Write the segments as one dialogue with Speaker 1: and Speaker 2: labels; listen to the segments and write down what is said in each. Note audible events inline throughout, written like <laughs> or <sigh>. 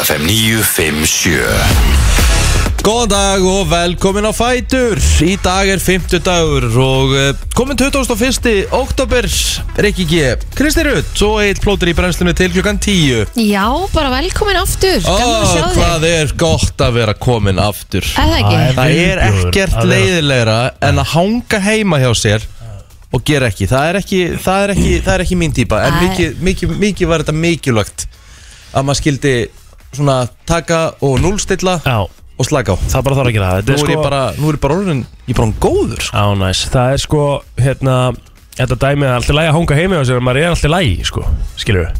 Speaker 1: FM 957
Speaker 2: Góðan dag og velkomin á Fætur Í dag er 50 dagur og eh, komin 21. oktober Rikki G, Kristi Rutt og eitt plótur í brennslunni til klukkan 10
Speaker 3: Já, bara velkomin aftur
Speaker 2: Ó,
Speaker 3: Gaman að sjá þig
Speaker 2: hvað er gott að vera komin aftur
Speaker 3: Er það ekki?
Speaker 2: Það er ekkert
Speaker 4: Að vera-
Speaker 2: leiðilegra en að hanga heima hjá sér og gera ekki Það er ekki, það er ekki, það er ekki mín típa en
Speaker 3: Nei.
Speaker 2: mikið, mikið, mikið var þetta mikilvægt að maður skildi svona taka og núlstilla
Speaker 4: Já,
Speaker 2: og slaka á
Speaker 4: það bara þarf að gera það
Speaker 2: Nú er,
Speaker 4: Þetta er
Speaker 2: ég
Speaker 4: sko,
Speaker 2: bara, nú er ég bara orðin, ég er bara orðin góður sko.
Speaker 4: á næs Það er sko, hérna Þetta dæmið að allt í lægi að hanga heimi á sér en Maður er allt í lægi, sko, skilur við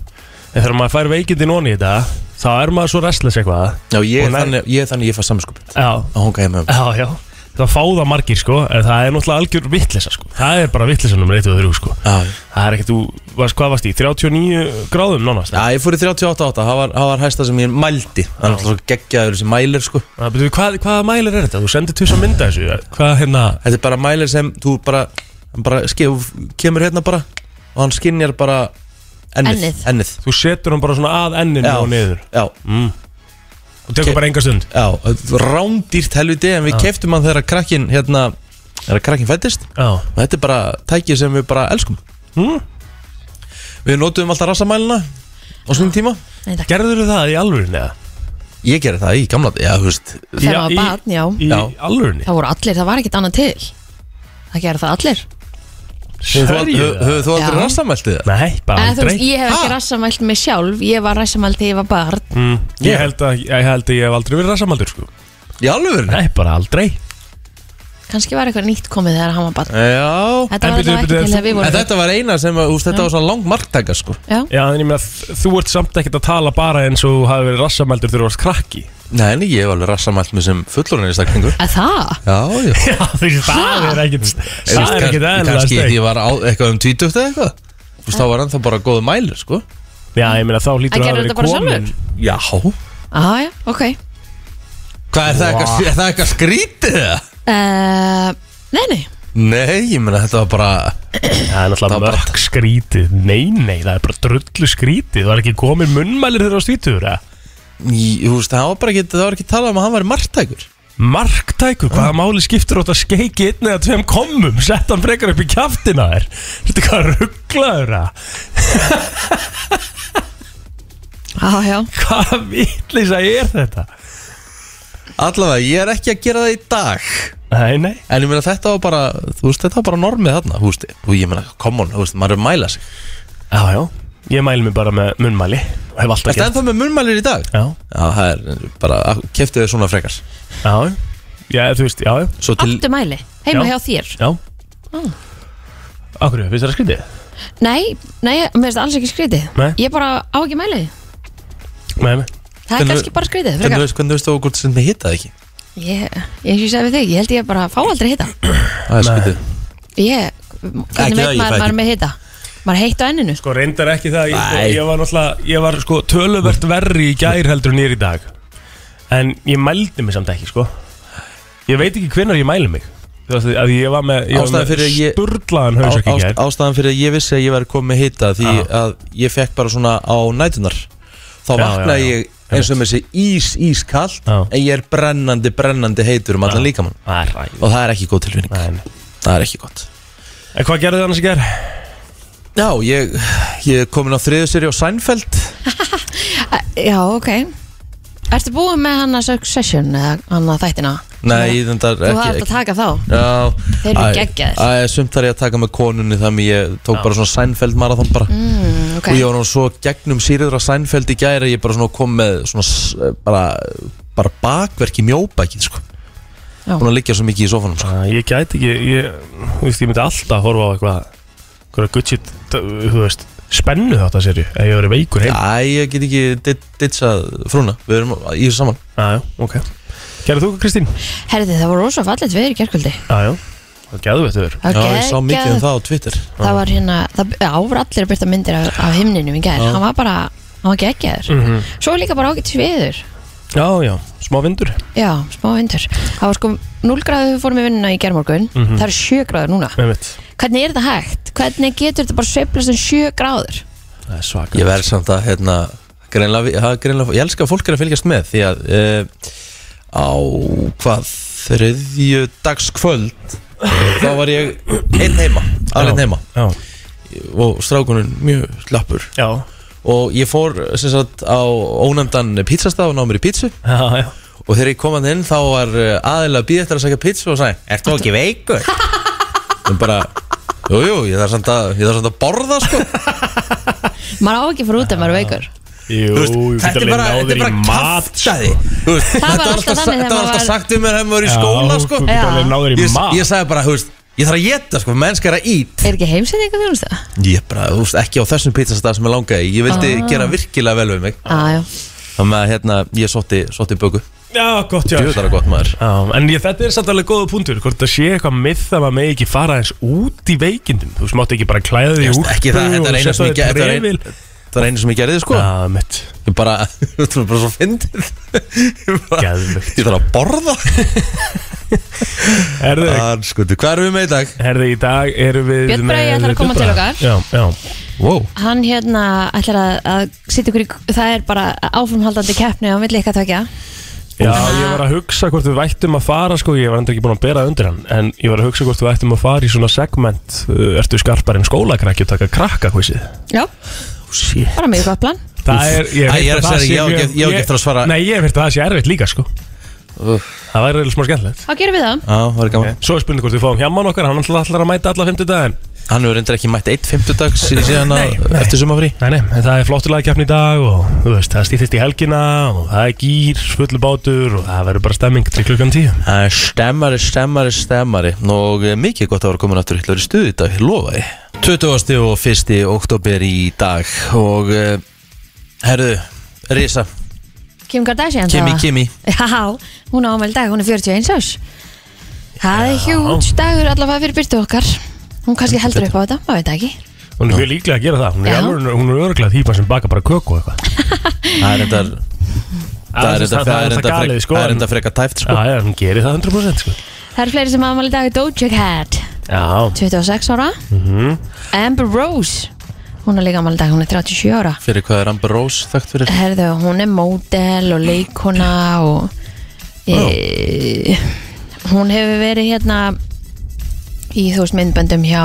Speaker 4: En þegar maður fær veikindi nóni í þetta Þá er maður svo restless eitthvað
Speaker 2: Já, ég er
Speaker 4: Og nei.
Speaker 2: þannig, ég, er þannig ég fæ samskupið
Speaker 4: Já,
Speaker 2: að honga heima um.
Speaker 4: já, já Það fá það margir, sko En það er náttúrulega algjör vittlisa, sko Það er bara vittlisa nummer 1 og 3, sko
Speaker 2: Já,
Speaker 4: Það er ekkert, þú, varst, hvað varst í? 39 gráðum, sko. nánast
Speaker 2: Já, ég fór í 38 það var, það var hæsta sem ég mældi Það er alltaf svo geggjaður þessi mælir sko
Speaker 4: Já, betur við, hvað, hvaða mælir er þetta? Þú sendir tusa mynda þessu, hvað hérna
Speaker 2: Þetta er bara mælir sem þú bara, hann bara skef, kemur hérna bara og hann skinjar bara ennið
Speaker 3: Ennið.
Speaker 2: ennið.
Speaker 4: Þú setur hann bara svona að enninu
Speaker 2: Já,
Speaker 4: og niður Mm.
Speaker 2: já,
Speaker 4: Og tekur
Speaker 2: Ke-
Speaker 4: bara enga stund
Speaker 2: já, þetta var rándýrt helviti en við já. keftum hann þegar krakkin hérna, þegar krakkin fættist
Speaker 4: Já,
Speaker 2: og þetta er bara tækið sem við bara elskum
Speaker 4: Mm.
Speaker 2: Við notum alltaf rassamælina á svona tíma
Speaker 3: Nei, takk
Speaker 4: gerður það í alvörinni eða?
Speaker 2: Ég gerði það í gamla, já, þú veist
Speaker 3: Þegar maður
Speaker 4: í-
Speaker 3: barn, já
Speaker 4: Í
Speaker 2: Já.
Speaker 4: alvörinni?
Speaker 3: Það voru allir, það var ekkert annað til Það gerði það allir
Speaker 2: Höfðu þú aldrei
Speaker 3: Já.
Speaker 2: rassamæltið það?
Speaker 4: Nei, bara
Speaker 3: Eða, þú
Speaker 4: aldrei
Speaker 3: veist, Ég hef ekki
Speaker 2: Ha?
Speaker 3: rassamælt mig sjálf Ég var rassamælt þegar ég var barn
Speaker 4: mm, ég, held að, ég held að ég hef aldrei verið rassamaldur sko.
Speaker 2: Í alveg?
Speaker 4: Nei, bara aldrei
Speaker 3: Kannski var eitthvað nýtt komið þegar hann var barn
Speaker 2: Já
Speaker 3: Þetta
Speaker 4: En
Speaker 3: var
Speaker 4: byrju,
Speaker 3: allavega ekki
Speaker 4: byrju,
Speaker 3: til
Speaker 4: en
Speaker 3: þegar við
Speaker 2: En
Speaker 3: vorum
Speaker 2: þetta var eina sem, að, úst, þetta var svona lang marktæka sko
Speaker 3: Já,
Speaker 4: Já, en ég meina, þ- þú ert samt ekkert að tala bara eins og þú hafi verið rassamaldur þegar þú varst krakki
Speaker 2: Nei, en ég hef alveg rassamælt með sem fullorinn í stakningu
Speaker 3: Að það?
Speaker 2: Já, já
Speaker 4: Já, þú veist, það er ekkert <laughs> Það er ekkert eðlilega
Speaker 2: Kanski
Speaker 4: steg
Speaker 2: ég var á, eitthvað um tvítugt eða eitthvað Þú veist, þá var ennþá bara góðu mælir sko
Speaker 4: Já, ég meina, þá
Speaker 3: En
Speaker 4: hlýtur
Speaker 3: gerðu þetta bara sjálfur?
Speaker 2: Já
Speaker 3: Á, já, ok
Speaker 2: Hvað er það eitthvað, er það eitthvað skrítið það?
Speaker 3: Eh, Nei, nei
Speaker 2: Nei, ég meina þetta var bara
Speaker 4: Það er
Speaker 2: Það
Speaker 4: náttúrulega
Speaker 2: var bara-
Speaker 4: mörg skrítið Nei, nei, það er bara drullu skrítið Það er ekki komin munnmælir þegar þú varst vítur
Speaker 2: Í- Þú veist, það var bara ekki, það var ekki talað um að hann væri marktækur Mm.
Speaker 4: Marktækur, hvaða máli skiptir átt að skeiki einn eða tveim kommum, sett hann frekar upp í kjaftina þér Þetta hvað rugglaður að
Speaker 3: Á, já
Speaker 4: Hvaða vitlisa er þetta?
Speaker 2: Allavega, ég er ekki að gera það í dag
Speaker 4: Nei, nei
Speaker 2: En ég meina þetta var bara, þú veist, þetta var bara normið þarna, þú veist, og ég meina, come on, þú veist, maður er að mæla sig.
Speaker 4: Já, já Ég mæli mig bara með munnmæli og Hef alltaf
Speaker 2: Ertu
Speaker 4: gert
Speaker 2: ennþá með munnmælir í dag?
Speaker 4: Já,
Speaker 2: Já, það er bara, keftið þið svona frekar.
Speaker 4: já Já, þú veist, já, já
Speaker 2: Svo til,
Speaker 3: Áttu mæli, heima
Speaker 4: Já.
Speaker 3: hjá þér
Speaker 4: Já Akkur, finnst þér það skrítið?
Speaker 3: Nei, nei, mér finnst það alls ekki skrítið
Speaker 4: Nei.
Speaker 3: Ég bara á ekki mæli
Speaker 4: Nei,
Speaker 3: Það
Speaker 4: nei
Speaker 3: er
Speaker 2: Hvernig-
Speaker 3: kannski bara skrítið
Speaker 2: hvernig
Speaker 3: frekar.
Speaker 2: veist, hvernig veist þú hvort sem þið hittað ekki?
Speaker 3: Ég, ég, ég segi við þig, ég held ég bara fá aldrei hita
Speaker 2: Það er skrítið.
Speaker 3: Ég,
Speaker 2: Ekki
Speaker 3: hvernig veit
Speaker 2: það,
Speaker 3: maður
Speaker 2: ég fæ ekki.
Speaker 3: maður er með hita Maður er heitt á enninu
Speaker 4: Sko, reyndar ekki það, ég,
Speaker 2: Nei.
Speaker 4: ég var náttúrulega, ég var sko töluvert verri í gær heldur en ég er í dag En ég mældi mig samt ekki, sko Ég veit ekki hvenar ég mæli mig Þú veist, að ég var með, ég var
Speaker 2: Ástæðan
Speaker 4: með
Speaker 2: fyrir að ég- Á,
Speaker 4: sturlaðan hausökk í
Speaker 2: ást,
Speaker 4: gær
Speaker 2: ástæðan fyrir að ég vissi að ég væri komið með hitta því
Speaker 4: Já.
Speaker 2: að ég fekk bara svona á nætunar. Þá
Speaker 4: Já,
Speaker 2: vaknaði
Speaker 4: já, já.
Speaker 2: ég eins og með þessi ís, ís kallt,
Speaker 4: Já.
Speaker 2: en ég er brennandi, brennandi heitur um allan líkamann.
Speaker 4: Það er ræð
Speaker 2: Og það er ekki góð tilfinning. Það er ekki gott.
Speaker 4: En hvað gerðu þið annars í gær?
Speaker 2: Já, ég, ég er komin á þriðu seri á Seinfeld.
Speaker 3: Já, ok Ertu búin með hann að Succession eða hann að þættina?
Speaker 2: Nei, þetta er
Speaker 3: Þú
Speaker 2: ekki
Speaker 3: hafði
Speaker 2: ekki-
Speaker 3: að taka þá
Speaker 2: Já,
Speaker 3: Þeir eru
Speaker 2: Æ,
Speaker 3: geggjaðir.
Speaker 2: Æ, sumt þar ég að taka með konunni þannig ég tók bara svona Seinfeld marathon bara
Speaker 3: mm,
Speaker 2: og
Speaker 3: okay.
Speaker 2: ég var nú svo gegnum síriður að Seinfeld í gæri að ég bara svona kom með svona s- eh, bara, bara bakverk í mjóbækið sko
Speaker 3: Já.
Speaker 2: Búin að liggja svo mikið í sofanum sko.
Speaker 4: Æ, Ah, ég gæti ekki, ég, þú veist, ég myndi alltaf horfa á eitthvað Hverja guttsitt, þú veist, spennu þátt að serju Ef ég verið veikur heim
Speaker 2: Æ, ég get ekki dit- ditchað frúna Við erum í þessu saman
Speaker 4: Já, já, ok Gerðu þú, Kristín?
Speaker 3: Herði, það voru rosa fallet veður í gerkvöldi
Speaker 4: Já, já Það gerðu við þetta
Speaker 3: Það, var
Speaker 2: Já, ég sá mikið um
Speaker 3: geggjað.
Speaker 2: það á Twitter
Speaker 3: það var hérna, það já, voru allir að byrta myndir af, af himninum í gær Hann var bara, hann var geggjaður
Speaker 4: Mhm.
Speaker 3: Svo er líka bara ágætt sviður
Speaker 4: Já, já, smá vindur
Speaker 3: Já, smá vindur Það var sko 0 gráður við fórum í vinnuna í germorgun
Speaker 4: Mhm.
Speaker 3: Það eru 7 gráður núna
Speaker 4: Með mitt
Speaker 3: Hvernig er þetta hægt? Hvernig getur þetta bara sveiflast um 7 gráður?
Speaker 4: Það er svaka
Speaker 2: Ég verð samt að hérna greinlega, það er greinlega, ég elska að fólk er að fylgjast með því að uh, á hvað þriðju dagskvöld þá var ég einn heima, alveg heima
Speaker 4: Já,
Speaker 2: og strákunum mjög slappur
Speaker 4: já,
Speaker 2: og ég fór sem sagt á ónefndan pizzastað og náði mér í pizzu
Speaker 4: já, já.
Speaker 2: og þegar ég kom hann inn þá var eh, aðilega býð eftir að sækja pizzu og sagði Ertu ekki
Speaker 4: <laughs>
Speaker 2: veikur? en bara, jújú, jú, ég þarf samt að, ég þarf samt að borða sko
Speaker 3: maður á ekki að fara út ef maður er veikur
Speaker 4: Jú,
Speaker 2: Þú veist,
Speaker 4: ég
Speaker 2: þetta er
Speaker 4: get alveg
Speaker 2: bara,
Speaker 4: náður
Speaker 2: þetta er
Speaker 4: í
Speaker 2: bara
Speaker 4: mat sko.
Speaker 2: kaftaði Þú veist,
Speaker 3: Það var
Speaker 2: Þetta var
Speaker 3: alltaf
Speaker 2: alltaf,
Speaker 3: þannig þegar
Speaker 2: þetta var
Speaker 3: maður
Speaker 2: alltaf
Speaker 3: var-
Speaker 2: sagt um mér hefum verið í skóla
Speaker 4: Já,
Speaker 2: sko.
Speaker 4: þú get alveg
Speaker 3: Já.
Speaker 4: náður í
Speaker 2: ég,
Speaker 4: mat
Speaker 2: ég sagði bara, þú veist, ég þarf að geta sko, mennsk er að ít
Speaker 3: er ekki heimsendinga þjónustu?
Speaker 2: Ég bara, þú veist, ekki á þessum pizzastað sem ég langaði Ég vildi
Speaker 3: Ah.
Speaker 2: gera virkilega vel við mig
Speaker 3: aðjá
Speaker 2: Þannig að hérna, ég sótti, sótti böku
Speaker 4: Já, gott, já
Speaker 2: Djöðara gott maður
Speaker 4: Já, en ég, þetta er samt alveg góða punktur Hvort það sé eitthvað mið það maður megi ekki fara eins út í veikindum Þú smátt ekki bara klæða því
Speaker 2: Ég veist
Speaker 4: úr
Speaker 2: ekki það, þetta er eina sem ég gerði- þetta er ein-
Speaker 4: einu
Speaker 2: Það er einu sem ég gerði sko
Speaker 4: Já, mitt,
Speaker 2: Ég bara, <laughs> þú veist, bara svo fyndið Ég bara,
Speaker 4: geðvögt
Speaker 2: ég þarf að
Speaker 4: <laughs>
Speaker 2: borða
Speaker 4: Herðu,
Speaker 2: Þann, skutu, hvað erum við með í dag?
Speaker 4: herðu, í dag erum við
Speaker 3: Björn Bragi
Speaker 4: með-
Speaker 3: ætlar að koma
Speaker 4: Björn
Speaker 3: til
Speaker 4: Braga.
Speaker 3: okkar.
Speaker 4: Já, já,
Speaker 2: Wow
Speaker 3: hann hérna ætlar að, að sitja ykkur í, það er bara áframhaldandi keppni á milli ykkar tvekja
Speaker 4: já, ég var að hugsa hvort við vættum að fara sko, Ég var enda ekki búin að bera undir hann En ég var að hugsa hvort við vættum að fara í svona segment uh, Ertu skarpar en skólakrakki og taka krakkakvísið
Speaker 3: já,
Speaker 4: Shit
Speaker 3: bara mjög gott plan
Speaker 4: Það
Speaker 2: Æ,
Speaker 4: er, hef
Speaker 2: ég er
Speaker 4: heyrt
Speaker 2: að
Speaker 4: það
Speaker 2: segja,
Speaker 4: sé
Speaker 2: ég á
Speaker 4: mjög-
Speaker 2: ekki- ég á ekki eftir að svara.
Speaker 4: Nei, ég hef hérta að það sé erfitt líka sko Það væri reyðilega smá skemmtilegt
Speaker 3: þá gerum við það
Speaker 2: Já, það var gaman
Speaker 4: Svo er spurning hvort við fáum hjaman okkar, hann ætlar ætlar að mæta alla 50 daginn
Speaker 2: Hann hefur reyndar ekki mætt eitt fimmtudags
Speaker 4: <laughs>
Speaker 2: síðan að
Speaker 4: Nei, nei.
Speaker 2: eftir sumafrí
Speaker 4: Nei, nei, en það er flottulega keppni í dag og þú veist, það stýttist í helgina og það er gýr, fullu bátur og það verður bara stemming til klukkan 10
Speaker 2: Það er Stemmari, stemmari, stemmari og eh, mikið gott að vera komin aftur hittlari stuði í dag, ég lofa ég 20. og 1. oktober í dag og eh, herðu, Risa,
Speaker 3: Kim Kardashian
Speaker 2: Kimi,
Speaker 3: það var.
Speaker 2: Kimi
Speaker 3: Já, hún á ámæli dag, hún er 41 árs Það er hjúts dagur allavega fyrir byrtu okkar Hún kannski heldur upp á þetta, maður veit það ekki
Speaker 4: Hún er mjög líklega að gera það, hún er,
Speaker 3: Já.
Speaker 4: alveg, hún er örglega þýpa sem baka bara köku og eitthvað
Speaker 2: Það er reyndar það er reyndar- það er reyndar
Speaker 4: galið,
Speaker 2: frek-
Speaker 4: sko,
Speaker 2: það er
Speaker 4: en-
Speaker 2: reyndar freka tæft sko
Speaker 4: Já, já, hún gerir það 100% sko
Speaker 3: Það eru fleiri sem á ámæli dag Doja Cat,
Speaker 4: Já, mhm.
Speaker 3: 26 ára Amber Rose Hún er líka ámæli dag, hún er 37 ára
Speaker 2: Fyrir hvað er Amber Rose þekkt fyrir?
Speaker 3: Herðu, hún er módel og leikona og e, Hún hefur verið hérna í þú veist myndböndum hjá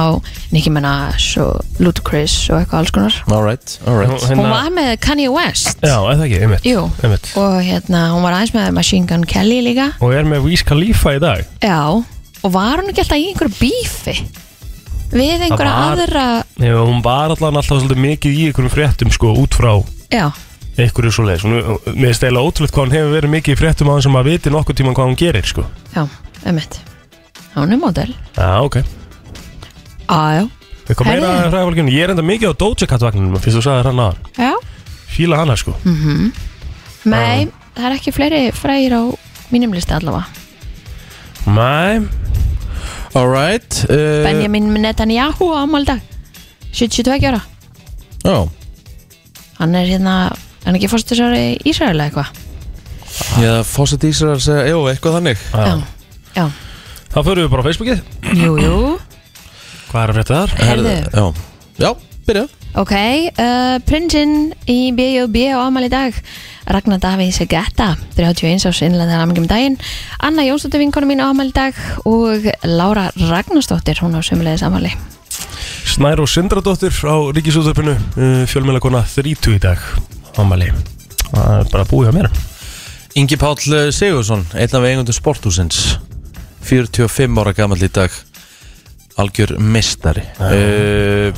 Speaker 3: Nicki Minaj og Ludacris og eitthvað alls konar
Speaker 2: Alright, alright
Speaker 3: Hún var með Kanye West
Speaker 4: hérna- Já, eða ekki, einmitt
Speaker 3: Jú.
Speaker 4: einmitt.
Speaker 3: og hérna, hún var aðeins með Machine Gun Kelly líka
Speaker 4: Og er með Wiz Khalifa í dag
Speaker 3: já, og var hún ekki alltaf í einhverju bífi við einhverja
Speaker 4: var-
Speaker 3: aðra
Speaker 4: Já, hún var allan alltaf svolítið mikið í einhverjum fréttum sko út frá
Speaker 3: já,
Speaker 4: einhverju svo leiðis Mér er stæla ótrúlega hvað hún hefur verið mikið í fréttum á hann sem að viti nokkuð tíma hvað hún gerir sko
Speaker 3: já, ömmit hún er módel
Speaker 4: Já, ok
Speaker 3: já, já,
Speaker 4: Við komum meira
Speaker 3: Herðu.
Speaker 4: að hræðafólkinu Ég er enda mikið á Doja Cat vagninum Fyrst þú sagði hann aðan
Speaker 3: já.
Speaker 4: Fíla hana sko
Speaker 2: Mhm.
Speaker 3: nei, það er ekki fleiri frægir á mínum listi allavega
Speaker 4: Mæ
Speaker 2: Alright uh,
Speaker 3: Benjamin Netanyahu á ámaldag 72 ára,
Speaker 2: Já,
Speaker 3: hann er hérna hann er ekki fórstisari Ísrael eða eitthvað
Speaker 2: ég fórsett Ísrael segja, jú, eitthvað þannig
Speaker 3: já, já,
Speaker 4: Þá förum við bara á Facebookið
Speaker 3: jú, jú
Speaker 4: Hvað er að frétta þar?
Speaker 3: Heyrðu.
Speaker 2: Herðu, Já, já, byrja
Speaker 3: Ok, uh, prinsinn í B.O.B. á ámæli í dag Ragnar Davís Getta, 31 árs innlæðar ammingum daginn Anna Jónsdóttir vinkonu mín á ámæli í dag og Lára Ragnarsdóttir, hún á sömulegis ámæli
Speaker 4: Snær og Sindradóttir á Ríkisútöpinu Fjölmjöla kona 30 í dag Ámali Það er bara búið á mér
Speaker 2: Ingi Páll Sigursson, einn af eigundum sporthúsins 45 ára gamall í dag algjör mistari uh,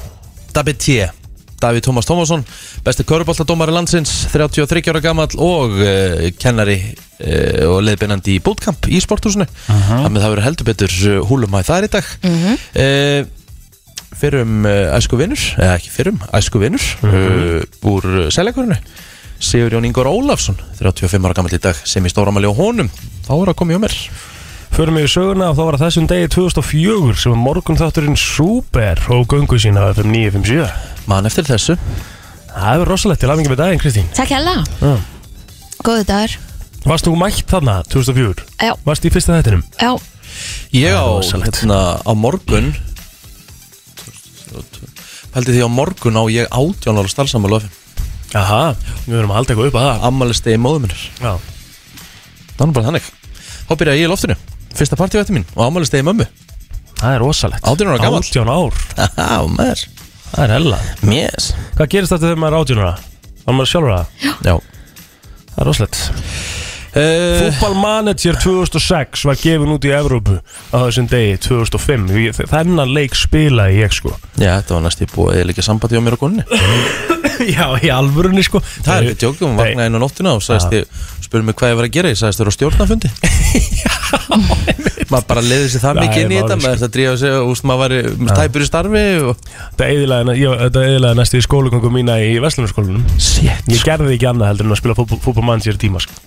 Speaker 2: Dabi T Davíð Tómas Tómasson, besti köruboltadómari landsins, 33 ára gamall og uh, kennari uh, og leiðbeinandi í bútkamp í sporthúsinu þannig að það verður heldur betur eh, húlumæð þar í dag uh fyrrum uh, æsku vinnur, eða ekki fyrrum, æsku vinnur uh, úr uh, seljakurinu Sigur Jón Ingvar Ólafsson 35 ára gammal í dag sem í stóramæli á honum þá er að koma hjá mér
Speaker 4: Förum við í söguna og þá var það þessum degi 2004 sem morgun þátturinn Super og göngu sína á FM 957
Speaker 2: mann eftir þessu
Speaker 4: Það er rosalegt til aðmingi með daginn Kristín
Speaker 3: Takk hella,
Speaker 4: Já.
Speaker 3: góðu dagur
Speaker 4: Varst þú mætt þarna 2004?
Speaker 3: Já,
Speaker 4: Varst í fyrsta þettinum?
Speaker 3: já,
Speaker 2: ég á,
Speaker 4: rosalegt.
Speaker 2: hérna, á morgun pældi því á morgun á ég átján ára starfsamæli á FM
Speaker 4: Aha, við verðum að halda eitthvað upp að það
Speaker 2: Ammalisti móðuminnar
Speaker 4: Já,
Speaker 2: Það er nú bara þannig Þá byrjaði ég í loftinu Fyrsta partívætti mín og ammalisti mömmu
Speaker 4: það er rosalegt
Speaker 2: 18 ára gamall.
Speaker 4: 18
Speaker 2: <laughs>
Speaker 4: ár,
Speaker 2: Haha, maður
Speaker 4: það er hella
Speaker 2: Yes
Speaker 4: Hvað gerist þetta þegar maður er 18 ára? Var maður sjálfur að það?
Speaker 2: Já
Speaker 4: Það er rosalegt
Speaker 2: uh,
Speaker 4: Football Manager 2006 var gefin út í Evrópu á þessum degi 2005 Ég- Þennan leik spilaði ég sko
Speaker 2: Já, þetta var næst í búið eða ekki sambandi á mér og konni
Speaker 4: <laughs> Já, í alvörunni sko
Speaker 2: Það er ekki tjók, hún
Speaker 4: Nei.
Speaker 2: vaknaði inn á nóttina og sagðist ég, spurði mig hvað ég var að gera, ég sagðist þér á
Speaker 4: <laughs>
Speaker 2: stjórnafundi Maður bara leiði sér það
Speaker 4: Það
Speaker 2: mikið
Speaker 4: er
Speaker 2: inn í þetta,
Speaker 4: málið,
Speaker 2: maður þetta drífa sig og úst, maður væri tæpur í starfi og
Speaker 4: Þetta eðilaði, ég, þetta eðilaði næstu í skólugöngu mína í Vestlunarskólanum
Speaker 2: Shit,
Speaker 4: Ég gerði ekki annað heldur en að spila fútbol mann sér tíma sko.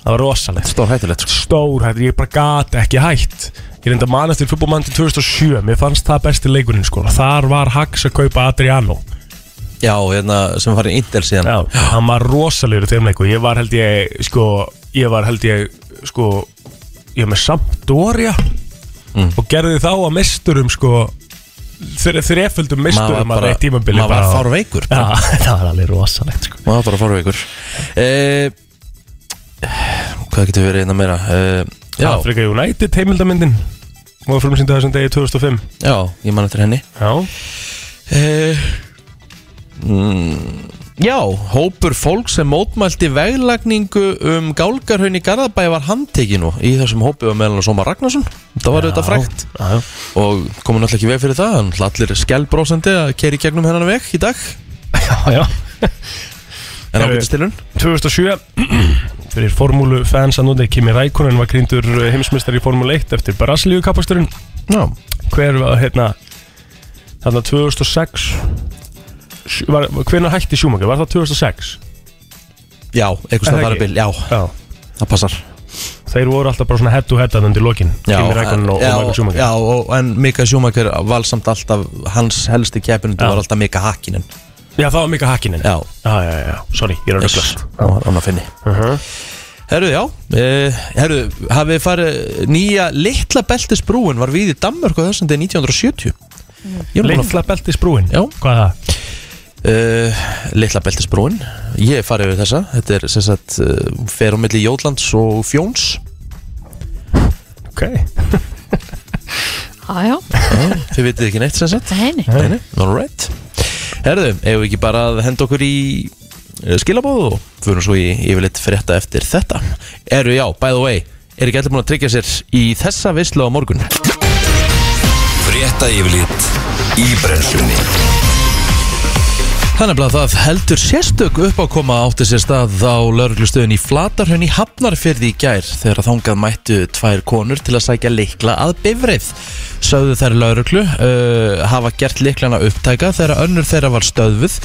Speaker 4: Það var rosalegt
Speaker 2: stór hættulegt sko.
Speaker 4: Stór hættur, ég bara gat ekki hætt Ég reynda að manast til fútbol mann til 2007 Mér fannst það besti leikurinn sko Þar var Hax að kaupa Adriano
Speaker 2: Já, hérna, sem var í Intel síðan
Speaker 4: Já, hann var rosalegur í þeim leiku Ég var held ég, sko Ég var held ég, sko Ég var með Sampdoria
Speaker 2: Mm.
Speaker 4: Og gerði þá að mesturum sko þre- Þreföldum
Speaker 2: Maður
Speaker 4: mesturum
Speaker 2: var
Speaker 4: að
Speaker 2: bara,
Speaker 4: reitt tímabili
Speaker 2: maður var fárveikur
Speaker 4: Já, <laughs> það var alveg rosalegt sko
Speaker 2: Maður var bara fárveikur eh, Hvað getur verið hérna meira? Eh, já,
Speaker 4: Afrika United heimildamyndin og frumsýndi þessum degi 2005
Speaker 2: já, ég man eftir henni
Speaker 4: Já,
Speaker 2: Eh, mm, Já, hópur fólk sem mótmælti veglagningu um gálgarhaun í Garðabæi var handtekinu í þessum hópi var meðan Soma Ragnarsson það var auðvitað frækt
Speaker 4: já, já.
Speaker 2: og komið náttúrulega ekki veg fyrir það en allir skjálbrósandi að keiri gegnum hennan veg í dag
Speaker 4: já, já.
Speaker 2: en
Speaker 4: Heyrðu.
Speaker 2: ágætist tilun
Speaker 4: 2007 <clears throat> fyrir formúlu fans að núti Kimi Rækonen var gríndur heimsmyndstari í formúlu 1 eftir Brasilíu kapasturinn
Speaker 2: Já,
Speaker 4: hver var hérna þarna 2006 Sj- var, hvernig hætti Schumacher, var það 2006
Speaker 2: já eitthvað
Speaker 4: Er það
Speaker 2: það var að
Speaker 4: ekki?
Speaker 2: byrja, já,
Speaker 4: já,
Speaker 2: það passar
Speaker 4: þeir voru alltaf bara svona head to head að undir lokin, Kimi Rækonen og,
Speaker 2: já,
Speaker 4: og Michael Schumacher
Speaker 2: já, og, en Mika Schumacher valsamt alltaf hans helsti keppinundu
Speaker 4: Já.
Speaker 2: var alltaf Mika Hakkinen
Speaker 4: já, það var Mika Hakkinen
Speaker 2: Já,
Speaker 4: já, já, já, sorry, ég er að
Speaker 2: yes.
Speaker 4: röggast
Speaker 2: það var hann að finni
Speaker 4: uh -huh.
Speaker 2: Herru, já, uh, herru, hafið þið farið nýja litla beltisbrúin var við í Danmörku þessum til 1970 Ég er búin að
Speaker 4: Lilla beltisbrúin,
Speaker 2: Já.
Speaker 4: hvað er það?
Speaker 2: uh, Litla beltisbrúin, ég er farið við þessa, þetta er sem sagt uh, fer á milli Jótlands og Fjóns
Speaker 4: Ok,
Speaker 3: Já, já,
Speaker 2: Já, Þið vitið ekki neitt sem sagt,
Speaker 3: það er henni
Speaker 2: Nei, nei, all right Herru, eigum við ekki bara að henda okkur í uh, skilabóðu og fyrir svo í yfirleitt frétta eftir þetta Herru, já, by the way, er ekki allir búin að tryggja sér í þessa vislu á morgun?
Speaker 1: Frétta yfirlit í brennslunni
Speaker 2: Þannig að það heldur sérstök uppákoma átti sér stað á lauruglustöðin í Flatarhönn í Hafnarfyrði í gær þegar þangað mættu tvær konur til að sækja likla að bifrið. Sögðu þær lauruglu uh, hafa gert liklana upptæka þegar önnur þeirra var stöðvuð,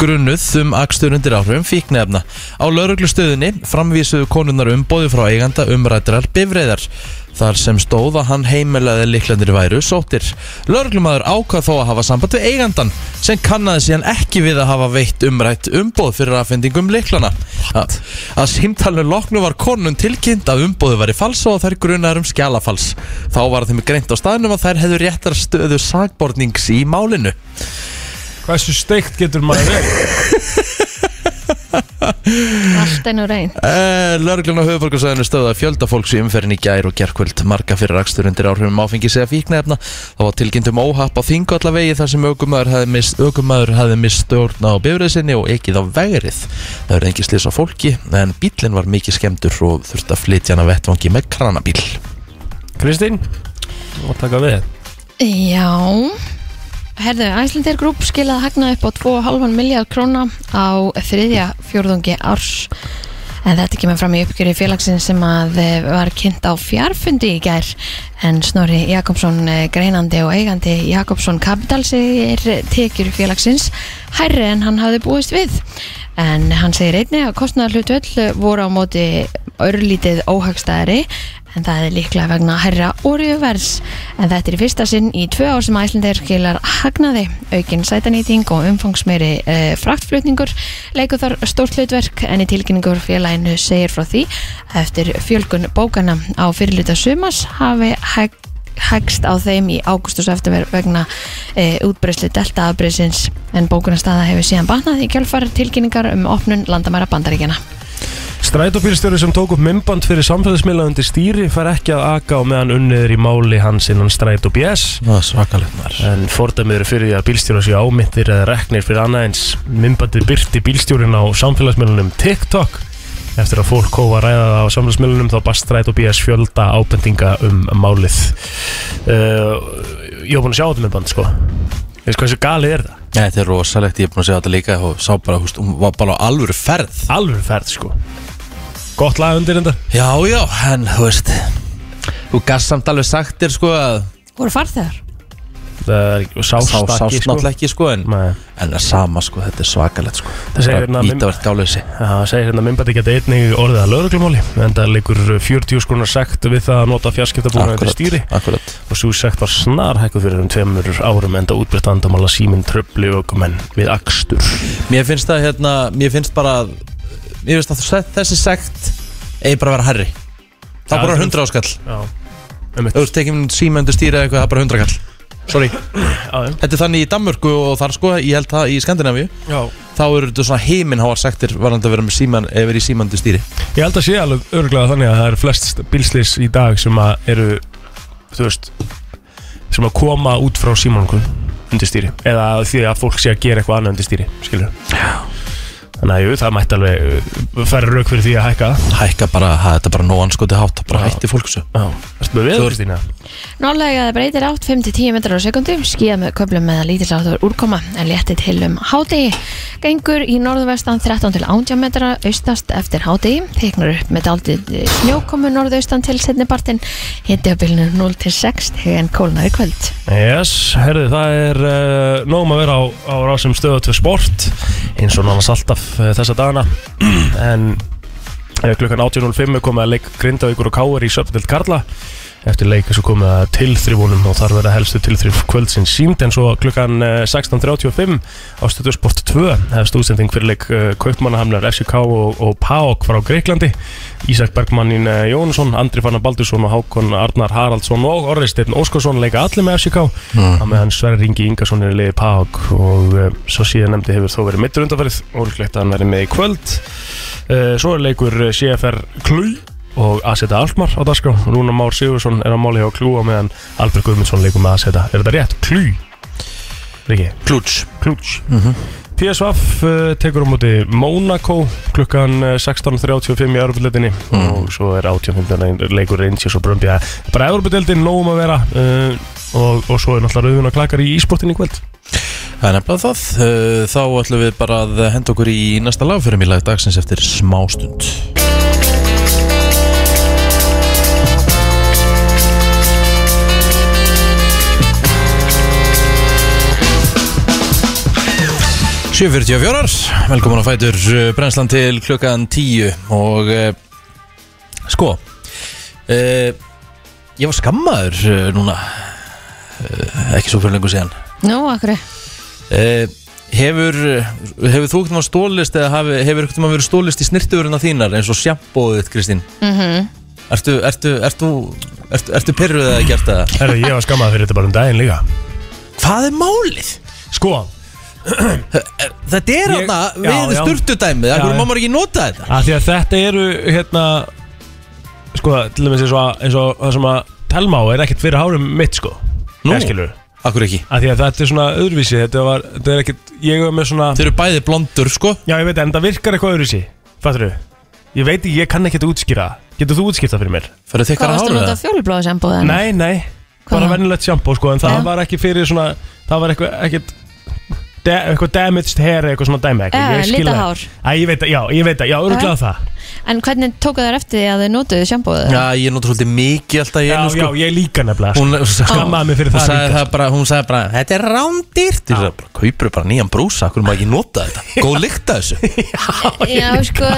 Speaker 2: grunnuð um akstur undir áhrifum fíknefna. Á lauruglustöðinni framvísuðu konurnar umbóði frá eiganda umrættrar bifriðar þar sem stóð að hann heimilaði liklandir væru sóttir. Lörglumæður ákvað þó að hafa samband við eigandan sem kannaði síðan ekki við að hafa veitt umrætt umboð fyrir aðfendingum liklana. A- Að símtalinu loknu var konun tilkynnt að umboðu væri fals og að þær grunar um skjalafals. Þá var þeim greint á staðnum að þær hefðu réttar stöðu sagbornings í málinu.
Speaker 4: hversu steikt getur maður verið?
Speaker 3: Allt enn og reyn
Speaker 2: Lörglun Eh, á höfuborgarsæðinu stöða fjölda fólks í umferðin í gær og gerkvöld marga fyrir akstur undir áhrifum áfengis eða fíknefna það var tilkynnt um óhapp á þingvallavegi þar sem aukumæður hafði mist, aukumæður hafði mist stjórn á bifrið sinni og ekið á vegrið það verði engi slis á fólki en bílinn var mikið skemmtur og þurfti að flytja hann að vettvangi með kranabíl
Speaker 4: Kristín, þú mátt taka við
Speaker 3: Já Herðu, Æslandir Group skilaði hagnaði upp á 2,5 miljard króna á þriðja fjórðungi árs en þetta kemur fram í uppgjöri félagsin sem að eh, var kynnt á fjárfundi í gær en Snorri Jakobsson eh, greinandi og eigandi Jakobsson Capital segir tekjur félagsins hærri en hann hafði búist við en hann segir einni að kostnaðarhlutvöll voru á móti örlítið óhagstæðari en það er líklega vegna herra orjuvers en þetta er í fyrsta sinn í tvö ár sem æslandeir skilar hagnaði aukin sætanýting og umfangsmeiri e, fraktflutningur leikur þar stórt hlutverk en í tilkynningur félaginu segir frá því að eftir fjölgun bókana á fyrirluta sumas hafi hægt hægst á þeim í ágústus eftir vegna e, útbreyslu deltaafbreysins en bókunarstaða hefur síðan batnað í kjálfar tilkynningar um opnun landamæra bandaríkjana.
Speaker 4: Strætóbílstjóri sem tók upp mymband fyrir samfélagsmiðla undir stýri fær ekki að aka á meðan unniður í máli hans innan Strætó BS
Speaker 2: Það er svakalegt maður
Speaker 4: en fordæmiður fyrir því að bílstjóra séu ámittir eða reknir fyrir annað eins mymbandið byrti bílstjórin á samfélagsmiðlunum TikTok eftir að fólk hófa að ræða það á samfélagsmiðlunum þá bast Strætó BS fjölda ábendinga um málið uh, Ég var búin að sjá þetta mymband sko Veist hvað þessi galið er það?
Speaker 2: Þetta er rosalegt, ég er búin að segja þetta líka og sá bara, húst, hún var bara á alvöru ferð
Speaker 4: Alveg ferð sko Gott lag undir enda
Speaker 2: Já, já, en þú veist Þú gast samt alveg sagt þér sko að
Speaker 3: Voru farþegar?
Speaker 4: Það er ekki-
Speaker 2: Sá,
Speaker 4: sástakki,
Speaker 2: sást
Speaker 4: sko.
Speaker 2: náttúrulega ekki sko en,
Speaker 4: Nei.
Speaker 2: en það sama sko, þetta er svakalegt sko
Speaker 4: Það segir hérna að minn-
Speaker 2: Ítavert gáleysi
Speaker 4: Já, Það segir hérna að myndbæti geta einnig orðið að lögreglumáli en það liggur 40 skrónar sekt við það að nota fjarskiptabúna undir stýri
Speaker 2: akkurat
Speaker 4: og svo sekt var snarhækkuð fyrir um tveimur árum enda útbreytt vandamála síminn tröfli og menn við akstur
Speaker 2: Mér finnst það hérna, mér finnst bara að- Mér finnst að þess- þessi sekt eigi bara að vera herri Það er
Speaker 4: Já,
Speaker 2: bara
Speaker 4: þú-
Speaker 2: hundra áskall
Speaker 4: Já,
Speaker 2: Ef Þú veist, tekið símendur stýra eitthvað, það er bara hundra kall Sorry
Speaker 4: já,
Speaker 2: Þetta er þannig í Danmörku og þar sko, ég held það í Skandinavíu
Speaker 4: já
Speaker 2: Þá eru þetta svona heiminháar sektir varandi að vera með síman, eða verið í símandi stýri
Speaker 4: Ég held að sé alveg örglega þannig að það eru flest bílslis í dag sem að eru þú veist sem að koma út frá símónungun undir stýri eða því að fólk sé að gera eitthvað annað undir stýri skilur Já Þannig að jú, það mætti alveg færa rauk fyrir því að hækka það.
Speaker 2: Hækka bara, ha, þetta er bara nóg anskoti hátt Bara hætti fólk þessu
Speaker 4: Já, erstu með við,
Speaker 2: Þú-
Speaker 4: Kristína?
Speaker 3: Norðlega eða breytir átt 5-10 metrar á sekundu, skíða með köflum með lítilsáttur úrkoma en létti til um hádegi. Gengur í norðvestan 13-18 metra austast eftir hádegi, þyknar upp með daldið snjókomu norðaustan til setnipartin, hitti á bylnu 0-6 en kólnaði kvöld.
Speaker 4: Yes, herðu, það er uh, nógum að vera á, á rásum stöðut við sport eins og nánast alltaf uh, þessa dagana <clears throat> en uh, klukkan 18.05 er komið að leik Grindavíkur og Káur í Söpnild Karla eftir leik er svo komið að tilþrifúnum og þar verða helstu tilþrif kvöldsins sínd en svo klukkan eh, 16.35 á stöðu sport 2 hefst útsending fyrir leik uh, Kaupmannahamnar FCK og, og PAOK frá Greiklandi Ísak Bergmannin eh, Jónsson, Andri Fannar Baldursson og Hákon Arnar Haraldsson og Orri Steinn Óskarsson leika allir með FCK mm. með hann Sverri Ringi Ingarsson er í liði PAOK og uh, svo síðan nefndi hefur þó verið mittur undanferð og líklegt að hann verið með í kvöld uh, Svo er leikur eh, CFR Klúi og Aseta Alkmar á dagskrá Rúna Már Sigursson er á máli hjá Klúa meðan Albert Guðmundsson leikur með Aseta Er þetta rétt? Klúi? Riki?
Speaker 2: Klúts
Speaker 4: Klúts PSV uh, tekur á móti Mónakó klukkan eh, 16.35 í Örbudeldinni og svo er 18.15 leikur Rangers og Brömbja bara Örbudeldin nógum að vera uh, og, og svo er náttúrulega rauðun og klakar í ísportinni í kvöld
Speaker 2: Það er nefnilega það Uh, Þá ætlum við bara að henda okkur í næsta lag fyrir mig lag dagsins eftir smástund Sjöfyrtjá fjórar, velkomin á Fætur uh, brennslan til klukkan tíu og uh, sko uh, ég var skammaður uh, núna uh, ekki svo fyrir lengur síðan
Speaker 3: Nú, akkur,
Speaker 2: Eh, Hefur, eh, hefur þú ekkert maður stólist eða hafi, hefur ekkert maður verið stólist í snirtuveruna þínar eins og sjampóðið þitt Kristín
Speaker 3: mm
Speaker 2: Ertu, ertu, ertu, ertu, ertu pyrruð eða gert það?
Speaker 4: Herra, ég var skammað fyrir þetta bara um daginn líka
Speaker 2: Hvað er málið?
Speaker 4: Sko,
Speaker 2: Þetta er
Speaker 4: Ég-
Speaker 2: hérna við
Speaker 4: já, já.
Speaker 2: styrtudæmið,
Speaker 4: Já,
Speaker 2: það
Speaker 4: já.
Speaker 2: má maður ekki nota þetta
Speaker 4: að því að þetta eru hérna sko, til dæmis eins og, að- eins og það sem að Telmá er ekkert fyrir hárum mitt sko
Speaker 2: Nú.
Speaker 4: Eða skilurðu?
Speaker 2: Akkur ekki
Speaker 4: að því að þetta er svona öðruvísi þetta var, þetta er ekkert, ég var með svona
Speaker 2: Þau eru bæði blondur sko
Speaker 4: já ég veit en það virkar eitthvað öðruvísi fattur ég veit ekki, ég kann ekkert útskýra það. getur þú útskýrt það fyrir mér?
Speaker 2: Fyrir
Speaker 3: hvað
Speaker 2: þekkar að
Speaker 3: varstu að
Speaker 2: hára
Speaker 3: nota
Speaker 2: það?
Speaker 3: fjólubláðu sambúðan?
Speaker 4: nei, nei, bara
Speaker 3: Hvað?
Speaker 4: vennilegt sjampó sko en það
Speaker 3: Já.
Speaker 4: var ekki fyrir svona, það var eitthvað ekkert de, eitthvað damaged hair eða eitthvað svona dæmi eitthvað.
Speaker 3: Eh,
Speaker 4: ég skil
Speaker 3: litað
Speaker 4: það.
Speaker 3: hár.
Speaker 4: Æ, ég veit, það, já, ég veit, það, já, örglað það
Speaker 3: En hvernig tókuðu þær eftir því að þau notuðu sambúðu?
Speaker 2: Já, ég nota svolítið mikið alltaf í
Speaker 4: já,
Speaker 2: einu
Speaker 4: já,
Speaker 2: sko
Speaker 4: ég líka nefnilega sko.
Speaker 2: Hún
Speaker 4: skammaði mig fyrir
Speaker 2: Hún
Speaker 4: það
Speaker 2: sagði
Speaker 4: líka.
Speaker 2: það bara, hún sagði bara, þetta er rándýrt Ég sagði bara, kaupur bara nýjan brúsa, hvernig maður ekki nota
Speaker 4: <laughs>
Speaker 2: þetta Góð lykta þessu
Speaker 3: <laughs> Já, sko,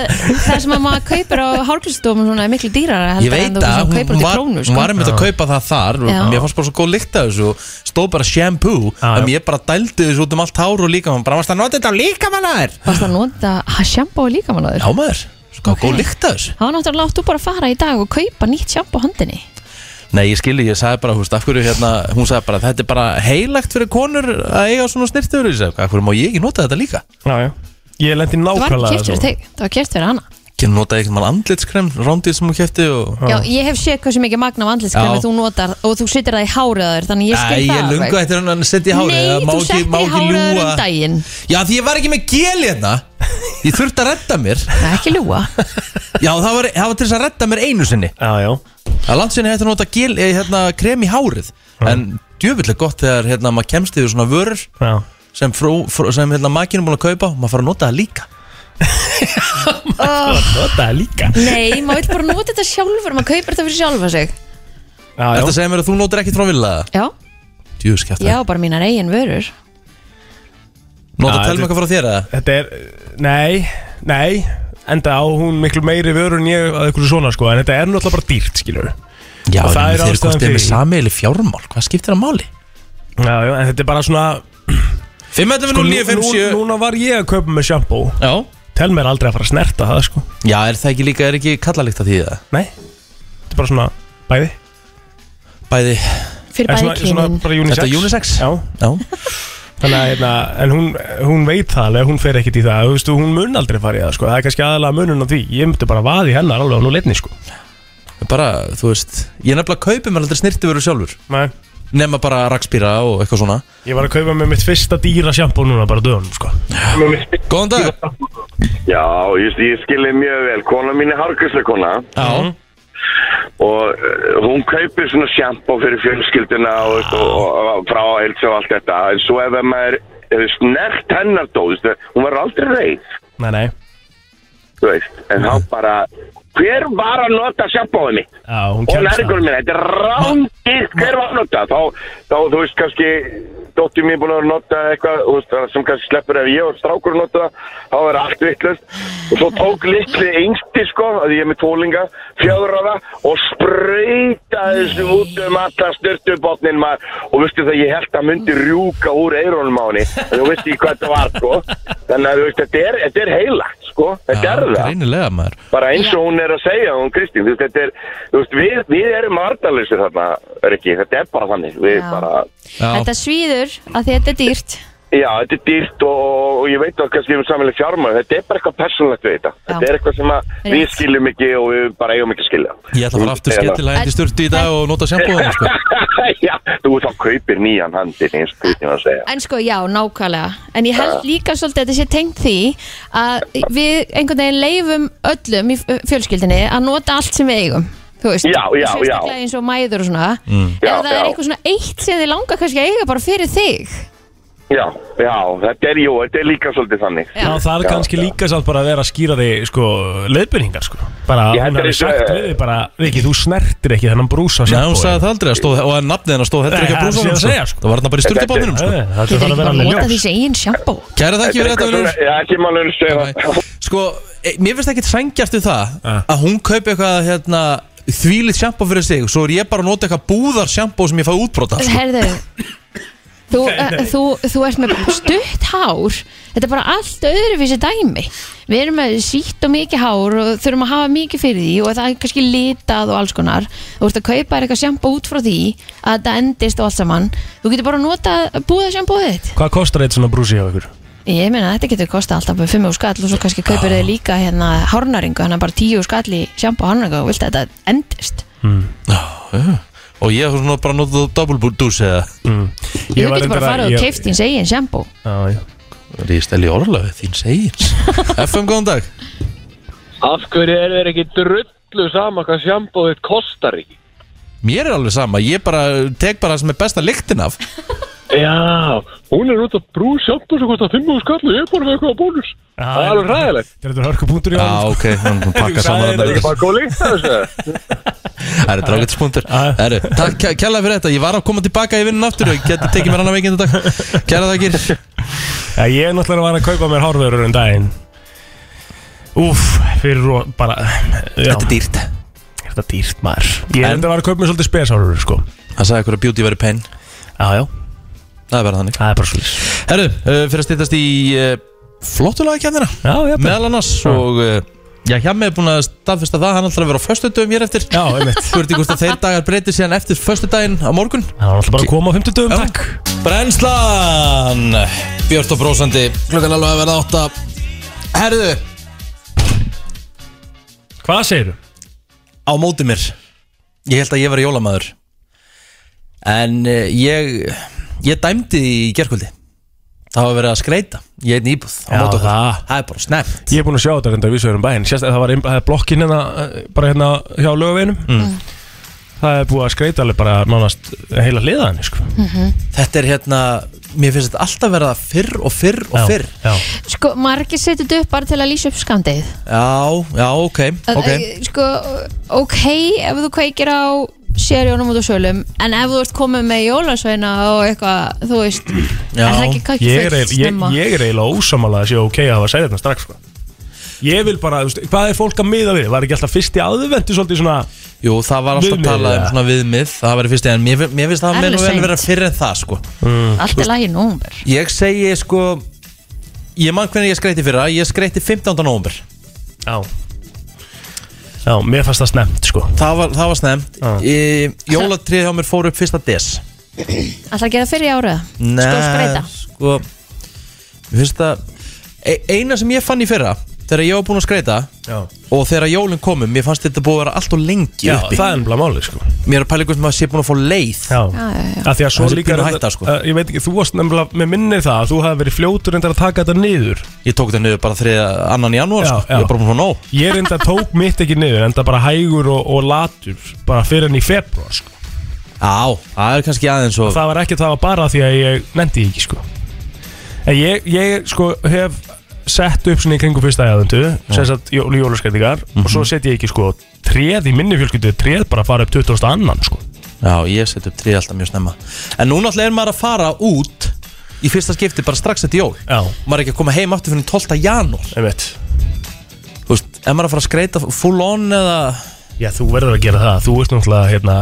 Speaker 3: það sem að maður kaupir á hálfkvistum svona er miklu dýrara
Speaker 2: Ég
Speaker 3: heldur en þú
Speaker 2: veit að
Speaker 3: sem
Speaker 2: hún,
Speaker 3: kaupir
Speaker 2: hún
Speaker 3: út í
Speaker 2: var,
Speaker 3: krónu
Speaker 2: hún
Speaker 3: sko.
Speaker 2: var einmitt að kaupa það þar og
Speaker 3: Já.
Speaker 2: Mér fannst bara svo góð lykt af þessu og Stóð bara shampoo
Speaker 4: Já,
Speaker 2: En
Speaker 4: já.
Speaker 2: ég bara dældi þessu út um allt hár og líka Bara varst að nota þetta á líka maður
Speaker 3: Varst að nota að sjambó líka mann á þér?
Speaker 2: Já maður, sko
Speaker 3: Ok.
Speaker 2: góð lykt af þessu
Speaker 3: Það var náttúrulega átt þú bara að fara í dag og kaupa nýtt sjambó á handinni
Speaker 2: Nei, ég skilji, ég sagði bara, húst, af hverju hérna Hún sagði bara, þetta er bara heilagt fyrir konur að eiga svona snirtiður í sig Af hverju má ég ekki nota þetta líka?
Speaker 4: Já, já Ég lendi
Speaker 3: Það var ekki
Speaker 4: nákvæmlega
Speaker 3: kæft fyrir
Speaker 4: þessu.
Speaker 3: þig, það var kæft fyrir hana
Speaker 2: Ekki nota einhvern mann andlitskrem, rándið sem hún kæfti og...
Speaker 3: Já, ég hef séð hversu mikið magna vandlingskremi
Speaker 2: Já.
Speaker 3: þú notar og þú setur það í hárið á þér þannig ég skil
Speaker 2: Æ,
Speaker 3: það
Speaker 2: ég
Speaker 3: alveg.
Speaker 2: lunga eftir hann að setja í hárið
Speaker 3: Nei,
Speaker 2: það má
Speaker 3: þú
Speaker 2: ekki-
Speaker 3: setti
Speaker 2: má
Speaker 3: í
Speaker 2: ekki
Speaker 3: hárið á þér
Speaker 2: ljúga.
Speaker 3: um
Speaker 2: <laughs>
Speaker 3: daginn
Speaker 2: Já, því ég var ekki með gel hérna Ég þurfti að redda mér
Speaker 3: <laughs> Það er ekki ljúa
Speaker 2: Já, það var, það var til þess að redda mér einu sinni
Speaker 4: Já, já
Speaker 2: Það landsinni hætti að nota gel, eh, hérna, krem í hárið En djöfullega gott þegar hérna, maður kemst yfir svona vörur
Speaker 4: Já
Speaker 2: sem, frú, frú, sem hérna, makinn er búin að kaupa og maður fara að nota það líka
Speaker 3: oh,
Speaker 4: Þetta er líka
Speaker 3: Nei, maður vil bara nota þetta sjálfur maður kaupir þetta fyrir sjálfa sig
Speaker 4: Já, já
Speaker 2: Þetta segir mér að þú notar ekkert frá vilja
Speaker 3: Já,
Speaker 2: Djúskjæft
Speaker 3: já, bara mínar eigin vörur
Speaker 2: Nota telma
Speaker 4: Já, þetta-
Speaker 2: um eitthvað frá þér eða?
Speaker 4: Þetta er, nei, nei Enda á hún miklu meiri vörur en ég að ykkur svona sko En þetta er náttúrulega bara dýrt, skiljur
Speaker 2: Já,
Speaker 4: Og það
Speaker 2: en
Speaker 4: er
Speaker 2: þeir
Speaker 4: ástæðan
Speaker 2: komst
Speaker 4: fyrir
Speaker 2: með
Speaker 4: því.
Speaker 2: sameiginlega fjármál Hvað skiptir það máli?
Speaker 4: Já, já, en þetta er bara svona Sko, nú- nú-
Speaker 2: 5.957
Speaker 4: Núna var ég að kaupa með sjampó
Speaker 2: Já
Speaker 4: Tel mér aldrei að fara að snerta það, sko
Speaker 2: Já, er það ekki líka, er ekki kallalíkt að því það?
Speaker 4: Nei, þetta er bara svona bæði
Speaker 2: Bæði
Speaker 3: fyrir
Speaker 4: En
Speaker 3: bæði
Speaker 4: svona, svona
Speaker 3: kynin
Speaker 4: bara unisex
Speaker 2: Þetta er unisex?
Speaker 4: Já,
Speaker 2: Já
Speaker 4: þannig að, hérna, en hún, hún veit það alveg Hún fer ekkit í það, þú veistu, hún mun aldrei fara í það, sko Það er kannski aðalega munun á því Ég myndi bara vaði hennar alveg á nú leitni, sko
Speaker 2: Bara, þú veist Ég nefnilega kaupi mér aldrei snirti veru sjálfur
Speaker 4: Nei,
Speaker 2: Nefna bara rakspýra og eitthvað svona
Speaker 4: ég var að kaupa með mitt fyrsta dýra sjampó núna bara á dögunum, sko
Speaker 2: Góðan dag
Speaker 5: Já, ég, ég skilði mjög vel. Kona mín er hárgæslekona
Speaker 2: Já
Speaker 5: og eh, hún kaupir svona sjampó fyrir fjölskylduna og, veist, og, og, og frá elsa og allt þetta. En svo ef að maður eh, snert hennar dó, þú veist, hún var aldrei reið,
Speaker 4: Nei, nei,
Speaker 5: þú veist. En þá bara, hver var að nota sjampóið mitt?
Speaker 4: já, hún
Speaker 5: Og
Speaker 4: kemst
Speaker 5: nærgur
Speaker 4: það
Speaker 5: minn, þetta er rándýrt, hver var að nota? Þá, þá þú veist, kannski, dóttir mín búin að nota eitthvað, þú veist, sem kannski sleppur ef ég og strákur nota það, þá er allt vittlust. Og svo tók litli yngsti, sko, að því ég er með tólinga, fjöðraða, og spreytaði þessu út um alla styrtubotnin maður. Og veistu það, ég held að myndi rjúka úr eirónum á henni, en þú veist ég hvað þetta var, sko. Þannig að, þú veist, þetta er, þetta er heilagt, sko, þetta er það
Speaker 2: Greinilega maður
Speaker 5: bara eins
Speaker 3: Já.
Speaker 5: og hún er að segja hún Kristín, þú veist, þetta er þú veist, við, við erum artalisir þarna Rikki, þetta er bara þannig, við
Speaker 3: Já.
Speaker 5: bara
Speaker 2: Já.
Speaker 3: Þetta svíður að því að þetta er dýrt
Speaker 5: já, þetta er dýrt og, og ég veit að kannski við samanlega fjármæður, þetta er bara eitthvað persónlegt við þetta, þetta er eitthvað sem að við
Speaker 3: Rétt.
Speaker 5: skiljum ekki og við bara eigum ekki að skilja
Speaker 2: Ég ætla að fara aftur skettilega hendi sturtu í dag og nota sjampóðan sko.
Speaker 5: <laughs> já, þú þá kaupir nýjan handin eins og Kristín var að segja
Speaker 3: En sko, já, nákvæmlega. En ég
Speaker 5: Ah.
Speaker 3: held líka svolítið að þetta sé tengt því að við einhvern veginn leifum öllum í f- fjölskyldinni að nota allt sem við eigum. Þú veist,
Speaker 5: Já, já, já.
Speaker 3: sérstaklega eins og mæður og svona. Ef
Speaker 5: Já,
Speaker 3: það er
Speaker 5: já.
Speaker 3: eitthvað svona eitt sem þið langar kannski að eiga bara fyrir þig.
Speaker 5: já, já, þetta er, jú, þetta er líka svolítið þannig
Speaker 4: Já, það er
Speaker 5: Já,
Speaker 4: kannski
Speaker 5: já.
Speaker 4: líka sátt bara að vera að skýra þig sko, leiðbyrningar sko. bara
Speaker 5: Ég
Speaker 4: hún
Speaker 5: held að
Speaker 4: hefði
Speaker 5: ég
Speaker 4: sagt
Speaker 5: sé-
Speaker 4: við þig bara Viki, þú snertir ekki þennan brúsa
Speaker 2: Nei, hún sagði það aldrei að stóð, og að nafnið hennar stóð Þetta er ekki að
Speaker 4: Nei,
Speaker 2: brúsa
Speaker 4: það
Speaker 2: hann
Speaker 4: sé að
Speaker 2: sko.
Speaker 4: segja, sko.
Speaker 2: Það var hérna bara í sturtu bóðinum sko.
Speaker 4: Það er
Speaker 3: Þið er ekki
Speaker 4: bara að vera
Speaker 3: bara að
Speaker 4: alveg
Speaker 3: nota því
Speaker 4: ljós
Speaker 3: sem eigin sjampó.
Speaker 2: Kæra þakki fyrir þetta Vilur
Speaker 5: Já, ekki málun
Speaker 2: Nei. Sko, e, mér finnst ekkert sængjart við það
Speaker 4: Eh.
Speaker 2: að hún kaupi eitthvað hérna, þvílið sjampó fyrir sig svo er ég bara að nota eitthvað búðar sjampó sem ég fæði útbrota sko.
Speaker 3: Herðu, þú, uh, þú, þú ert með stutt hár. Þetta er bara allt öðruvísi dæmi. Við erum með sítt og mikið hár og þurfum að hafa mikið fyrir því og það er kannski litað og alls konar. Þú ert að kaupa þér eitthvað sjampo út frá því að þetta endist og allt saman. Þú getur bara að nota búða sjampóið þitt.
Speaker 4: Hvað kostar eitt svona brúsi hjá ykkur?
Speaker 3: Ég meina þetta getur kosta alltaf með 5 og skall og svo kannski kaupir þið líka hérna hárnaringu, hann bara 10 skall í sjampo og hárnaringu og vilt að þetta endist.
Speaker 4: Hmm.
Speaker 2: og ég er svona bara að nota dobbulbúldús eða
Speaker 3: Þú getur bara að fara og
Speaker 4: Hmm. ég-
Speaker 3: keift þín segin sjampo.
Speaker 4: Já, já.
Speaker 2: Ríðist Eli Orlafi, þín segir
Speaker 3: <laughs>
Speaker 2: FM, góðan dag
Speaker 6: Af hverju er þeir ekki drullu sama hvað sjambóðið kostar ekki?
Speaker 2: Mér er alveg sama, ég bara tek bara það sem er besta lyktin af
Speaker 6: Já, hún er út að brú sjambóð sem kostar 5 skall og ég er bara með eitthvað bónus. Það er alveg ræðilegt.
Speaker 4: Þetta er hörkupunktur í
Speaker 2: Já,
Speaker 4: honum, sko.
Speaker 2: ok, hann hún
Speaker 4: Þú
Speaker 2: pakka
Speaker 4: sagði
Speaker 2: saman
Speaker 4: þetta
Speaker 2: þarna.
Speaker 4: ekki
Speaker 6: Bara góð líkt að þessu.
Speaker 2: <laughs> Það eru drágetspunktur
Speaker 4: Já.
Speaker 2: Það eru, takk kjærlega fyrir þetta Ég var að koma tilbaka í vinnun aftur og ég geti tekið mér annað
Speaker 4: <laughs>
Speaker 2: veikinn dag Kjæra þakkir
Speaker 4: Já, ég er náttúrulega var að kaupa mér hárverur en daginn Úf, fyrir ro- bara
Speaker 2: Þetta
Speaker 4: já,
Speaker 2: er dýrt
Speaker 4: er þetta dýrt maður Ég er
Speaker 2: En-
Speaker 4: enda var að kaupa mér svolítið spesárur sko.
Speaker 2: Það sagði ykkur að beauty veri pain
Speaker 4: Já, já,
Speaker 2: Það er bara þannig eh,
Speaker 4: það er bara svolítið
Speaker 2: Herru, uh, fyrir að stýttast í uh, flottulega kemdina
Speaker 4: Já, já,
Speaker 2: Meðal annars og uh, Já, hjá mig er búin að staðfesta það, hann ætlar að vera á föstudöfum hér eftir
Speaker 4: Já, einmitt
Speaker 2: Þú ert ekki að þeir dagar breytir síðan eftir föstudaginn á morgun
Speaker 4: Það var alltaf bara að koma á 50 dögum, takk
Speaker 2: Brennslan Björn og brósandi, klukkan alveg að verða átta Herðu,
Speaker 4: Hvað segirðu?
Speaker 2: á móti mér Ég held að ég var jólamæður En uh, ég Ég dæmdi í gerkvöldi Það var verið að skreita Ég einn íbúð á
Speaker 4: Já,
Speaker 2: móti okkur
Speaker 4: það.
Speaker 2: Það er bara snemmt
Speaker 4: Ég er búin að sjá þetta reyndar við sögurum bæinn Sérst að það var inn- það er blokkin hérna eh, bara hérna hjá lögaveginum
Speaker 2: Mm.
Speaker 4: Það er búið að skreita alveg bara nánast heila hliðan sko.
Speaker 2: Þetta er hérna, mér finnst þetta alltaf verða fyrr og fyrr og
Speaker 4: Já,
Speaker 2: fyrr
Speaker 4: já.
Speaker 3: Sko, margir setjum þetta upp bara til að lýsa upp skamdegið
Speaker 2: Já, já, ok,
Speaker 3: Að-
Speaker 2: ok
Speaker 3: eh, Sko, ok, ef þú kveikir á sérjónum út á sölum En ef þú ert komið með jólasveina og eitthvað, þú veist
Speaker 4: Mm.
Speaker 2: Já,
Speaker 3: Er það ekki kannski
Speaker 4: Ég er
Speaker 3: fullt
Speaker 4: eiginlega-
Speaker 3: snemma?
Speaker 4: ég- ég er eiginlega ósamála að sé ok að hafa segið þetta strax sko. Ég vil bara, þú veist, hvað er fólk að miða við? Var ekki alltaf fyrst í aðvendu svolítið svona
Speaker 2: Jú, það var alltaf
Speaker 4: Viðmið,
Speaker 2: talað um
Speaker 4: ja.
Speaker 2: svona viðmið Það var í fyrst en mér, fin- mér finnst það
Speaker 3: Alveg
Speaker 2: meðan vel
Speaker 3: seint.
Speaker 2: vera fyrr en það sko
Speaker 3: Allt er lagi nómur
Speaker 2: Ég segi sko Ég man hvernig ég skreiti fyrra, ég skreiti 15. november
Speaker 4: Já Já, mér fannst það snemt sko
Speaker 2: Það var, það var snemmt
Speaker 4: Já.
Speaker 2: e, Jólatrið hjá mér fór upp fyrsta des
Speaker 3: Alltaf að gera fyrir í ára
Speaker 2: Nei,
Speaker 3: skreita.
Speaker 2: sko Mér finnst það e, Eina sem ég fann í fyrra Þegar ég var búinn að skreita
Speaker 4: Já,
Speaker 2: Og þegar jólinn komum, mér fannst þetta búið að vera allt og lengi
Speaker 4: já
Speaker 2: uppi
Speaker 4: það er ennbla máli sko
Speaker 2: Mér er að pæla ykkur sem að sé búin að fá leið
Speaker 4: Já,
Speaker 3: Já, já, já.
Speaker 4: Af því að svo
Speaker 2: Það er
Speaker 4: líka
Speaker 2: pínu hætta, sko.
Speaker 4: Eh, Ég veit ekki, þú varst nefnilega með minni það að Þú hafði verið fljótur reyndar að taka þetta niður
Speaker 2: Ég tók þetta niður bara 3. annan janúar
Speaker 4: Já,
Speaker 2: sko.
Speaker 4: já.
Speaker 2: Ég er bara búin að fá nóg
Speaker 4: Ég reyndar tók mitt ekki niður Enda bara hægur og, og latur Bara fyrir enn í februar sko.
Speaker 2: Já, það er kannski aðeins og
Speaker 4: Það var ekki það var bara því að ég nefndi ekki sko. En ég, ég sko hef sett upp svona í kringum fyrsta aðjöndu sem sagt jól, jólaskætingar og
Speaker 2: Mhm.
Speaker 4: svo set ég ekki sko treð í minni fjölskyldu treð bara að fara upp 20. annan sko
Speaker 2: Já, ég set upp 3 alltaf mjög snemma En núna alltaf er maður að fara út Í fyrsta skipti bara strax eftir jól
Speaker 4: Já,
Speaker 2: Maður er ekki að koma heim aftur fyrir 12. janúar
Speaker 4: einmitt
Speaker 2: Þú veist, ef maður er að fara að skreita full on eða
Speaker 4: Já, þú verður að gera það, þú ert náttúrulega hérna,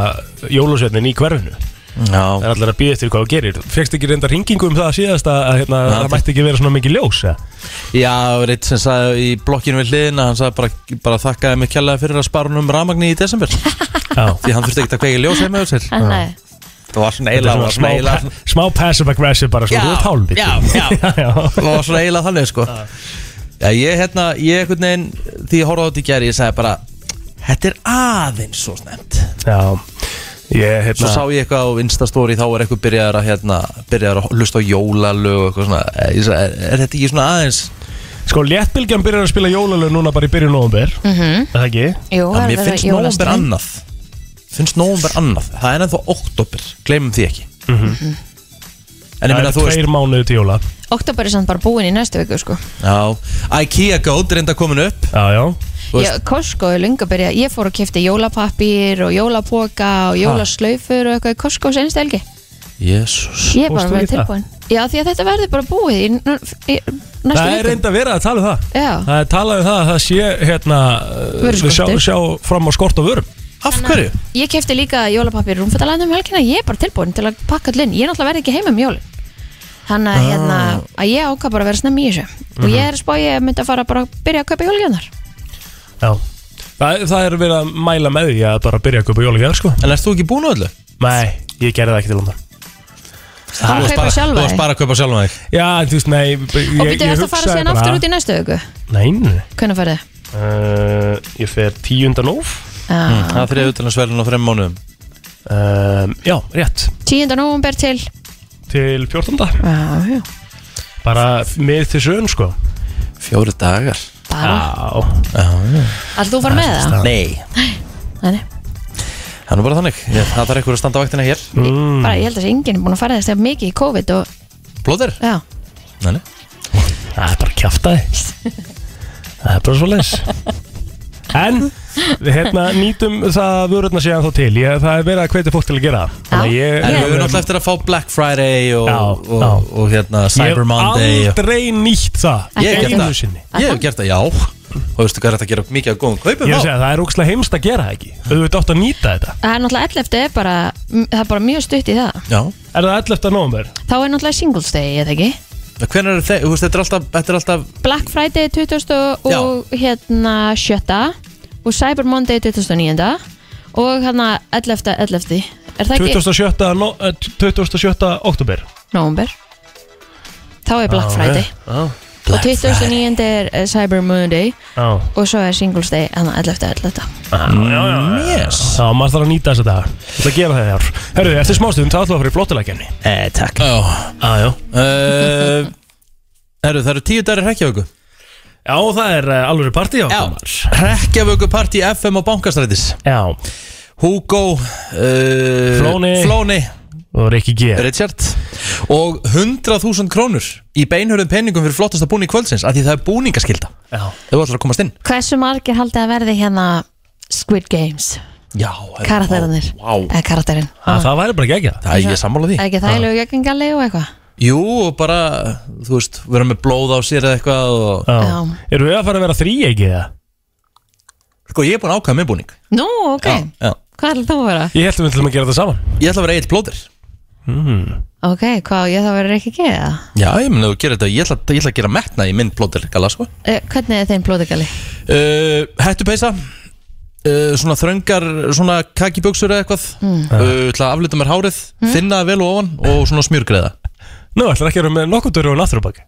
Speaker 4: jólasveitnin í hverfinu Það
Speaker 2: Já,
Speaker 4: er allir að býja eftir hvað þú gerir Fekst ekki reynda ringingu um það síðast að að, hérna,
Speaker 2: Já,
Speaker 4: það
Speaker 2: það-
Speaker 4: mætti ekki vera svona mikið ljós eða?
Speaker 2: já reitt sem sagði í blokkinu við hliðina Hann sagði bara, bara þakkaði mig kjallaði fyrir að spara hún um ramagni í desember Því
Speaker 4: Já
Speaker 2: hann þurfti ekkert að kveiki ljós heima hjá sér
Speaker 3: Ah, nei.
Speaker 2: Það var svona
Speaker 4: Þetta
Speaker 2: eila
Speaker 4: er svona smá, pa- smá passive aggressive bara svona, þú ert hálfviti
Speaker 2: já, já
Speaker 4: <laughs> já.
Speaker 2: Það var svona eiginlega þannig sko Já, ég hérna, ég einhvern veginn Því ég horfði á þetta í gæri, ég sagði bara Þetta er aðeins svo snemt
Speaker 4: já Ég,
Speaker 2: Svo
Speaker 4: hérna
Speaker 2: sá ég eitthvað á Instastory Þá var eitthvað byrjaður að hérna Byrjaður að lusta á jólalög og eitthvað svona Eh, Ég sagði, er, er þetta ekki svona aðeins
Speaker 4: Sko, léttbylgjan byrjar að spila jólalög núna bara í byrjun november mm -hmm. Það ekki?
Speaker 3: Jú,
Speaker 2: Að
Speaker 3: það
Speaker 2: mér
Speaker 3: er
Speaker 2: finnst
Speaker 3: vera
Speaker 2: nóvember
Speaker 3: jólastemning.
Speaker 2: annað Finnst nóvember annað Það er ennþá oktober, gleymum því ekki En ég
Speaker 4: Mhm. Það
Speaker 2: meina
Speaker 4: er
Speaker 2: þú veist
Speaker 4: tveir mánuði til jóla
Speaker 3: Oktober er samt bara búin í næstu viku sko.
Speaker 2: Já, IKEA Goat reynda komin upp
Speaker 4: Já, já
Speaker 2: Þú veist-
Speaker 3: ég, Costco er lunga byrja Ég fór og kefti jólapappir og jólapoka og jólaslaufur og eitthvað í Costco senst helgi
Speaker 2: Jésús
Speaker 3: Ég er bara að
Speaker 4: Fórstu
Speaker 3: vera
Speaker 4: í það?
Speaker 3: tilbúin Já, því að þetta verður bara búið í, í, næstu
Speaker 4: Það er
Speaker 3: viku
Speaker 4: reynda að vera að tala um það
Speaker 3: Já,
Speaker 4: Það er talað um það að það sé hérna uh,
Speaker 3: Vöruskortur.
Speaker 4: Við sjá, sjá fram á skort og vörum
Speaker 2: Af hverju?
Speaker 3: ég kefti líka jólapappir rúmfættalandum um helgina, ég er bara tilbúin til að pakka allin, ég er náttúrulega verði ekki heima um jólin Þannig að, hérna,
Speaker 2: Ah.
Speaker 3: að ég ákvað bara að vera snemmi í þessu og
Speaker 2: Mhm.
Speaker 3: ég er að spá ég myndi að fara bara að byrja að kaupa jólgjöndar
Speaker 4: Já Það, það er verið að mæla með því að bara byrja að köpa jólagjafir sko
Speaker 2: En erst þú ekki búin á öllu?
Speaker 4: Nei, ég gerði það ekki til landa
Speaker 3: Bara
Speaker 2: Þú varst
Speaker 3: kaupa
Speaker 2: bara-
Speaker 3: sjálfa
Speaker 2: Þú varst
Speaker 3: þig.
Speaker 2: bara að kaupa sjálfa þig
Speaker 4: Já, en þú veist, nei ég,
Speaker 3: Og byrjuðu eftir að fara síðan aftur út í næstu auku
Speaker 4: Nei, nei
Speaker 3: Hvernig farið?
Speaker 4: uh, Ég fer 10. nóf
Speaker 3: Ah.
Speaker 2: Mm, Það er fyrir auðvitaðlandsverðin á þreim mánuðum
Speaker 4: uh, Já, rétt
Speaker 3: 10. november til
Speaker 4: Til 14.
Speaker 3: ah, já.
Speaker 4: Bara mið til sön, sko
Speaker 2: Fjóri dagar
Speaker 3: Bara,
Speaker 4: Já
Speaker 3: alltaf þú var með það?
Speaker 2: Nei
Speaker 3: Nei, nei.
Speaker 2: Það er nú bara þannig Ég- Það þarf eitthvað að standa á vaktina hér
Speaker 4: Mm.
Speaker 3: Bara, ég held að þessi enginn er búin að fara þess mikið í COVID og,
Speaker 2: Blóðir?
Speaker 3: já,
Speaker 2: Nei, nei
Speaker 4: Það er bara að kjafta þig Það er bara svo leis En við hérna nýtum það vörurna síðan þá til ég, Það er verið að hvetja fólk til að gera það. Þannig að
Speaker 3: Já.
Speaker 4: ég,
Speaker 2: En við höfum
Speaker 4: ég-
Speaker 2: náttúrulega eftir að fá Black Friday og,
Speaker 4: Já,
Speaker 2: og,
Speaker 4: já.
Speaker 2: og, hérna Cyber Monday
Speaker 4: Ég hef
Speaker 2: og,
Speaker 4: aldrei nýtt það
Speaker 2: Ég hef gert
Speaker 4: Einu
Speaker 2: það.
Speaker 4: sinni.
Speaker 2: Ég hef gert það, já Og veistu hvað er þetta að gera mikið af góðum kaupum
Speaker 4: Ég
Speaker 2: þá?
Speaker 4: segi að það er ógslag heimst að gera það ekki Þú veit átt að nýta þetta
Speaker 3: það er náttúrulega 11. er bara, það er bara mjög stutt í það
Speaker 2: Já
Speaker 4: Er það 11. november?
Speaker 3: Þá er náttúrulega Singles Day, ég þekki
Speaker 2: Hvernig er þeir, þú veist, þetta er alltaf, þetta er alltaf
Speaker 3: Black Friday 20.
Speaker 2: Já.
Speaker 3: og hérna 7. og Cyber Monday 2009. og hérna 11. 11. Er það ekki
Speaker 4: 27. No, eh, 27. oktober
Speaker 3: nóvumber? Þá er Black
Speaker 4: Já, Eh.
Speaker 3: Friday
Speaker 4: Já,
Speaker 3: og 2009. er eh, Cyber Monday
Speaker 4: já,
Speaker 3: og svo er Singles Day hérna 11. 11.
Speaker 4: Ah, já, já.
Speaker 2: Yes
Speaker 4: Já, maður þarf að nýta þess að það Það að gera það í ár Herðu, eftir smástund, það ætlum við að fara í flottuleikjumni
Speaker 2: eh, Takk Já
Speaker 4: Já, Ah, já
Speaker 2: uh, Herru, það <laughs> eru tíu dagar hrekkjavöku
Speaker 4: Já, það er uh, alveg partí á
Speaker 2: Hrekkjavöku partí FM á Bankastrætis
Speaker 4: Já,
Speaker 2: Hugo uh,
Speaker 4: Flóni.
Speaker 2: Flóni
Speaker 4: og Rikki G
Speaker 2: Richard Og 100.000 krónur í beinhörðum peningum fyrir flottasta búning kvöldsins af Því það er búningaskilda
Speaker 4: Já,
Speaker 2: Þau ætlar að komast inn
Speaker 3: Hversu margir haldið að verði hérna Squid Games?
Speaker 2: Já
Speaker 3: Karakterarnir Eða karakterinn
Speaker 4: það, það væri bara ekki ekki það
Speaker 2: Það er ég sammála því
Speaker 3: Er ekki þægilegu gegningalli og eitthvað?
Speaker 2: Jú, og bara, þú veist, vera með blóð á sér eða eitthvað og...
Speaker 3: Já.
Speaker 4: Erum við að fara að vera þrý ekki það?
Speaker 2: Sko, ég er búin að ákvæða með búning
Speaker 3: Nú, ok
Speaker 2: Já.
Speaker 3: Hvað er það að vera?
Speaker 4: Ég held að við ætlum að gera það saman Mhm.
Speaker 2: Ég ætla að vera eitt blóðir
Speaker 3: Ok, hvað á ég þá að vera ekki að geða?
Speaker 2: Já, ég mun að gera þetta, ég ætla, ég ætla að gera metna í minn blóðir gala, sko
Speaker 3: Eh, Hvernig er þeim blóðugalli?
Speaker 2: uh, Hættupeysa uh, Svona þröngar, svona kakiböksur eða eitthvað mm. uh, ætla að aflita mér hárið, þinna það vel og ofan og svona smjörgreða
Speaker 4: Nú, ætlar ekki að vera með nokkuð dörru og náttúrubak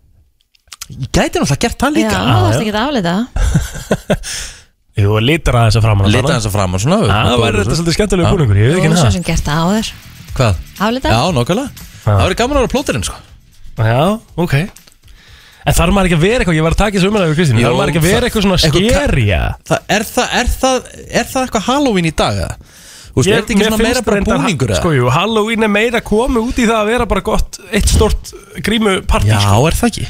Speaker 2: Ég gæti náttúrulega gert
Speaker 3: Já,
Speaker 2: það líka
Speaker 3: þú
Speaker 4: já.
Speaker 3: þarfst ekki að aflita
Speaker 4: Jú, litar aðeins að framan
Speaker 2: Lita hans að framan svona
Speaker 4: Það væri þetta svolítið skemmtilega
Speaker 2: Já.
Speaker 4: búningur, ég veit
Speaker 3: Þú
Speaker 4: ekki
Speaker 3: er svo
Speaker 4: hérna
Speaker 3: sem gert það áður
Speaker 2: Hvað?
Speaker 3: Aflita?
Speaker 2: Já, nokkulega Það verður gaman að vera plóterinn sko
Speaker 4: Já, ok En þarf maður ekki að vera eitthvað, ég var að taka þessu umræðu við Kristín
Speaker 2: Jú,
Speaker 4: Þarf maður ekki að vera eitthvað svona
Speaker 2: það- eitthvað ka-
Speaker 4: skeri eða?
Speaker 2: það, er, það, er, það, er það eitthvað Halloween í dag eða? Þú veist, er þetta ekki
Speaker 4: mér
Speaker 2: svona
Speaker 4: finnst
Speaker 2: meira bara
Speaker 4: reyndar-
Speaker 2: búningur eða?
Speaker 4: Sko, jú, Halloween er meira komið út í það að vera bara gott eitt stort grímupartí
Speaker 2: Já,
Speaker 4: sko.
Speaker 2: er það ekki?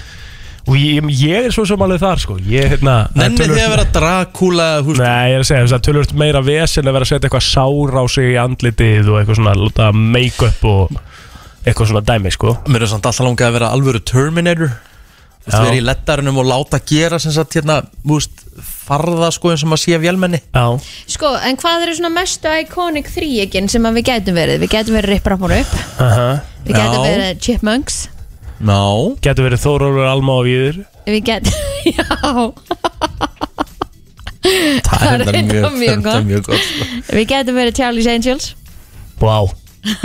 Speaker 4: Og ég, ég er svo sem alveg þar, sko Ég, hérna það er
Speaker 2: Nenni
Speaker 4: töluvert-
Speaker 2: þið að vera Dracula húst,
Speaker 4: Nei, ég er að segja, það er tölvöld meira vesen að vera að setja eitthvað sár á sig í andlitið og eitthvað svona, láta make-up og eitthvað svona dæmi, sko
Speaker 2: Mér er samt alltaf langað að vera alvöru Terminator Þú veist,
Speaker 4: Já.
Speaker 2: vera í leddarinnum og láta gera sem sagt hérna, þú veist, farða sko eins og maður sé vélmenni
Speaker 4: Já,
Speaker 3: Sko, en hvað eru svona mestu iconic þríegin sem að við gætum verið? Við gætum verið Rip Rappur upp
Speaker 4: aha
Speaker 3: Við gætum
Speaker 2: Já.
Speaker 3: verið Chipmunks
Speaker 2: Ná
Speaker 4: Getur verið Þórólfur, Alma og Víður
Speaker 3: Við gætum, <laughs> já
Speaker 2: Það
Speaker 3: er
Speaker 2: reyndar
Speaker 3: reyndar mjög
Speaker 2: það er mjög gott sko.
Speaker 3: Við gætum verið Charlie's Angels
Speaker 4: Vá,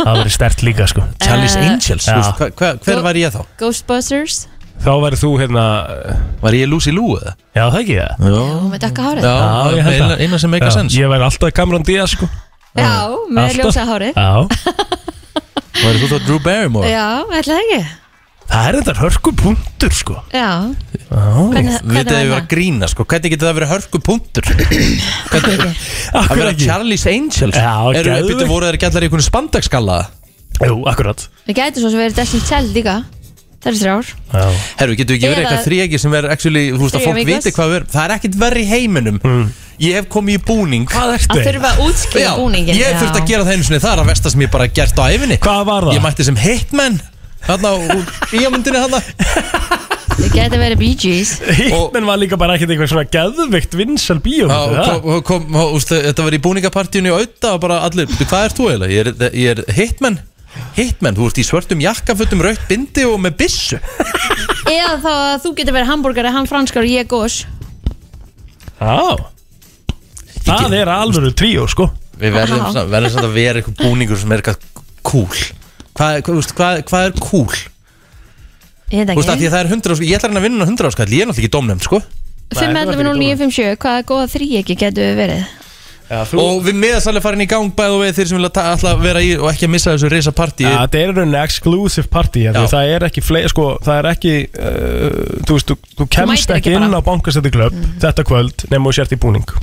Speaker 4: það verið stert líka, sko
Speaker 2: <laughs> Charlie's
Speaker 3: Eh.
Speaker 2: Angels,
Speaker 4: Já.
Speaker 2: þú veist, hva, hva, hver
Speaker 3: Þú-
Speaker 2: var ég þá?
Speaker 3: Ghostbusters
Speaker 4: Þá verið þú, hérna,
Speaker 2: Var ég Lucy Liu eða?
Speaker 4: já, það ekki það
Speaker 2: Já,
Speaker 3: Og með dökka hárið
Speaker 2: já,
Speaker 4: ég held
Speaker 2: eina,
Speaker 4: það.
Speaker 2: eina sem meika
Speaker 4: Já,
Speaker 2: sens
Speaker 4: Ég væri alltaf Cameron Diaz, sko
Speaker 3: Já, með
Speaker 4: Alltaf.
Speaker 3: ljósa hárið
Speaker 2: <laughs>
Speaker 4: Já,
Speaker 2: Var þú þá Drew Barrymore?
Speaker 3: Já, ætla það ekki
Speaker 4: það er þetta hörku punktur, sko
Speaker 3: Já,
Speaker 4: Já,
Speaker 3: hvernig,
Speaker 2: Við
Speaker 3: hvernig
Speaker 2: þetta
Speaker 3: var
Speaker 2: hefur að
Speaker 3: það?
Speaker 2: grína sko, hvernig getur það verið hörku
Speaker 3: <coughs>
Speaker 2: punktur? Hvernig, að
Speaker 4: akkur
Speaker 2: vera
Speaker 4: ekki
Speaker 2: Charlie's Angels?
Speaker 4: Já,
Speaker 2: Eru,
Speaker 4: geðveikt.
Speaker 2: býttu, voru þeir ekki allar í einhvern spandagskalla?
Speaker 4: Jú, akkurat
Speaker 3: Við gætum svo sem verið Destiny Child líka Það er þrjár
Speaker 4: Já,
Speaker 2: Herru, getur ekki verið
Speaker 3: Eða-
Speaker 2: eitthvað þrjegi sem er actually, þú veist að fólk
Speaker 3: Þríegis.
Speaker 2: viti hvað við erum Það er ekkert verri í heiminum Ég hef komið í búning
Speaker 4: Mm. hvað
Speaker 3: Að
Speaker 4: ertu?
Speaker 3: þurfa að útskýra búningin
Speaker 2: ég
Speaker 3: já.
Speaker 2: hef þurft að gera það einu sinni Það er að versta sem ég bara hef gert á æfinni
Speaker 4: Hvað var það?
Speaker 2: Ég mætti sem hitman Þarna,
Speaker 4: <laughs>
Speaker 2: í ámyndinni þarna
Speaker 3: Við gætum verið Bee Gees
Speaker 4: Hitman var líka bara ekkert eitthvað svona geðvikt vinsal bíómynd
Speaker 2: Já,
Speaker 4: eða?
Speaker 2: og kom- kom- og, úst, Þetta var í búningapartíunni og auða og bara allir, "Bíddu, hvað er þú eiginlega? Ég er, ég er hitman Hitman, þú ert í svörtum jakkafutum, rautt bindi og með byssu
Speaker 3: Eða þá að þú getur verið hambúrgari, hann franskar og ég gós
Speaker 4: Já Það er alvöru tríó sko
Speaker 2: Við verðum
Speaker 3: Já.
Speaker 2: svona- verðum samt að vera eitthvað búningur sem er eitthvað cool Hvað, hvað, úst, hvað, hvað er cool?
Speaker 3: Ég veit
Speaker 2: Þú veist að því
Speaker 3: ekki
Speaker 2: að það er 100 áskall, ég ætla hann að vinna 100 áskall, ég er náttúrulega ekki domnefnd sko
Speaker 3: 5.11.09.57 Hvaða góða þrý ekki getur við verið?
Speaker 4: Já, þú
Speaker 2: Og við meðasalega farin í gang bæðu vegið þeir sem vilja ta- ætla að vera í og ekki að missa þessu reysa partí
Speaker 4: Já, þetta er rauninni exclusive party
Speaker 2: Já.
Speaker 4: því, það er ekki fleiri, sko, það er ekki uh, þú veist, þú, þú kemst
Speaker 3: mætir
Speaker 4: ekki
Speaker 3: ekki
Speaker 4: inn
Speaker 3: bara. Mhm.
Speaker 4: á bankastætti klöpp þetta kvöld nema þú sért í búning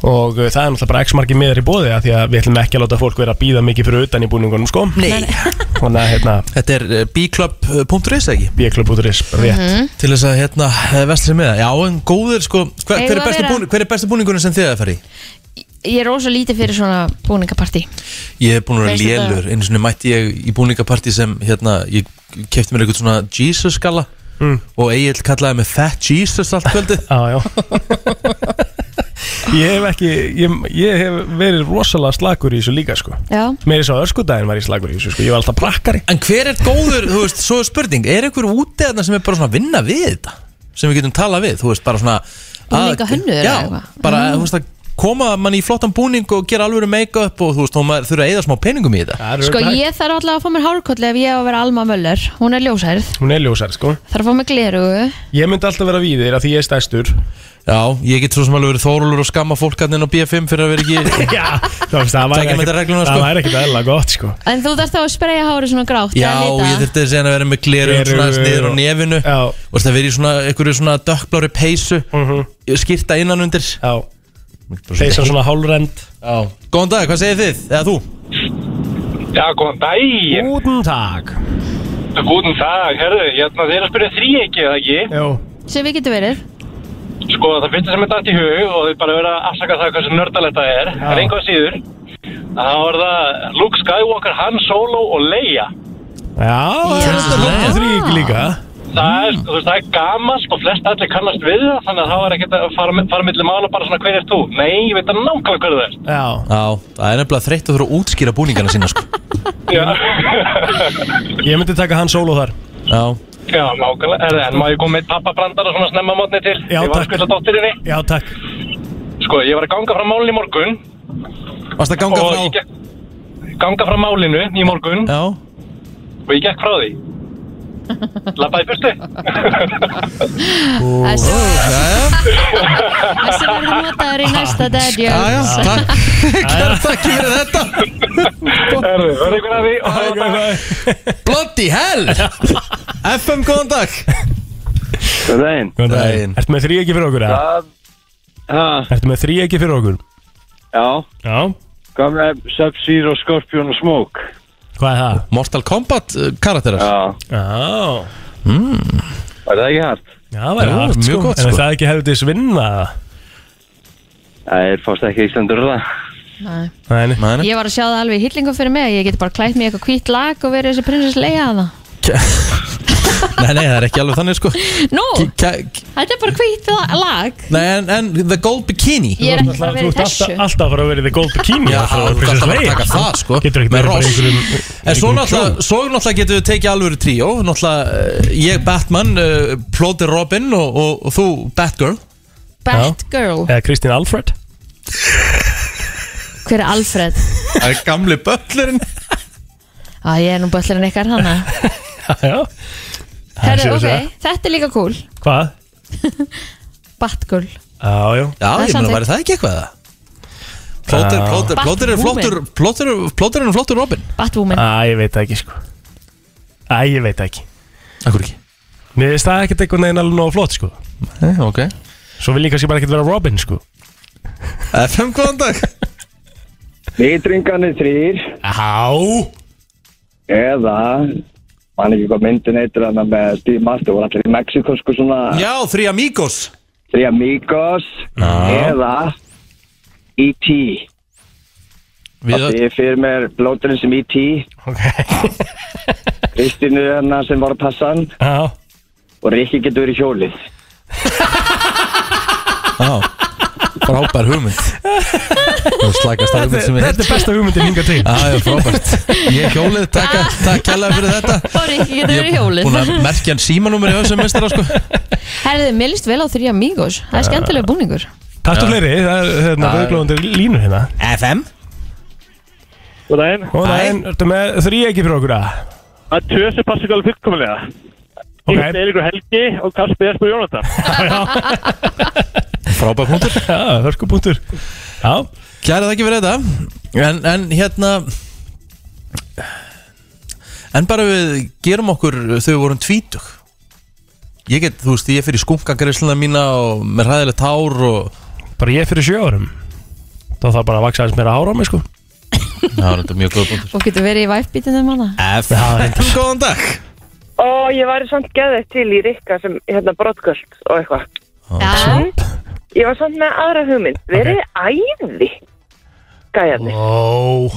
Speaker 4: og uh, það er náttúrulega bara x-marki miðar í bóði því að við ætlum ekki að láta fólk vera að býða mikið fyrir utan í búningunum sko
Speaker 2: Nei,
Speaker 4: <laughs> þannig að hérna
Speaker 2: þetta er eh, bclub.is eða ekki
Speaker 4: bjöklub.is, rétt
Speaker 2: Til þess að hérna vestlega með það Já, en góðir sko, hver, hver,
Speaker 3: Mhm. Eigum
Speaker 2: er
Speaker 3: við
Speaker 2: besti
Speaker 3: að vera?
Speaker 2: búning, hver er besti búningurinn sem þið að fara í?
Speaker 3: Ég er rosa lítið fyrir svona búningapartí
Speaker 2: Ég hef búin að vera
Speaker 3: Veistu þetta?
Speaker 2: lélur, einu sinni mætti ég í búningapartí sem hérna, ég kefti mér eitthvað svona Jesus skala <laughs> og Egil kallaði mig Fat Jesus allt kvöldið
Speaker 4: Já, já Ég hef ekki, ég, ég hef verið rosalega slagur í þessu líka sko
Speaker 3: Já,
Speaker 4: Meir þess að öskudaginn var ég slagur í þessu sko Ég var alltaf brakkari
Speaker 2: En hver er góður, þú veist, svo er spurning Er einhver úti þarna sem er bara svona að vinna við þetta Sem við getum talað við, þú veist, bara svona
Speaker 3: Búninga
Speaker 2: að-
Speaker 3: hönnuður
Speaker 2: Já,
Speaker 3: eða eitthvað? Mm.
Speaker 2: bara, þú veist, að koma manni í flottan búning og gera alvöru make-up og þú veist, þá maður þurfa að eyða smá peningum í þetta
Speaker 3: sko ég þarf alltaf að fá mér hárkoll ef ég á að vera Alma Möller Hún er ljósærð,
Speaker 4: Hún er ljósar sko
Speaker 3: þarf að fá mér glerugu
Speaker 4: Ég myndi alltaf vera víðir að því ég er stærstur
Speaker 2: Já, ég get svo sem alveg verið þórulur og skamma fólkarninn á BFM fyrir að vera ekki
Speaker 4: <laughs> Já, þú veist, það
Speaker 2: Takk
Speaker 4: væri
Speaker 2: ég með
Speaker 4: ekkert-
Speaker 2: þetta regluna, sko.
Speaker 4: það væri ekkert eðla gott sko
Speaker 3: En þú þarft þá að spreja hárið svona grátt
Speaker 2: Já,
Speaker 3: eða lita.
Speaker 2: ég þurfti að segja að vera með gleru
Speaker 4: Gleru
Speaker 2: svona aðeins niður á
Speaker 4: og-
Speaker 2: nefinu
Speaker 4: Já. Mhm.
Speaker 2: og það verið í svona, einhverju svona dökkblári peysu skýrta innan undir
Speaker 4: Já, peysan svona hálrend
Speaker 2: Góðan dag, hvað segir þið? Eða þú?
Speaker 6: Já, góðan daginn.
Speaker 4: Gúten takk
Speaker 6: Góðan dag, herðu, hérna þeir eru að spyrja þrý ekki, eða ekki?
Speaker 4: Jó,
Speaker 3: Sem við getum verið
Speaker 6: Sko, það finnst sem er dætt í hug og þau bara vera að afsaka það hversu nördalegt það er,
Speaker 4: Já.
Speaker 6: en einhvað síður. Þá er það Luke Skywalker, Han Solo og Leia.
Speaker 3: Já.
Speaker 4: já, já. þrýk líka
Speaker 6: Það
Speaker 2: Mm.
Speaker 6: er, sko, þú veist, það er gamalt og flest allir kannast við það, þannig að það var ekkert að fara, fara millir mála bara svona hver er þú? Nei, ég veit að nákvæmlega hver það er.
Speaker 4: Já,
Speaker 2: Já, það er nefnilega þreytt að þurfa að útskýra búningana sína sko. <laughs>
Speaker 4: ég myndi taka hann solo þar
Speaker 2: Já,
Speaker 6: Já, nákvæmlega. Herðu, en má ég koma með pappabrandara svona snemma mótni til?
Speaker 4: Já,
Speaker 6: ég var
Speaker 4: takk.
Speaker 6: að skvilla dóttirinni.
Speaker 4: Já, takk
Speaker 6: Sko, ég var að ganga frá málni í morgun
Speaker 2: varst að ganga
Speaker 6: og
Speaker 2: frá
Speaker 6: ég gekk, ganga frá málinu í morgun
Speaker 2: Já,
Speaker 6: og ég gekk frá því. Lappaði fyrstu.
Speaker 3: Þessi
Speaker 2: já, já,
Speaker 3: þessi verður notaður í næsta
Speaker 2: já, já,
Speaker 3: dadjöns <laughs>
Speaker 2: takk Kæra takk fyrir þetta
Speaker 6: Herðu, verður ykkur að því og hafa þetta.
Speaker 2: Bloody hell FM, góðan dag
Speaker 6: Góðan daginn.
Speaker 4: Góðan
Speaker 2: Daginn.
Speaker 4: daginn. Ertu með þrýki fyrir okkur? eða?
Speaker 6: Það, það,
Speaker 4: Ertu með þrýki fyrir okkur?
Speaker 6: já,
Speaker 4: Já
Speaker 6: gamla Sub-Zero, Scorpion og Smoke.
Speaker 4: <laughs> Hvað er það?
Speaker 2: Mortal Kombat uh, karakterar
Speaker 6: Já,
Speaker 4: Já
Speaker 6: var það ekki hægt?
Speaker 4: Já, það væri
Speaker 2: Jú,
Speaker 4: hægt sko
Speaker 2: mjög gott,
Speaker 4: En
Speaker 2: sko.
Speaker 4: er það ekki hefði þess vinna
Speaker 6: Það er fást ekki Íslandur það.
Speaker 3: Nei.
Speaker 4: Nei, nei.
Speaker 2: Mæni
Speaker 3: Ég var að sjá það alveg í hillingum fyrir mig Ég geti bara klætt mig í eitthvað hvít lag og verið þessi prinsess Leia að það
Speaker 2: <laughs> Nei, nei, það er ekki alveg þannig sko
Speaker 3: Nú,
Speaker 2: K- k- k-
Speaker 3: þetta er bara hvít la- lag
Speaker 2: Nei, en, en The Gold Bikini
Speaker 3: Ég er ekki bara
Speaker 4: Þú
Speaker 3: verið
Speaker 4: ert
Speaker 3: þessu
Speaker 4: alltaf, alltaf að fara að vera í the gold bikini
Speaker 2: Já, þú ert alltaf að taka það sko
Speaker 4: Getur ekki
Speaker 2: Með
Speaker 4: verið bara
Speaker 2: ross.
Speaker 4: einhverjum-
Speaker 2: En svo
Speaker 4: einhverjum
Speaker 2: náttúrulega, svo náttúrulega getum við tekið alvöru tríó Náttúrulega, eh, ég Batman, uh, Plóter Robin og, og, og þú Batgirl
Speaker 3: Batgirl,
Speaker 2: Eh.
Speaker 4: Eða Kristín Alfred
Speaker 3: hver er Alfred?
Speaker 2: Það er gamli böllurinn
Speaker 3: Á, ég er nú böllurinn ykkar
Speaker 2: <laughs>
Speaker 3: hana
Speaker 4: Já, já
Speaker 3: Herðu,
Speaker 4: séu
Speaker 3: ok,
Speaker 4: þessu.
Speaker 3: þetta er líka cool
Speaker 4: Hvað?
Speaker 3: Batgirl
Speaker 4: Já, já
Speaker 2: Já,
Speaker 3: Það er
Speaker 2: ég meina,
Speaker 3: samþykkt.
Speaker 2: væri það ekki eitthvað það? Plóter,
Speaker 4: Já.
Speaker 2: plóter, plóter er
Speaker 3: Batwoman.
Speaker 2: flottur Plóter, plóter er flottur Robin
Speaker 3: Batwoman
Speaker 4: Æ, ég veit það ekki sko Æ, ég veit það ekki
Speaker 2: Akkur ekki
Speaker 4: Mér finnst það ekkert einhvern veginn alveg nóg flott sko
Speaker 2: Nei, ok
Speaker 4: Svo vil ég kannski bara ekkert vera Robin sko
Speaker 2: FM, góðan dag
Speaker 1: Litringarnir þrýr
Speaker 4: Já
Speaker 1: eða mann ekki hvað myndin heitir hann með Steve Master voru allir í Mexiko sko svona
Speaker 2: Já, þrý amigos
Speaker 1: þrý amigos eða E.T.
Speaker 2: Við
Speaker 1: Því ég fyrir mér blóturinn sem E.T.
Speaker 2: <laughs>
Speaker 4: Ok
Speaker 1: Kristínu hennar sem var að passa hann
Speaker 4: Já
Speaker 1: og Rikki getur verið í hjólið
Speaker 2: Já Frábær hugmynd Það slækast að hugmynd sem við
Speaker 4: Þetta er besta hugmyndin hinga til
Speaker 2: Já, já, frábært Ég hjólið, takk,
Speaker 3: Ah.
Speaker 2: takk kærlega fyrir þetta
Speaker 3: Þóri, ég geti
Speaker 2: Ég
Speaker 3: verið í
Speaker 2: er
Speaker 3: hjólið
Speaker 2: búin að merkja hann símanúmer í þessum mestara sko
Speaker 3: Herðu, mér líst vel á þrjá amigos Það er
Speaker 2: Eh.
Speaker 3: skemmtilega búningur
Speaker 4: Takk til fleiri, það er hérna rauðglóðundir línu hérna
Speaker 2: FM
Speaker 6: Góðan daginn.
Speaker 4: Og það er, ertu með þrý ekki fyrir okkur að
Speaker 6: Að tösu passi ekki alveg fullkomulega.
Speaker 4: Ok.
Speaker 6: Ég er ykkur Helgi og Kasper Espo Jónatan.
Speaker 2: <laughs> Frábær punktur
Speaker 4: Já, hörkupunktur Já,
Speaker 2: Kæra þakki fyrir þetta en, en hérna En bara við gerum okkur þau vorum tvítug Ég get, þú veist, ég fyrir skunkagreisluna mína og með hræðilegt hár og
Speaker 4: bara ég fyrir sjö árum Þá þarf bara að vaksa aðeins meira ára á mig sko
Speaker 2: Já, þetta er mjög góð punktur
Speaker 3: Og getur verið í væfbítinu um hana
Speaker 2: F, góðan dag
Speaker 7: Og ég var samt geðið til í Rikka sem hérna brotkvöld og eitthvað.
Speaker 3: Já,
Speaker 7: Ég var samt með aðra hugmynd. Verið æði, gæjarni.
Speaker 4: Ó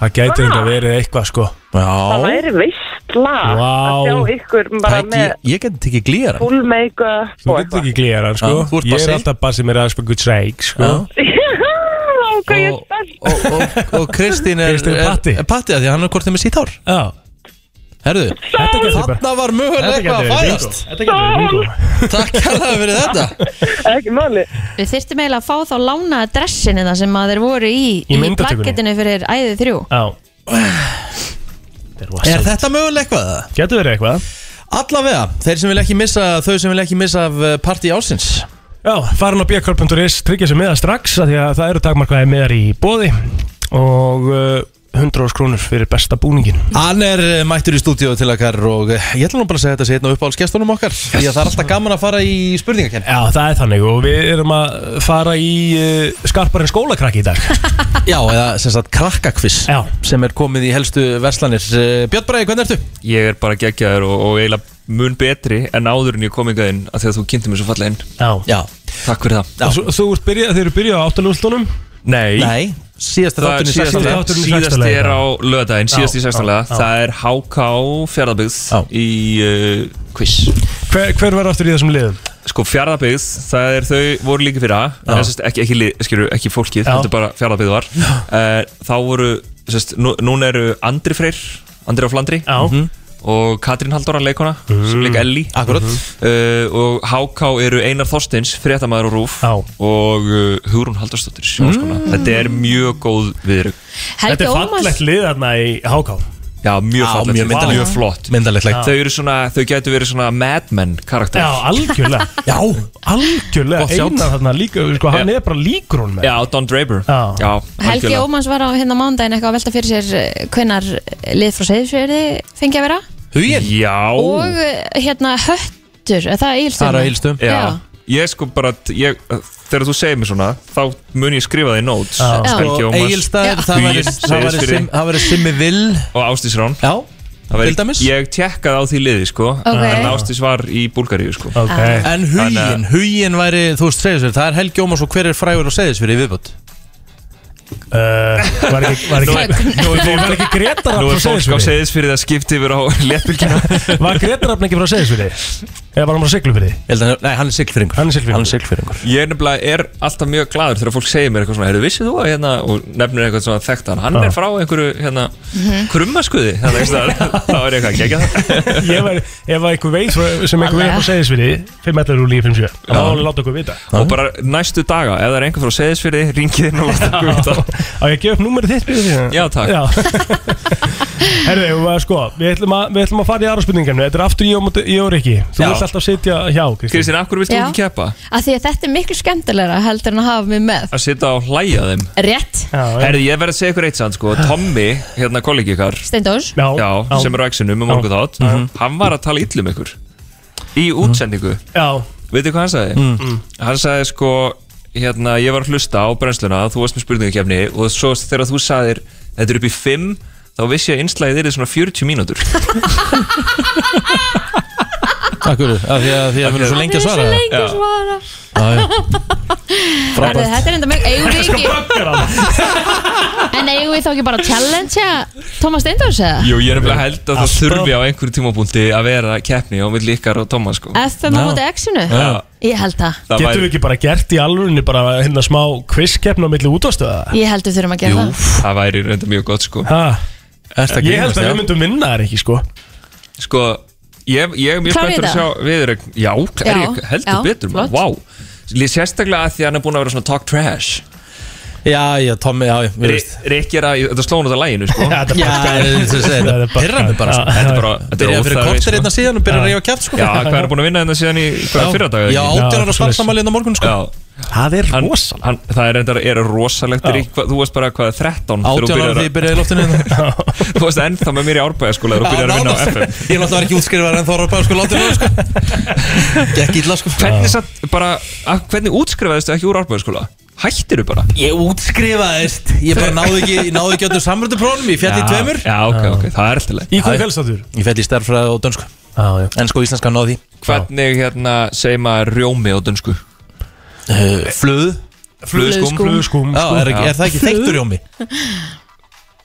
Speaker 4: Það gæti
Speaker 7: Ah.
Speaker 4: Mm. þetta verið eitthvað sko
Speaker 7: Það
Speaker 2: Já,
Speaker 7: væri veist illa
Speaker 4: Vá.
Speaker 7: að sjá ykkur bara
Speaker 2: Tæk,
Speaker 7: með
Speaker 2: ég, ég geti tekið glýra
Speaker 7: full make-up <laughs>
Speaker 4: Þú
Speaker 7: og
Speaker 4: getur ekki glera, sko
Speaker 2: Já, þú ert
Speaker 4: Ég
Speaker 2: Basel.
Speaker 4: er alltaf basið mér aðeins fyrir good shake, sko
Speaker 2: Já.
Speaker 7: eitthvað og hvað ég er
Speaker 2: og,
Speaker 7: spennt
Speaker 2: og, og, og Kristín er,
Speaker 4: Kristín er Patti.
Speaker 2: er, er patti að því að hann er hvort þeim er sítt hár
Speaker 4: Já,
Speaker 2: Herðu,
Speaker 4: þetta getur bara
Speaker 2: þarna var mögulega
Speaker 4: Þetta
Speaker 2: eitthvað að fæðast
Speaker 4: getur verið bingo Þetta getur verið bingo
Speaker 2: Takk hérna fyrir þetta
Speaker 7: ekki máli
Speaker 3: Við þyrftum eiginlega að fá þá lánaða dressin eða sem að þeir voru í
Speaker 4: Í myndatökunni.
Speaker 3: plakkettinu fyrir æðið þrjú
Speaker 4: Já
Speaker 2: Er þetta mögulega eitthvað? eða?
Speaker 4: Getur verið eitthvað
Speaker 2: Allavega, þeir sem vilja ekki missa þau sem vilja ekki missa af eh, partí ásins
Speaker 4: Já, farin á bjökkvöld.is, tryggja sér miða strax af því að það eru takmarkaði miðar í bóði og uh, 100 krónur fyrir besta búningin
Speaker 2: Hann er eh, mættur í stúdíu til okkar og eh, ég ætla nú bara að segja þetta setna upp á alls gestunum okkar því að það er alltaf gaman að fara í spurningakenni
Speaker 4: Já, það er þannig og við erum að fara í uh, skarparinn skólakrakki í dag
Speaker 2: Já, eða sem sagt krakkakviss
Speaker 4: Já.
Speaker 2: sem er komið í helstu verslanir Eh, Björn Bræði, hvernig ertu?
Speaker 8: Ég er bara geggjaður og, og eiginlega mun betri en áður en ég kom hingað inn að því að þú kynnti mér svo fallega inn
Speaker 4: Já,
Speaker 2: Já,
Speaker 8: Takk fyrir það
Speaker 2: Já.
Speaker 4: Þú, þú ert byrjað, þeir eru byrjað á áttalúslunum
Speaker 8: Nei,
Speaker 2: nei, síðast er
Speaker 8: það er
Speaker 2: þátturinn í
Speaker 8: síðast,
Speaker 2: 16.
Speaker 4: þátturinn í
Speaker 8: síðast
Speaker 4: 16.
Speaker 8: er á lögadaginn, síðast í
Speaker 4: Já,
Speaker 8: 16.
Speaker 4: já, já.
Speaker 8: Það er HK Fjaraðabyggð
Speaker 2: Já.
Speaker 8: í uh, quiz
Speaker 4: Hver, hver var aftur í þessum liðum?
Speaker 8: Sko Fjaraðabyggð, það er þau voru líka fyrir það sest, ekki, ekki, lið- skilur, ekki fólkið,
Speaker 4: Já.
Speaker 8: þetta er bara Fjaraðabyggð var uh, Þá voru, sest, nú, núna eru Andri Freyr, Andri á Flandri Mhm.
Speaker 4: Já, Mhm.
Speaker 8: og Katrín Halldóra leikona sem leika Ellie
Speaker 2: Akkurat
Speaker 8: uh, og HK eru Einar Þorsteins fréttamaður og rúf
Speaker 4: Já. Mm.
Speaker 8: og uh, Hugrún Haldarsdóttir sjónskona þetta er mjög góð viðrug
Speaker 4: þetta
Speaker 3: Helgi
Speaker 4: er
Speaker 3: Ómars
Speaker 4: fallegt lið þarna í HK
Speaker 8: já, mjög
Speaker 2: Já,
Speaker 8: fallegt,
Speaker 2: mjög myndarlegt.
Speaker 8: mjög flott
Speaker 2: Myndalegt lægt
Speaker 8: þau eru svona, þau gætu verið svona Mad Men karakter
Speaker 4: <laughs> Já, algjörlega
Speaker 2: Já,
Speaker 4: Algjörlega,
Speaker 8: Gott sjátt.
Speaker 4: einar þarna líka, sko, hann
Speaker 8: Já.
Speaker 4: er bara líkur hún með
Speaker 8: Já, Don Draper
Speaker 4: Já.
Speaker 3: Helgi
Speaker 8: algjörlega.
Speaker 3: Ómans var á hérna mándaginn eitthvað að velta fyrir sér hvenar lið frá Seyðisverði fengi að vera
Speaker 2: Hugin
Speaker 8: já
Speaker 3: og eh, hérna höttur, er það
Speaker 2: Það er á
Speaker 3: Egilstöðum
Speaker 2: Egilsstöðum.
Speaker 8: já.
Speaker 3: Já.
Speaker 8: ég sko bara ég, þegar þú segir mér svona þá mun ég skrifa það í notes
Speaker 4: Já.
Speaker 8: Helgi
Speaker 2: Og
Speaker 8: Ómars
Speaker 2: Egilstaðir, það
Speaker 8: Huginn,
Speaker 2: væri- það væri
Speaker 8: Seyðisfirði.
Speaker 2: Sim- það væri Simmi Vill
Speaker 8: og Ástís Rán
Speaker 2: Já,
Speaker 8: Það væri-
Speaker 2: Til dæmis?
Speaker 8: ég tjekkaði á því liði sko
Speaker 3: Ok. Ah.
Speaker 8: en Ástís var í Búlgaríu sko
Speaker 4: Ok,
Speaker 2: en
Speaker 8: Þannig
Speaker 2: hugin, hugin væri, þú veist, segðisverð Það er Helgi Ómars og hver er frægur og segðisverð í viðbútt
Speaker 4: uh, var ekki,
Speaker 2: <laughs>
Speaker 4: var
Speaker 8: Nú
Speaker 4: ekki,
Speaker 8: er- nú er fólk-
Speaker 4: var ekki Gretar
Speaker 8: Nú er
Speaker 4: frá
Speaker 8: fólk á
Speaker 4: Seyðisfirði?
Speaker 8: Seyðisfyrði að skipta yfir á <laughs> léttbylgina
Speaker 4: Var Gretarafn ekki frá Seyðisfyrði? Eða var hann frá Siglufyrði?
Speaker 2: Nei, hann er siglfyrringur
Speaker 4: Hann er Siglfirðingur.
Speaker 2: siglfyrringur
Speaker 8: Ég er nefnilega er alltaf mjög gladur þegar fólk segir mér eitthvað svona Heyrðu, vissið þú að hérna og nefnir eitthvað svona þekkt hann Hann
Speaker 4: Já.
Speaker 8: er frá einhverju hérna
Speaker 3: Mhm.
Speaker 8: krummaskuði Þannig að það
Speaker 4: <laughs>
Speaker 8: það var eitthvað gegja það
Speaker 4: Ég var, ef var einhver veit frá- sem einhver veit frá Seyðisfyrði 511 úr lífi 57 Það má alveg láta okkur vita
Speaker 8: Og bara næstu daga, ef það er einhver frá Seyðisfyrði, ringið inn og láta okkur vita
Speaker 4: Á ég að gefa upp númerið þitt fyrir því?
Speaker 8: Já, takk. <laughs>
Speaker 4: Herðu, við varum sko Við ætlum að, við ætlum að fara í aðra spurningarnu Þetta er aftur ég og, móti- ég og Rikki Þú
Speaker 8: Já.
Speaker 4: vilt alltaf sitja hjá, Kristín
Speaker 8: Kristín, af hverju vilt þú
Speaker 3: Já.
Speaker 8: ekki keppa?
Speaker 3: að því að þetta er miklu skemmtilegra heldur en að hafa mig með
Speaker 8: Að sitja og hlæja þeim
Speaker 3: Rétt,
Speaker 4: Já, já.
Speaker 8: Herði, ég verð að segja ykkur eitt sann sko Tommy, hérna kollegi ykkar
Speaker 3: Steindós
Speaker 4: Já,
Speaker 8: Já, sem er á exinu með morgu þátt Hann var að tala illum ykkur Í útsendingu
Speaker 4: Já,
Speaker 8: Veitu hvað hann sagði?
Speaker 2: Mm.
Speaker 8: Hann sagði sko hérna, ég var að hlusta á brennsluna þú varst með spurningakefni og svo þegar þú sagðir þetta er upp í 5 þá vissi ég að einslæðið er svona 40
Speaker 2: <laughs>
Speaker 8: mínútur
Speaker 2: Akkur, af því að því að við erum svo lengi að svara
Speaker 3: Það er svo lengi að
Speaker 8: Já.
Speaker 3: svara
Speaker 2: Já, já.
Speaker 3: Herðu, Þetta er enda mjög eigum við ekki
Speaker 4: er hann
Speaker 3: <laughs> En eigum við þá ekki bara að challengea Thomas Steindós eða?
Speaker 8: Jú, ég er nefnilega held að það
Speaker 4: Alltaf.
Speaker 8: þurfi á einhverju tímapunkti að vera keppni á milli ykkar og Tómas sko
Speaker 3: FM á móti X-inu?
Speaker 8: Já.
Speaker 3: Ég held það
Speaker 8: Það
Speaker 4: Getum við
Speaker 8: væri,
Speaker 4: ekki bara gert í alvörinni bara hérna smá quizkeppn á milli útastöða?
Speaker 3: Ég held við þurfum að gera það
Speaker 8: það væri reynda mjög gott sko
Speaker 4: Ha,
Speaker 2: Ertu að
Speaker 4: ég
Speaker 2: grínast,
Speaker 4: held að
Speaker 2: já?
Speaker 4: við myndum vinna þær ekki sko
Speaker 8: Sko, ég, ég er mjög
Speaker 3: Klárir
Speaker 8: spenntur að
Speaker 3: þetta?
Speaker 8: sjá viðurögn Já, er
Speaker 3: Já,
Speaker 8: ég heldur
Speaker 3: já,
Speaker 8: betur
Speaker 3: flott.
Speaker 8: maður, vá Lí- Sérstaklega að því að hann er búin að vera svona talk trash
Speaker 2: Já, já, Tommi, já, já, við veist
Speaker 8: Rikki er að, þetta slóna þetta læginu sko
Speaker 4: <laughs> Já, þetta er
Speaker 2: Já,
Speaker 4: bara- <laughs>
Speaker 2: þetta er
Speaker 4: Þetta er bara-
Speaker 2: Pirra mig bara
Speaker 4: Já.
Speaker 2: sko.
Speaker 8: Þetta er bara, þetta er
Speaker 2: Byrjaði fyrir
Speaker 8: óþarfi,
Speaker 2: kortir
Speaker 8: sko.
Speaker 2: einna síðan og byrjaði að reyfa kæft sko
Speaker 8: Já, hvað er búin að vinna hérna síðan í hvað, fyrra dag?
Speaker 2: Já,
Speaker 4: Já,
Speaker 2: 18 ára
Speaker 4: svoleiðis.
Speaker 2: starfsamæli hérna á morgun sko
Speaker 8: já
Speaker 4: Það er
Speaker 8: hann,
Speaker 4: rosa
Speaker 8: hann, Það er reyndar, er rosalegt
Speaker 4: Já.
Speaker 8: Rík, hvað- Þú varst bara hvað, 13 þegar þú
Speaker 2: 18 ára
Speaker 8: byrjar
Speaker 2: því ég byrjaði í loftinu hérna.
Speaker 8: að- <laughs> Þú varst ennþá með mér í árbæðaskóla þegar þú byrjar að vinna á
Speaker 2: nánast.
Speaker 8: FM
Speaker 2: Ég náttúrulega var ekki útskrifaður en þá rápaði sko látið hérna sko Gekk illa sko
Speaker 8: Hvernig satt, bara, að, hvernig útskrifaðist ekki úr árbæðaskóla? Hættir þú bara?
Speaker 2: Ég útskrifaðist Ég bara náði ekki, ég náði ekki öllum samrönduprónum Ég fjall í tveimur
Speaker 8: Já, ok, ok, það er alltaf leið
Speaker 4: Í hverju félstáttur?
Speaker 2: Ég fjall í stærfræði og dönsku
Speaker 4: Já, já
Speaker 2: En sko íslenska náði því
Speaker 8: Hvernig hérna segir maður rjómi á dönsku?
Speaker 2: uh, Flöð
Speaker 8: Flöðskum
Speaker 4: Flugskúm
Speaker 2: Já, er, ekki- er það ekki þeiktur í ómi?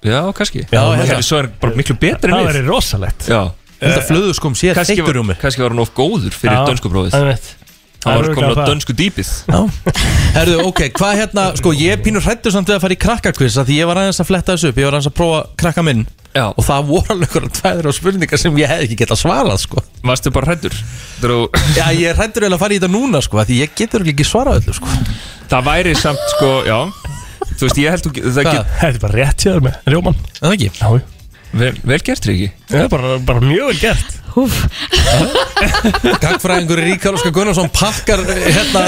Speaker 8: Já, kannski
Speaker 4: Já,
Speaker 8: Það
Speaker 4: hérna.
Speaker 8: er svo er hann bara miklu betri
Speaker 4: Það
Speaker 8: en
Speaker 4: verður
Speaker 8: við
Speaker 4: rosalegt Eh,
Speaker 8: Já
Speaker 2: Þetta flöðuskum sé
Speaker 8: Kannski
Speaker 2: þykkur um
Speaker 8: var,
Speaker 2: mig
Speaker 8: kannski var hann of góður fyrir
Speaker 4: Já,
Speaker 8: dönsku bróðið
Speaker 4: Það er rétt.
Speaker 8: Hann var
Speaker 4: örugglega
Speaker 8: komin á
Speaker 4: það.
Speaker 8: dönsku dýpið
Speaker 2: Herðu, ok, hvað hérna, sko, ég er pínur hrættur samt við að fara í krakkakviss að Því ég var aðeins að fletta þessu upp, ég var aðeins að prófa krakka minn
Speaker 8: Já,
Speaker 2: Og það voru alveg einhverjum tvæður og spurningar sem ég hef ekki getað svarað, sko
Speaker 8: varstu bara hrættur
Speaker 2: Já, ég er hrættur vel að fara í þetta núna, sko af Því ég getur ekki svarað öllu, sko
Speaker 8: Það væri samt sko, já Þú veist, ég held þú get- það
Speaker 2: Hvað?
Speaker 8: get
Speaker 4: Þetta er bara rétt hjá þér með Rjóman
Speaker 2: Er Það ekki?
Speaker 4: Já, já.
Speaker 8: Vel, vel gert, Ríki
Speaker 4: það er bara, bara mjög vel gert
Speaker 2: <laughs> Gagfræðingur Ríkar Óskar Gunnarsson pakkar hérna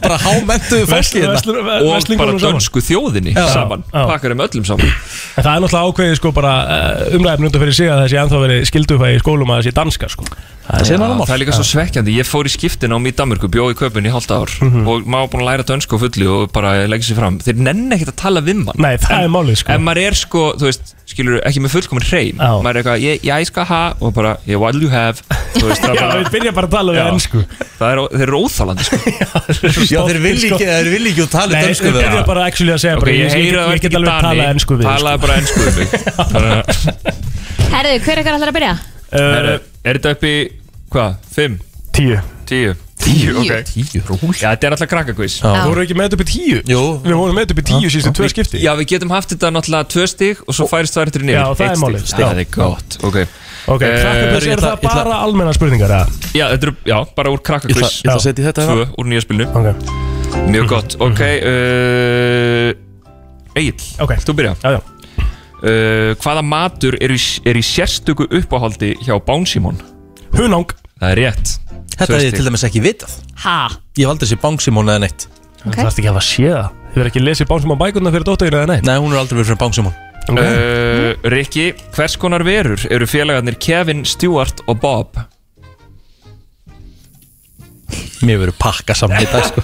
Speaker 2: bara hámentu fólki hérna
Speaker 4: Veslur- ve-
Speaker 8: Og
Speaker 4: veslingum
Speaker 8: bara
Speaker 4: saman.
Speaker 8: dönsku þjóðinni saman
Speaker 4: Já.
Speaker 8: Pakkar um öllum saman
Speaker 4: En það er náttúrulega ákveðið sko bara umræðin undan fyrir sig að þessi ennþá verið skildufæði í skólum að þessi danska sko Það er
Speaker 8: Já,
Speaker 4: síðan annar
Speaker 8: það
Speaker 4: mál
Speaker 8: er líka svo svekkjandi, ég fór í skiptin á mig í Danmörku, bjóð í köpun í hálft ár
Speaker 4: Mhm.
Speaker 8: og maður var búin að læra dönsku á fullu og bara leggja sér fram, þeir nenni ekkert að tala við mann
Speaker 4: Nei, það er málið
Speaker 8: <laughs>
Speaker 4: sko
Speaker 8: en maður er sko, þú veist, skilur ekki með fullkomin hrein,
Speaker 4: Já.
Speaker 8: maður er eitthvað ég, ég skal ha, og bara, yeah, what do you have þú veist, það, er
Speaker 4: <laughs> Já, við
Speaker 8: bara,
Speaker 4: byrja bara að tala við
Speaker 8: Já.
Speaker 4: ennsku
Speaker 8: það er, þeir eru óþalandi
Speaker 4: <laughs>
Speaker 8: sko.
Speaker 2: Já, þeir vilja ekki, þeir vilja ekki að tala dönsku
Speaker 4: sko. Nei, við
Speaker 2: við
Speaker 4: byrja
Speaker 2: það
Speaker 4: bara actually að segja
Speaker 8: ok,
Speaker 4: bara
Speaker 8: ég
Speaker 4: ég, ég,
Speaker 8: heyra
Speaker 4: ég, ég get alveg að tala ennsku við sko.
Speaker 8: tala bara ennsku við
Speaker 4: <laughs>
Speaker 8: mig Þannig að-
Speaker 3: Herðu, hver ykkar ætlar að byrja?
Speaker 8: er,
Speaker 4: sko.
Speaker 8: er þetta upp í, hvað, 5,
Speaker 4: uh, Tíu
Speaker 8: 10 10, ok
Speaker 2: Tíu ról
Speaker 8: Já, þetta er alltaf krakkakvís
Speaker 2: Já.
Speaker 4: Þú voru ekki með þetta upp í tíu?
Speaker 2: Jú.
Speaker 4: Við vorum með þetta upp í tíu síðustu tvö skipti
Speaker 8: Já, við getum haft þetta náttúrulega tvö stig og svo færist það eftir niður
Speaker 4: Já, það er
Speaker 8: Eitt stig.
Speaker 4: málið.
Speaker 8: Stig.
Speaker 4: Já.
Speaker 8: Það er gott, ok
Speaker 4: Ok,
Speaker 8: Eh,
Speaker 4: krakkakvöss,
Speaker 2: ég
Speaker 4: er
Speaker 2: ætla- ég
Speaker 4: það
Speaker 2: ætla-
Speaker 4: bara almenna spurningar? eða?
Speaker 8: Já, þetta er, já, bara úr
Speaker 2: Ég ætla,
Speaker 8: krakkakvís
Speaker 2: ég ætla að setja í þetta
Speaker 8: Tvö
Speaker 2: hérna
Speaker 8: úr nýja spilinu
Speaker 4: Ok,
Speaker 8: Mjög
Speaker 4: <clears throat>
Speaker 8: gott, ok uh, Egil,
Speaker 4: Ok.
Speaker 8: þú byrja
Speaker 4: já, já
Speaker 8: uh, Hvaða matur er í, er í sérstöku uppáhaldi hjá Bán Simon?
Speaker 4: Hunang
Speaker 8: Það er rétt
Speaker 2: Þetta
Speaker 8: Tvö
Speaker 2: er
Speaker 8: stig.
Speaker 2: ég til dæmis ekki vitað
Speaker 3: Ha?
Speaker 2: Ég valdi þessi bangsimón eða neitt
Speaker 3: Ok.
Speaker 4: Það er ekki að það sé það Þið verður ekki lesið bánsum á bækurna fyrir dótteginu eða neitt
Speaker 2: Nei, hún er aldrei verið fyrir bangsimón
Speaker 4: Ok.
Speaker 8: uh, Rikki, hvers konar verur eru félagarnir Kevin, Stewart og Bob?
Speaker 2: Mér verið pakka saman í dag
Speaker 4: <laughs>
Speaker 2: sko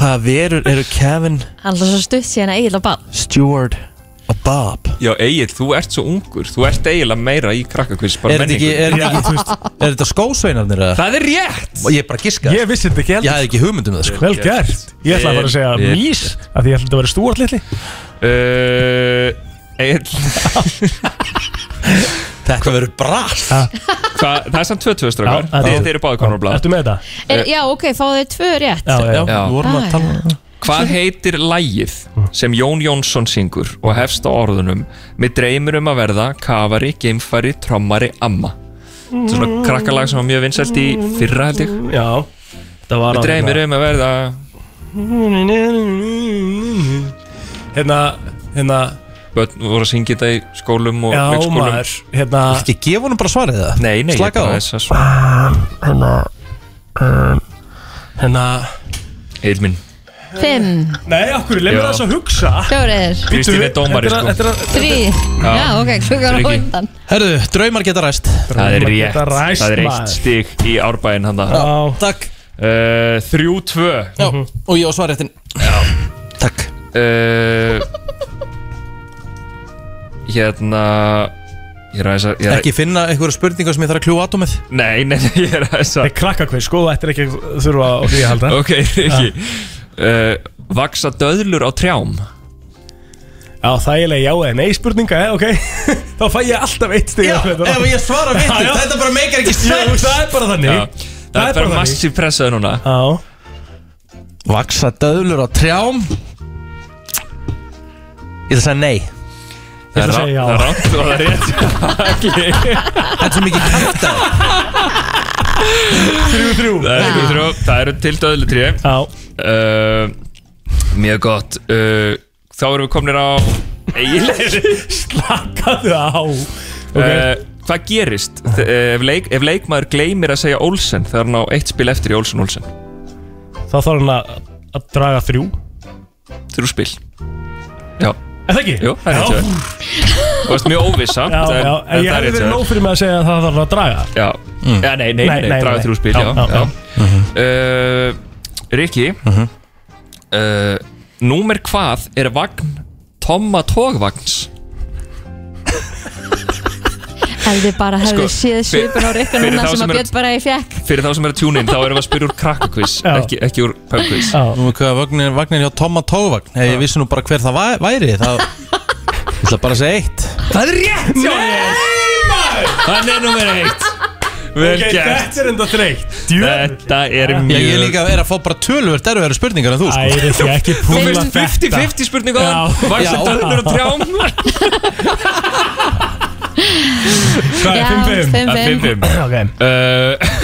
Speaker 2: Hvaða verur eru Kevin,
Speaker 3: Alltaf svo stutt síðan að Egil og Bál
Speaker 2: Stewart og Bob
Speaker 8: Já, Egil, þú ert svo ungur Þú ert eiginlega meira í krakkakvís bara
Speaker 2: Er þetta ekki,
Speaker 8: menningu.
Speaker 2: er þetta ekki, þú veist, er þetta skósveinarnir eða?
Speaker 8: Það er rétt!
Speaker 2: Ég er bara giska
Speaker 4: Ég vissi þetta ekki
Speaker 2: Ég
Speaker 4: heldur
Speaker 2: hafði ekki hugmynd um það sko
Speaker 4: Vel gert Ég ætla bara að segja
Speaker 8: Vel
Speaker 4: mís af Því ég ætla þetta að vera stúart litli
Speaker 8: Uh, Egil,
Speaker 2: Þetta verður brast
Speaker 8: Hva, það er samt 22 strákar
Speaker 4: Já, það er
Speaker 8: Þið
Speaker 4: rétt.
Speaker 8: þið eru báði konar á blad
Speaker 4: Ertu með þetta?
Speaker 8: Eh,
Speaker 3: er, Já, ok, fáðu þau tvö rétt
Speaker 4: Já, já, já.
Speaker 2: Já, við vorum
Speaker 3: Já,
Speaker 2: að tala um
Speaker 8: Hvað heitir lægið sem Jón Jónsson syngur og hefst á orðunum Mér dreymir um að verða kafari, geimfari, trommari, amma Þetta er
Speaker 2: Mm.
Speaker 8: svona krakkalag sem var mjög vinsælt í fyrra held ég
Speaker 4: já. Það var
Speaker 8: Mér dreymir um að verða
Speaker 4: Hérna, hérna
Speaker 8: Börn voru að syngja þetta í skólum og
Speaker 4: Já,
Speaker 8: leikskólum
Speaker 4: maður Hérna
Speaker 2: Ekki gefa honum bara svarið það
Speaker 8: Nei, nei,
Speaker 2: Slaka á
Speaker 8: þess að svona
Speaker 4: Hérna Hérna
Speaker 8: <laughs> Eil minn,
Speaker 3: Fimm,
Speaker 4: Nei, okkur, leið mér
Speaker 8: Já.
Speaker 4: þess að hugsa
Speaker 3: fjórir,
Speaker 8: Kristín er
Speaker 4: Bíddu,
Speaker 8: dómari
Speaker 4: þetta er-
Speaker 8: sko
Speaker 4: þetta er-
Speaker 3: þrý Já, ok, klukkan á
Speaker 8: Riki.
Speaker 3: undan
Speaker 2: Herðu, draumar geta ræst
Speaker 8: Það er rétt,
Speaker 4: Þetta ræst
Speaker 8: það er
Speaker 4: maður.
Speaker 8: eitt stig í árbæinn handa
Speaker 4: Já. Mhm.
Speaker 2: Takk
Speaker 8: uh, Þrjú tvö
Speaker 2: Já, og ég á svarréttin Takk
Speaker 8: uh, Hérna Ég er aðeins að ég er,
Speaker 2: Ekki finna einhverja spurningar sem ég þarf að kljúa atomið
Speaker 8: Nei, nei, nei, ég er aðeins
Speaker 4: Þetta
Speaker 8: að
Speaker 4: er krakkakveið, sko, þetta er ekki að þurfa á því að halda
Speaker 8: Ok, <laughs> ekki uh, Vaksa döðlur á trjám
Speaker 4: Já, þægilega já eða nei spurninga, eh, ok <laughs> Þá fæ ég alltaf eitt stig af þetta.
Speaker 2: ef ég svara
Speaker 4: <laughs> Já, já.
Speaker 2: vitið Þetta bara meikar ekki
Speaker 4: Já,
Speaker 2: sens
Speaker 4: Það er bara þannig
Speaker 8: Já, Það er bara massíf pressaði núna
Speaker 4: Já,
Speaker 2: Vaksa döðlur á trjám Ég ætla að segja nei
Speaker 8: Það er
Speaker 4: ætla að
Speaker 8: rá-
Speaker 4: segja já.
Speaker 8: það er rátt og það er rétt
Speaker 2: Þetta er svo mikið kæft að
Speaker 4: þrjú, þrjú
Speaker 8: Það eru þrjú, Það eru til döðlutré
Speaker 4: Já,
Speaker 8: uh, Mjög gott uh, Þá erum við komnir á Egil
Speaker 4: <laughs> slakaðu á
Speaker 8: uh, Hvað gerist þ- eh, ef, leik, ef leikmaður gleymir að segja Olsen þegar hann á eitt spil eftir í Olsen Olsen
Speaker 4: Þá þarf hann að að draga þrjú
Speaker 8: Þrjú spil Já,
Speaker 4: Er það ekki?
Speaker 8: jú, það er
Speaker 4: já,
Speaker 8: rétt Þú varst mjög óvissamt
Speaker 4: já,
Speaker 8: en, en
Speaker 4: já, en
Speaker 8: það er
Speaker 4: ég hefði
Speaker 8: rétt
Speaker 4: verið
Speaker 8: hjá
Speaker 4: nóg
Speaker 8: þér.
Speaker 4: fyrir mig að segja að það þarf að draga
Speaker 8: Já,
Speaker 2: Mm.
Speaker 8: já nei, nei, nei,
Speaker 4: Nei, nei,
Speaker 8: draga
Speaker 4: nei.
Speaker 8: þrjú spil Já,
Speaker 4: Já, já,
Speaker 8: já, Uh, Riki
Speaker 2: Mhm.
Speaker 8: uh, Númer hvað er vagn Tomma Tógvagns
Speaker 3: Ef þið bara hefðu
Speaker 8: Sko,
Speaker 3: séð
Speaker 8: fyr-
Speaker 3: svipun á Rikka
Speaker 8: fyrir
Speaker 3: núna sem
Speaker 8: þá sem
Speaker 3: að
Speaker 8: eru-
Speaker 3: Björn bara ég fekk
Speaker 8: Fyrir þá sem er að tjúna inn þá erum við að spyrja úr krakkakviss
Speaker 4: Já.
Speaker 8: ekki, ekki úr pubquiz
Speaker 4: Já.
Speaker 2: Nú, hvað, vagnin, vagnin hjá Tomma Tóvagn Ef ég vissi nú bara hver það væ- væri Það ætla bara að segja eitt
Speaker 8: Það er rétt hjá þér Hann er nummer eitt Vel
Speaker 4: Ok,
Speaker 8: gert
Speaker 4: þetta er enda þreytt Djöfull.
Speaker 8: Þetta er
Speaker 2: Já, ég er
Speaker 8: mjög
Speaker 2: líka er að fá bara tölvöld erfiðar spurningar en þú
Speaker 4: Æ,
Speaker 2: sko
Speaker 4: er ekki ekki
Speaker 8: Þú
Speaker 4: púla
Speaker 8: veist 50-50 spurningu á
Speaker 4: Já.
Speaker 8: hann Var
Speaker 2: Já.
Speaker 8: sem döðnur á trjám
Speaker 4: Hvað
Speaker 3: Já,
Speaker 4: er 5-5?
Speaker 3: 5-5
Speaker 8: 5-5
Speaker 4: Ok,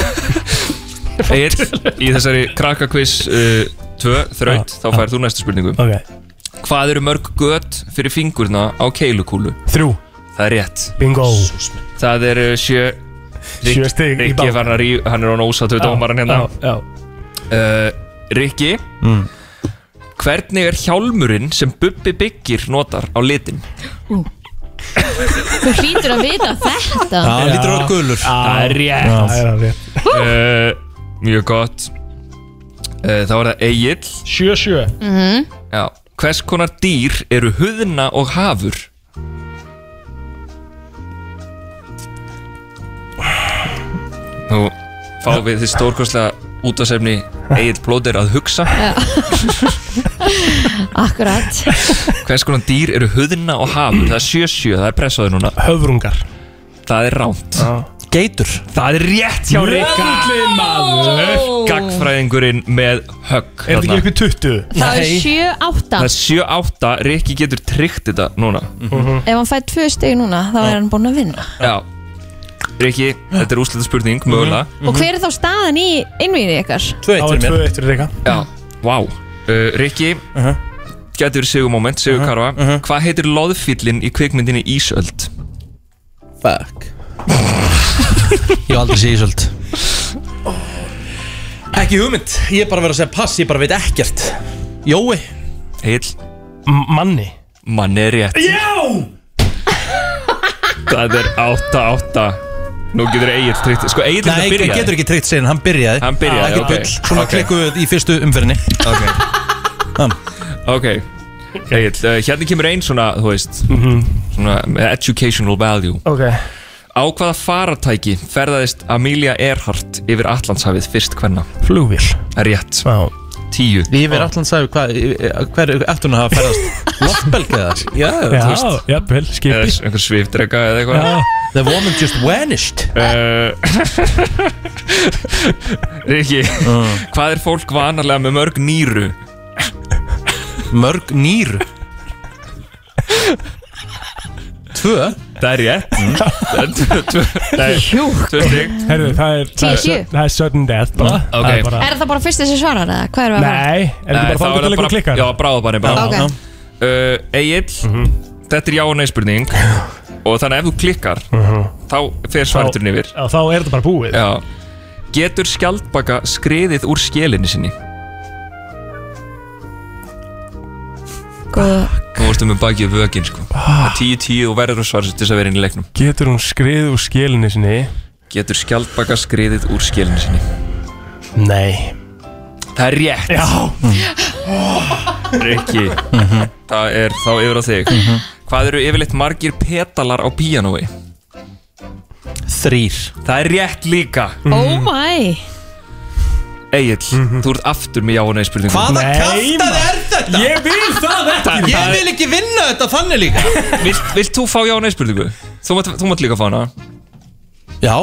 Speaker 8: Uh, Egil, í þessari krakkakviss 2, þraut, þá færð þú næstu spurningu
Speaker 4: Ah, ok
Speaker 8: Hvað eru mörg gött fyrir fingurna á keilukúlu?
Speaker 4: Þrjú,
Speaker 8: Það er rétt
Speaker 4: bingo
Speaker 8: Það er uh, sjö Rik-
Speaker 4: Sjö stig í
Speaker 8: Rikki
Speaker 4: báða.
Speaker 8: var hann að ríf, hann er á nósatu dómaran hérna
Speaker 4: Já, Mm. já
Speaker 8: uh, Rikki Hvernig er hjálmurinn sem Bubbi Byggir notar á litin?
Speaker 3: Þú hlýtur að vita þetta
Speaker 8: Ah.
Speaker 2: Já, hann lítur á gulur
Speaker 8: Það er rétt
Speaker 4: Það er alveg
Speaker 8: uh, Mjög gott uh, Þá er það Egil
Speaker 4: 7-7
Speaker 8: Já. Hvers konar dýr eru huðna og hafur? Nú fáum við því stórkostlega útasefni Egil Blóðir að hugsa
Speaker 3: <laughs> Akkurat
Speaker 8: Hvers konar dýr eru huðna og hafur? Það er 7-7, það er pressaður núna
Speaker 4: Höfrungar
Speaker 8: Það er ránt
Speaker 2: Geitur
Speaker 8: Það er rétt hjá Rikka Gagfræðingurinn með högg
Speaker 4: Er þetta
Speaker 8: þarna.
Speaker 4: ekki eitthvað 20?
Speaker 3: Það er
Speaker 2: Nei.
Speaker 3: 7-8
Speaker 8: Það er 7-8, Rikki getur tryggt þetta núna Mhm.
Speaker 3: Ef hann fær tvö steg núna þá er hann búinn að vinna
Speaker 8: Já Rikki, þetta er úslita spurning, mögulega
Speaker 3: Og hver er þá staðan í innvíðinu ykkar?
Speaker 2: Tvö eitt
Speaker 4: Það var
Speaker 2: fyrir mér
Speaker 4: 2-1 fyrir Rika
Speaker 8: Já, vá wow. uh, Rikki uh
Speaker 4: Uh-huh.
Speaker 2: Mhm.
Speaker 8: Gætur sigumoment, sigukarfa Hvað heitir loðfýllin í kvikmyndinni Ísöld?
Speaker 4: <laughs>
Speaker 2: Fuck Ég hef aldrei sé ísöld Ekki hugmynd Ég er bara að vera að segja pass, ég bara veit ekkert Jói
Speaker 8: Heil,
Speaker 4: Manni
Speaker 8: mann er rétt
Speaker 4: Já!
Speaker 8: Það er 8-8 Nú getur Egil tryggt Sko Egil
Speaker 2: Nei,
Speaker 8: þetta
Speaker 2: hann
Speaker 8: byrjaði
Speaker 2: getur ekki treykt seginn, hann byrjaði
Speaker 8: Hann byrjaði, ok.
Speaker 2: Ekki bull, svona
Speaker 8: Ok.
Speaker 2: okay. klikkuð í fyrstu umferðinni
Speaker 8: Ok,
Speaker 2: Hann.
Speaker 8: ok Egil, uh, hérna kemur einn svona, þú veist Svona með educational value
Speaker 4: Mhm. Ok
Speaker 8: Á hvaða faratæki ferðaðist Amelia Earhart yfir Allandshafið fyrst hvenna?
Speaker 4: Flugvill
Speaker 8: Rétt,
Speaker 4: Já
Speaker 8: 10
Speaker 2: Yfir allan sagði hvað, hver er eftir hún að hafa
Speaker 8: <laughs>
Speaker 2: ferðast Loftbelgið það Já, þú
Speaker 4: Já,
Speaker 2: veist
Speaker 4: jafnvel,
Speaker 8: Eða
Speaker 4: skipi
Speaker 8: einhver svifdrega eða eitthvað
Speaker 4: Já,
Speaker 2: The woman just vanished
Speaker 8: <laughs> Uh, Riki,
Speaker 2: Mm.
Speaker 8: hvað er fólk vanarlega með mörg nýru?
Speaker 2: Mörg nýr Tvö Mm.
Speaker 8: Það er ég Tvö stygg
Speaker 4: herðu, það er það er-
Speaker 3: 10-7.
Speaker 4: Það er sudden death bara
Speaker 8: Mm, Ok.
Speaker 4: Það er bara-
Speaker 3: Er það bara fyrsti sem svarar eða? Hvað erum við að fara?
Speaker 4: Nei, er þetta bara þannig að leikur klikkar? Mhm.
Speaker 8: Já, bráðabanni bara
Speaker 3: Ok.
Speaker 2: Já.
Speaker 8: uh, Egil, þetta er já og nei
Speaker 4: <laughs>
Speaker 8: spurning Og þannig að ef þú klikkar Þá fer svarturinn yfir
Speaker 4: Já, þá Mhm. er þetta bara búið
Speaker 8: Já Getur skjaldbaka skriðið úr skelinni sinni?
Speaker 3: Góð
Speaker 2: Sko-
Speaker 8: Nú ertu með bakið vögin sko Það
Speaker 4: Ah.
Speaker 8: er 10-10 og verður að svara sér til þess að vera inn í leiknum
Speaker 4: Getur hún skrið úr skilinni sinni?
Speaker 8: Getur skjaldbaka skriðið úr skelinni sinni?
Speaker 4: Nei
Speaker 8: Það er rétt
Speaker 4: Já,
Speaker 8: <laughs> Rikki Það er þá yfir á þig Hvað eru yfirleitt margir petalar á píanói?
Speaker 2: Þrýr
Speaker 8: Það er rétt líka
Speaker 4: Mhm.
Speaker 3: Oh my
Speaker 8: Egil, þú ert aftur með já og nei spurningu
Speaker 2: Hvaða
Speaker 4: Nei,
Speaker 2: kæftað er þetta?
Speaker 4: ég vil það
Speaker 8: Það,
Speaker 4: ekki
Speaker 8: það
Speaker 2: Ég
Speaker 8: er,
Speaker 2: vil ekki vinna þetta þannig líka
Speaker 8: vilt, vilt þú fá já og nei spurningu? Þú mátt, þú mátt líka fá hana
Speaker 2: Já,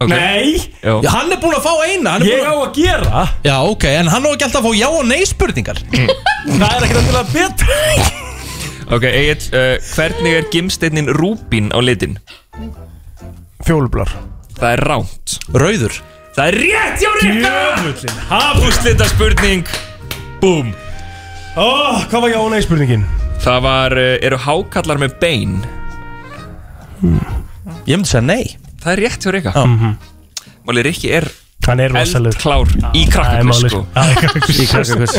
Speaker 8: okay.
Speaker 4: Nei,
Speaker 8: Já.
Speaker 2: Já, hann er búinn að fá eina hann er
Speaker 4: ég á
Speaker 2: búinn að...
Speaker 4: að gera
Speaker 2: Já, ok, en hann á ekki alltaf að fá já og nei spurningar
Speaker 8: Mm.
Speaker 4: Það er ekkert endilega betra
Speaker 8: Ok, Egil, uh, hvernig er gimsteinnin rúbín á litin?
Speaker 4: Fjólublar
Speaker 8: Það er ránt
Speaker 2: Rauður
Speaker 8: Það er rétt já Rikka
Speaker 4: Jöfullin
Speaker 8: Hafúslita spurning Búm
Speaker 4: Ó, hvað var já og nei spurningin?
Speaker 8: Það var, uh, eru hákallar með bein?
Speaker 2: Ég myndi segja nei
Speaker 8: Það er rétt hjá Rikka
Speaker 2: Já.
Speaker 8: Máli Rikki er
Speaker 4: Hann er rosalur
Speaker 8: eldklár í krakkakviss sko.
Speaker 4: krakkakviss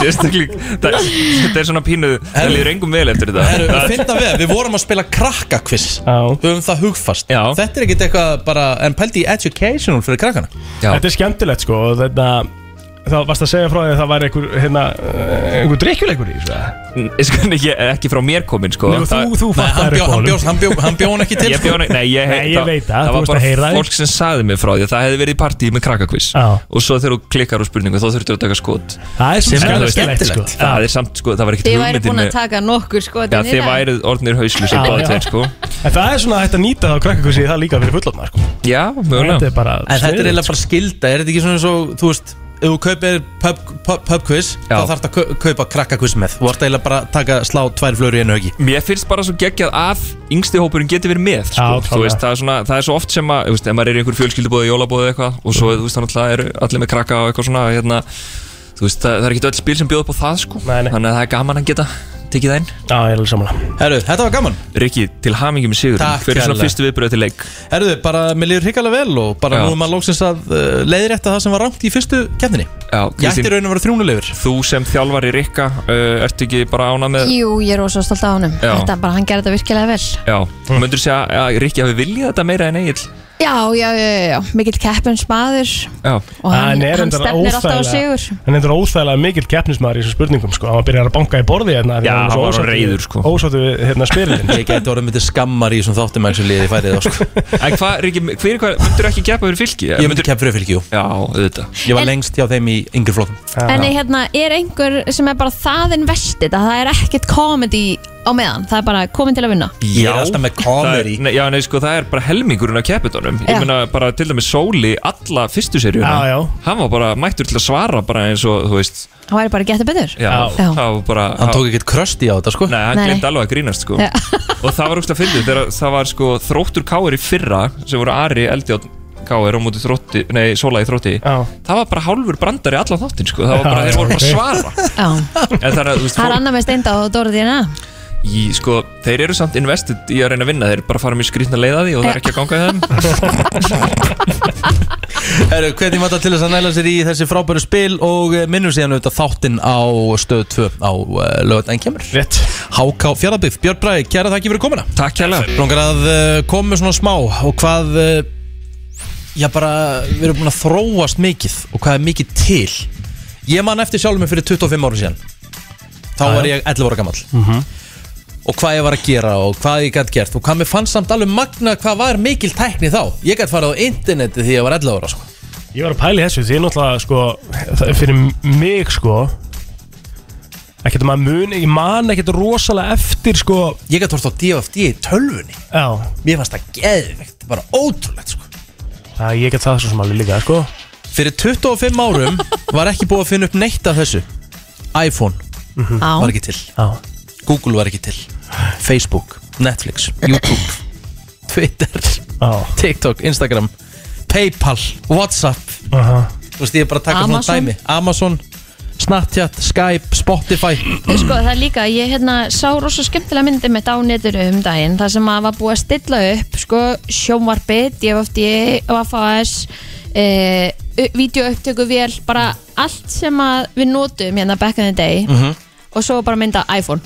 Speaker 8: Sérstaklega, það- þetta er svona pínu það líður engum vel eftir
Speaker 2: Heru,
Speaker 8: þetta Það-
Speaker 2: Finna við, við vorum að spila krakkakviss Við höfum það hugfast
Speaker 8: Já.
Speaker 2: Þetta er ekkit eitthvað bara En pældi í educational fyrir krakkana
Speaker 8: já,
Speaker 4: Þetta er skemmtilegt sko og þetta þá varst að segja frá því að það væri einhver, hérna, eh, einhver drikkjuleikur í þessu eða?
Speaker 8: Sko, ekki, ekki frá mér komin sko.
Speaker 4: Nei, og þú, þú
Speaker 2: Nei, hann
Speaker 4: fattar
Speaker 2: bjó- hann bjó- hann bjó- hann bjó hann ekki til
Speaker 8: Ég
Speaker 2: sko.
Speaker 8: bjóna, nei, ég,
Speaker 4: Nei, ég
Speaker 8: það-
Speaker 4: veit
Speaker 8: Það
Speaker 4: það,
Speaker 8: var
Speaker 4: þú varst
Speaker 8: bara
Speaker 4: að heyra því.
Speaker 8: fólk sem sagði mér frá því að það hefði verið í partíi með krakkakvís
Speaker 4: Já.
Speaker 8: Og svo þegar þú klikkar á spurningu þá þurftur að taka skot
Speaker 4: Það er
Speaker 8: Sem er, þú
Speaker 4: svona
Speaker 8: veist,
Speaker 4: skemmtilegt sko Já.
Speaker 8: Það er samt, sko, það var ekkert
Speaker 3: Þið væri
Speaker 8: hugmyndin
Speaker 3: búin að
Speaker 8: með
Speaker 3: taka sko, nokkur skotin
Speaker 8: Já, þið værið orðnir hauslu sem
Speaker 4: Já, já.
Speaker 8: báði tveir, sko
Speaker 4: En það er svona hægt að nýta það á krakkakvísi það líka fyrir fullorðna sko
Speaker 8: <laughs> Já,
Speaker 4: Þetta
Speaker 8: mögulega
Speaker 4: er bara
Speaker 2: En þetta er
Speaker 4: sniðugt. sko.
Speaker 2: eiginlega bara skilda, er þetta ekki svona eins og, þú veist, ef þú kaupir pub, pub, pub quiz,
Speaker 8: Já.
Speaker 2: þá þarf þetta að kaupa krakka quiz með. Þú ert eiginlega bara að taka, slá tvær flöru í einu höggi.
Speaker 8: Mér finnst bara svo geggjað að yngsti hópurinn geti verið með sko.
Speaker 4: Já,
Speaker 8: Þú veist,
Speaker 4: klárlega.
Speaker 8: það, er svona, það er svo oft sem að þú veist, ef maður er í einhver fjölskyldubóði, jólabóði eitthvað og svo þú veist, þannig að eru allir með krakka og eitthvað svona hérna, þú veist, það, það er ekki öll spil sem bjóð upp á það sko.
Speaker 4: Nei, nei.
Speaker 8: þannig að það er gaman að geta tekið það inn
Speaker 4: Já, ég er alveg samanlega
Speaker 2: Herru, þetta var gaman.
Speaker 8: Rikki, til hamingi með sigur
Speaker 2: Takk
Speaker 8: Hver er svona
Speaker 2: kærlega.
Speaker 8: fyrstu viðbröð til leik?
Speaker 2: Herru, bara, mér líður hrikalega vel og bara
Speaker 8: Já.
Speaker 2: nú er maður lóksins að uh, leiðrétta það sem var rangt í fyrstu kefninni.
Speaker 8: Já,
Speaker 2: Ég ætti í
Speaker 8: Kristín,
Speaker 2: raun að vera þrjúnulegur.
Speaker 8: þú sem þjálfari Rikka uh, ertu ekki bara ána með
Speaker 3: Jú, ég er rosa stolt á honum
Speaker 8: Já.
Speaker 3: Þetta bara, hann gerði þetta virkilega vel
Speaker 8: Já, mm. myndur segja að Rikki hafi viljað þetta meira en Egil
Speaker 3: Já, já, já, já, já. mikill keppins maður
Speaker 8: Já,
Speaker 3: og hann,
Speaker 4: er
Speaker 3: hann
Speaker 4: reyndar
Speaker 3: stefnir alltaf á
Speaker 4: óþægilega-
Speaker 3: sigur
Speaker 4: Hann er reyndar óþægilega mikill keppnismæður í þessum spurningum sko Hann byrjar að banka í borði hérna
Speaker 8: Já, hann var reiður, sko.
Speaker 4: Ósáttu við hérna
Speaker 2: <laughs>
Speaker 4: spyrilin
Speaker 2: Ég gæti orðið myndið skammar í þessum þáttum eins og liðið færið þá, sko.
Speaker 8: en hvað, Rikki, fyrir hvað, myndur ekki gefa fyrir fylki?
Speaker 2: Ég myndi kempa fyrir fylgjú.
Speaker 8: Já, auðvitað
Speaker 2: Ég var
Speaker 3: En-
Speaker 2: lengst hjá þeim í yngri flokkum.
Speaker 3: En hérna, er einhver sem er bara þaðin vestið að það er ekkert komedi á meðan það er bara komin til að vinna
Speaker 2: Ég er alltaf með
Speaker 8: Það er,
Speaker 2: comedy.
Speaker 8: nei, já, nei, sko, það er bara helmingurinn af keppitónum Ég
Speaker 3: Já.
Speaker 8: meina bara til dæmis Sóli alla fyrstu seríuna
Speaker 4: Já, já.
Speaker 8: Hann var bara mættur til að svara bara eins og, þú veist
Speaker 3: hann væri bara að geta betur
Speaker 8: Já,
Speaker 4: Já.
Speaker 8: það var bara
Speaker 2: Hann tók ekkert krösti á þetta, sko.
Speaker 8: Nei, hann
Speaker 3: Nei.
Speaker 8: glemt alveg að grínast, sko
Speaker 3: Já.
Speaker 8: Og það var úrst að fyndið þegar það var, sko, þróttur káir í fyrra sem voru Ari Eldjón káir á móti þrótti, nei, Sóla í þrótti
Speaker 4: Já.
Speaker 8: Það var bara hálfur brandari allan þáttinn, sko Það var bara,
Speaker 4: Já,
Speaker 8: þeir voru bara að
Speaker 4: ok.
Speaker 8: svara
Speaker 3: Já.
Speaker 8: En þannig að, þú veist,
Speaker 3: það er
Speaker 8: fólk-
Speaker 3: annað með steinda og Dóri Dína
Speaker 8: í, sko, þeir eru samt investið í að reyna að vinna Þeir bara fara mjög skrýtna leiða því og það er ekki að ganga í þeim
Speaker 2: Herru, hvernig maður til þess að næla sér í þessi frábæru spil og eh, minnum síðan auðvitað þáttinn á stöð 2 á uh, lögutæn kemur
Speaker 4: Rétt
Speaker 2: HK Fjarlabíf, Björn Bræði, kæra þakki fyrir komuna
Speaker 8: Takk hérlega
Speaker 2: Longar að uh, koma með svona smá og hvað uh, já bara, við erum búin að þróast mikið og hvað er mikið til Ég man eftir sjálfum mig fyrir 25 árum síðan þá var ég 11 ára gamall
Speaker 4: Mhm.
Speaker 2: og hvað ég var að gera og hvað ég gætt gert og hvað mér fannst samt alveg magna hvað var mikil tækni þá Ég gætt farið á interneti því ég var 11 ára sko.
Speaker 4: Ég var að pæla í þessu því ég náttúrulega sko það er fyrir mig sko ekkert að maður mun, ég man ekkert rosalega eftir sko
Speaker 2: Ég gætt hort á DFD í tölvunni
Speaker 4: Já,
Speaker 2: Mér fannst það geðvegt, bara ótrúlegt sko.
Speaker 4: það, ég get það svo sem alveg líka sko
Speaker 2: Fyrir 25 árum var ekki búið að finna upp neitt af þessu iPhone
Speaker 3: já,
Speaker 2: var ekki til
Speaker 4: Já,
Speaker 2: Google var ekki til Facebook, Netflix,
Speaker 4: <laughs>
Speaker 2: YouTube Twitter,
Speaker 4: já,
Speaker 2: TikTok, Instagram Paypal, Whatsapp
Speaker 4: aha
Speaker 2: Þú veist, ég er bara að taka
Speaker 3: Amazon.
Speaker 2: svona dæmi Amazon, Snapchat, Skype, Spotify
Speaker 3: sko það er líka ég hérna sá rosa skemmtilega myndi mitt á netinu um daginn þar sem að var búið að stilla upp sko sjónvarpið, DFD, WFAS e, videoauptöku vel, bara allt sem að við notum hérna back in the day
Speaker 2: Mm.
Speaker 3: og svo bara mynda iPhone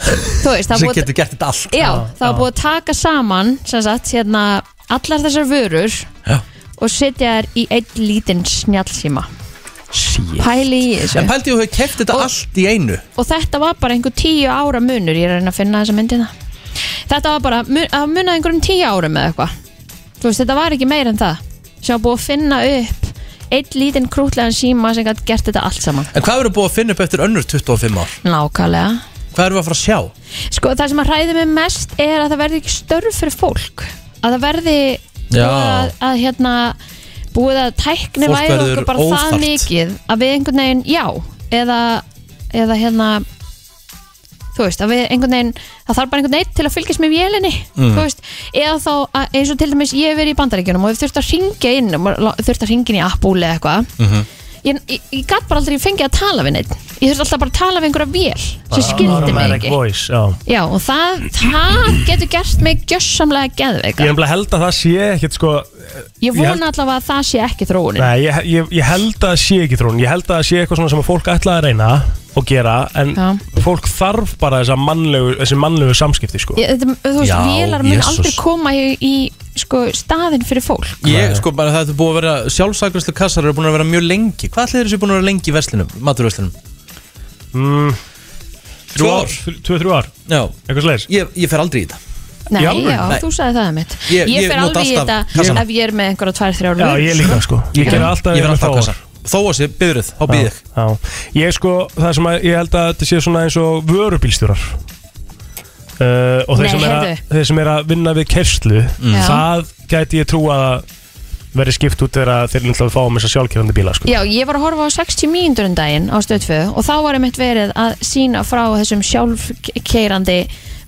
Speaker 3: þú veist, það er
Speaker 2: sem
Speaker 3: búið
Speaker 2: getur gert þetta allt
Speaker 3: Já, það var búið að taka saman sem sagt, hérna, allar þessar vörur
Speaker 2: Já.
Speaker 3: og setja þær í einn lítinn snjallsíma Pæli í þessu
Speaker 2: En pældi ég að þau keft þetta
Speaker 3: Og-
Speaker 2: allt í einu
Speaker 3: og þetta var bara einhver tíu ára munur ég er að reyna að finna þessa myndina þetta var bara mun- að muna einhverjum tíu árum eða eitthvað þú veist þetta var ekki meir en það sem var búið að finna upp einn lítinn krútlegan síma sem gætt gert þetta allt saman
Speaker 2: En hvað verður búið að finna upp eftir önnur 25 ár?
Speaker 3: nákvæmlega
Speaker 2: Hvað erum við að fara að sjá?
Speaker 3: Sko, það sem að hræði mig mest er að það verði ekki störf fyrir fólk að það verði
Speaker 2: Já.
Speaker 3: búið að, að hérna búið að tækni
Speaker 2: Fólk
Speaker 3: væri
Speaker 2: verður
Speaker 3: okkur bara
Speaker 2: óþarft.
Speaker 3: það mikið að við einhvern veginn, já eða, eða hérna þú veist, að við einhvern veginn það þarf bara einhvern veginn til að fylgjast með vélinni
Speaker 2: Mm.
Speaker 3: þú veist, eða þá að, eins og til dæmis ég hef verið í bandaríkjunum og hef þurft að ringja inn þurft að ringja inn í appúli eða eitthvað ég, ég, ég gat bara aldrei fengið að tala við neitt ég þurft alltaf bara að tala við einhverja vél sem skildi mig
Speaker 4: Automatic
Speaker 3: ekki
Speaker 4: voice, já
Speaker 3: Já, og það, það getur gert mig gjössamlega geðveika.
Speaker 4: Ég er nefnilega held að það sé ekkert sko
Speaker 3: Ég
Speaker 4: ég
Speaker 3: vona
Speaker 4: held-
Speaker 3: allavega að það sé ekki þróunin.
Speaker 4: Nei, ég, ég, ég held að það sé ekki þrún Ég held að það sé eitthvað svona sem að fólk ætlaði að reyna og gera En
Speaker 3: Já.
Speaker 4: fólk þarf bara þessa mannlegu, þessi mannlegu samskipti sko
Speaker 3: Ég, þetta, þú veist,
Speaker 2: Já,
Speaker 3: vélar mun
Speaker 2: Jesus.
Speaker 3: aldrei koma í, í sko, staðinn fyrir fólk
Speaker 2: Ég, sko, bara það er búið að vera sjálfsakvæslu kassar eru búin að vera mjög lengi Hvað ætlir þessi búin að vera lengi í veslinum, maturveslinum?
Speaker 4: mm,
Speaker 2: Tvö ár.
Speaker 4: Tvö, þrjú ár
Speaker 2: Já,
Speaker 4: Eitthvað slegis
Speaker 2: ég, ég fer aldrei í þetta
Speaker 3: Nei,
Speaker 4: Í
Speaker 3: já,
Speaker 4: alvöru?
Speaker 2: Nei.
Speaker 3: þú sagði það mitt
Speaker 2: Ég-
Speaker 3: Ég
Speaker 2: ég
Speaker 3: fer alveg
Speaker 2: nota
Speaker 3: í
Speaker 2: alltaf
Speaker 3: þetta
Speaker 2: kassana.
Speaker 3: ef ég er með einhverja tvær, þrjár
Speaker 4: Já, ég líka sko Ég gerði alltaf
Speaker 2: Ég fer alltaf
Speaker 4: eitthvað þá
Speaker 2: á
Speaker 4: ár.
Speaker 2: kassar Þó að sé, byrðuð, þá býð ég
Speaker 4: Já, já. Ég sko, það sem að ég held að þetta sé svona eins og vörubílstjórar uh, Og þeir,
Speaker 3: Nei,
Speaker 4: sem er að,
Speaker 3: heyrðu.
Speaker 4: þeir sem er að vinna við kerslu
Speaker 3: Já.
Speaker 4: Það gæti ég trú að verði skipt út þegar að þeir náttúrulega fá um þessa sjálfkjörandi bíla sko.
Speaker 3: Já, ég var að horfa á 60 mínútur um daginn á stöðföðu og þá var einmitt verið að sína frá þessum sjálfkeirandi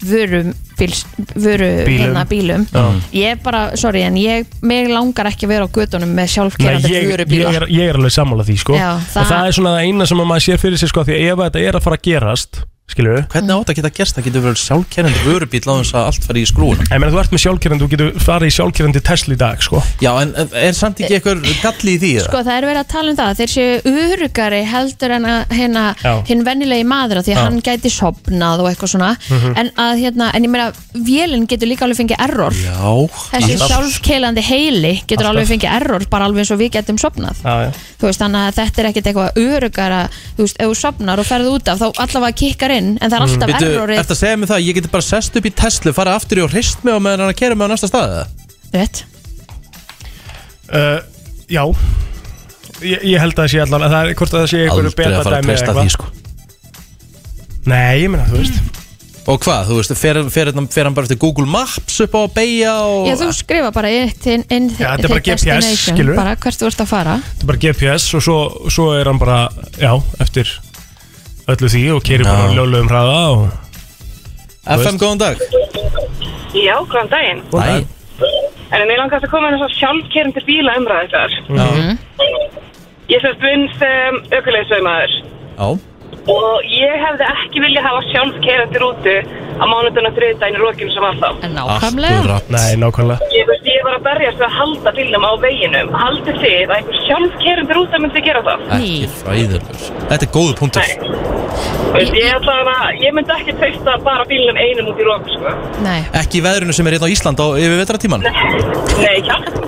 Speaker 3: vörum bíls, vöru,
Speaker 4: Bílum.
Speaker 3: Hérna, bílum. Ég bara, sorry, en ég mig langar ekki að vera á gödunum með
Speaker 4: Nei,
Speaker 3: sjálfkeirandi
Speaker 4: ég, ég,
Speaker 3: vörubíla
Speaker 4: er, ég er alveg sammála því sko.
Speaker 3: Já,
Speaker 4: Og það er svona það eina sem að maður sér fyrir sig sko, Því að ef þetta er að fara að gerast Skilur við
Speaker 2: Hvernig átt að geta gerst, það getur verið sjálfkennandi vörubíl á þess að allt fari í skrúin
Speaker 4: En meina, þú ert með sjálfkjörandi, þú getur farið í sjálfkjörandi Tesla í dag sko.
Speaker 2: Já, en en er samt ekki eitthvað galli í því? eða?
Speaker 3: Sko það er verið að tala um það Þeir séu örugari heldur en að hérna,
Speaker 4: Já.
Speaker 3: hinn venjulegi maður af Því að hann gæti sopnað og eitthvað svona
Speaker 4: Mhm.
Speaker 3: En að hérna, en ég meira Vélinn getur líka alveg fengið error
Speaker 2: Já
Speaker 3: Þessi
Speaker 2: alltaf.
Speaker 3: sjálfkeilandi heili getur
Speaker 4: Alltaf.
Speaker 3: alveg fengið error Bara alveg eins og við getum sopnað
Speaker 4: Já, já.
Speaker 3: Þú veist, þannig að þetta er ekkit eitthvað örugara Þú veist, ef þú sopnar og ferð út af Þá allavega kikkar inn, en það er
Speaker 4: Mm.
Speaker 3: alltaf
Speaker 2: Býtu,
Speaker 3: errorið
Speaker 2: Mm. ertu að segja mig það, að ég geti bara sest upp í Tesla, fara aftur í og hrist mig á meðan hann að kera mig á næsta stað eða?
Speaker 3: Rétt.
Speaker 4: Uh, já ég, ég held að það sé allan að það er hvort að það sé einhverju
Speaker 2: Aldrei að fara að
Speaker 4: betadæmi eða
Speaker 2: treysta
Speaker 4: eitthvað
Speaker 2: því sko
Speaker 4: Nei, ég meina, þú veist
Speaker 2: Og hvað, þú veist, fer, fer, fer, fer hann bara eftir Google Maps upp á að beigja og...
Speaker 3: Já, þú skrifa bara eitt inn, inn
Speaker 4: Já, þetta er bara
Speaker 3: þitt
Speaker 4: GPS,
Speaker 3: destination,
Speaker 4: skilurðu?
Speaker 3: bara hvert þú ert að fara
Speaker 4: Þetta er bara GPS og svo, svo er hann bara já, eftir öllu því og keri bara
Speaker 2: Já.
Speaker 4: löglegum hraða og
Speaker 2: FM, góðan dag
Speaker 7: Já, góðan daginn.
Speaker 2: Æ,
Speaker 7: En ég langast að koma með þess að sjálfkerndi bíla umræðið þar.
Speaker 2: já,
Speaker 7: Ég sérst vinn sem aukulegisveimæður
Speaker 2: já
Speaker 7: og ég hefði ekki viljað hafa sjálfkerandi rútu á mánudun og þriðdægin í rokinu sem var þá.
Speaker 3: En Nákvæmlega,
Speaker 4: Nei, nákvæmlega
Speaker 7: Ég, veist, ég var að berjast við að halda bílnum á veginum. Haldið þið að einhver sjálfkerandi rúta myndi gera það?
Speaker 2: ekki fræðurlur Þetta er góðu punktur
Speaker 7: Nei. Þú Veist, ég, ætla að, ég myndi ekki treysta bara bílnum einum út í rók, sko.
Speaker 3: nei
Speaker 2: Ekki í veðrinu sem er hérna á Ísland á yfir vetratíman
Speaker 7: Nei, hjálp.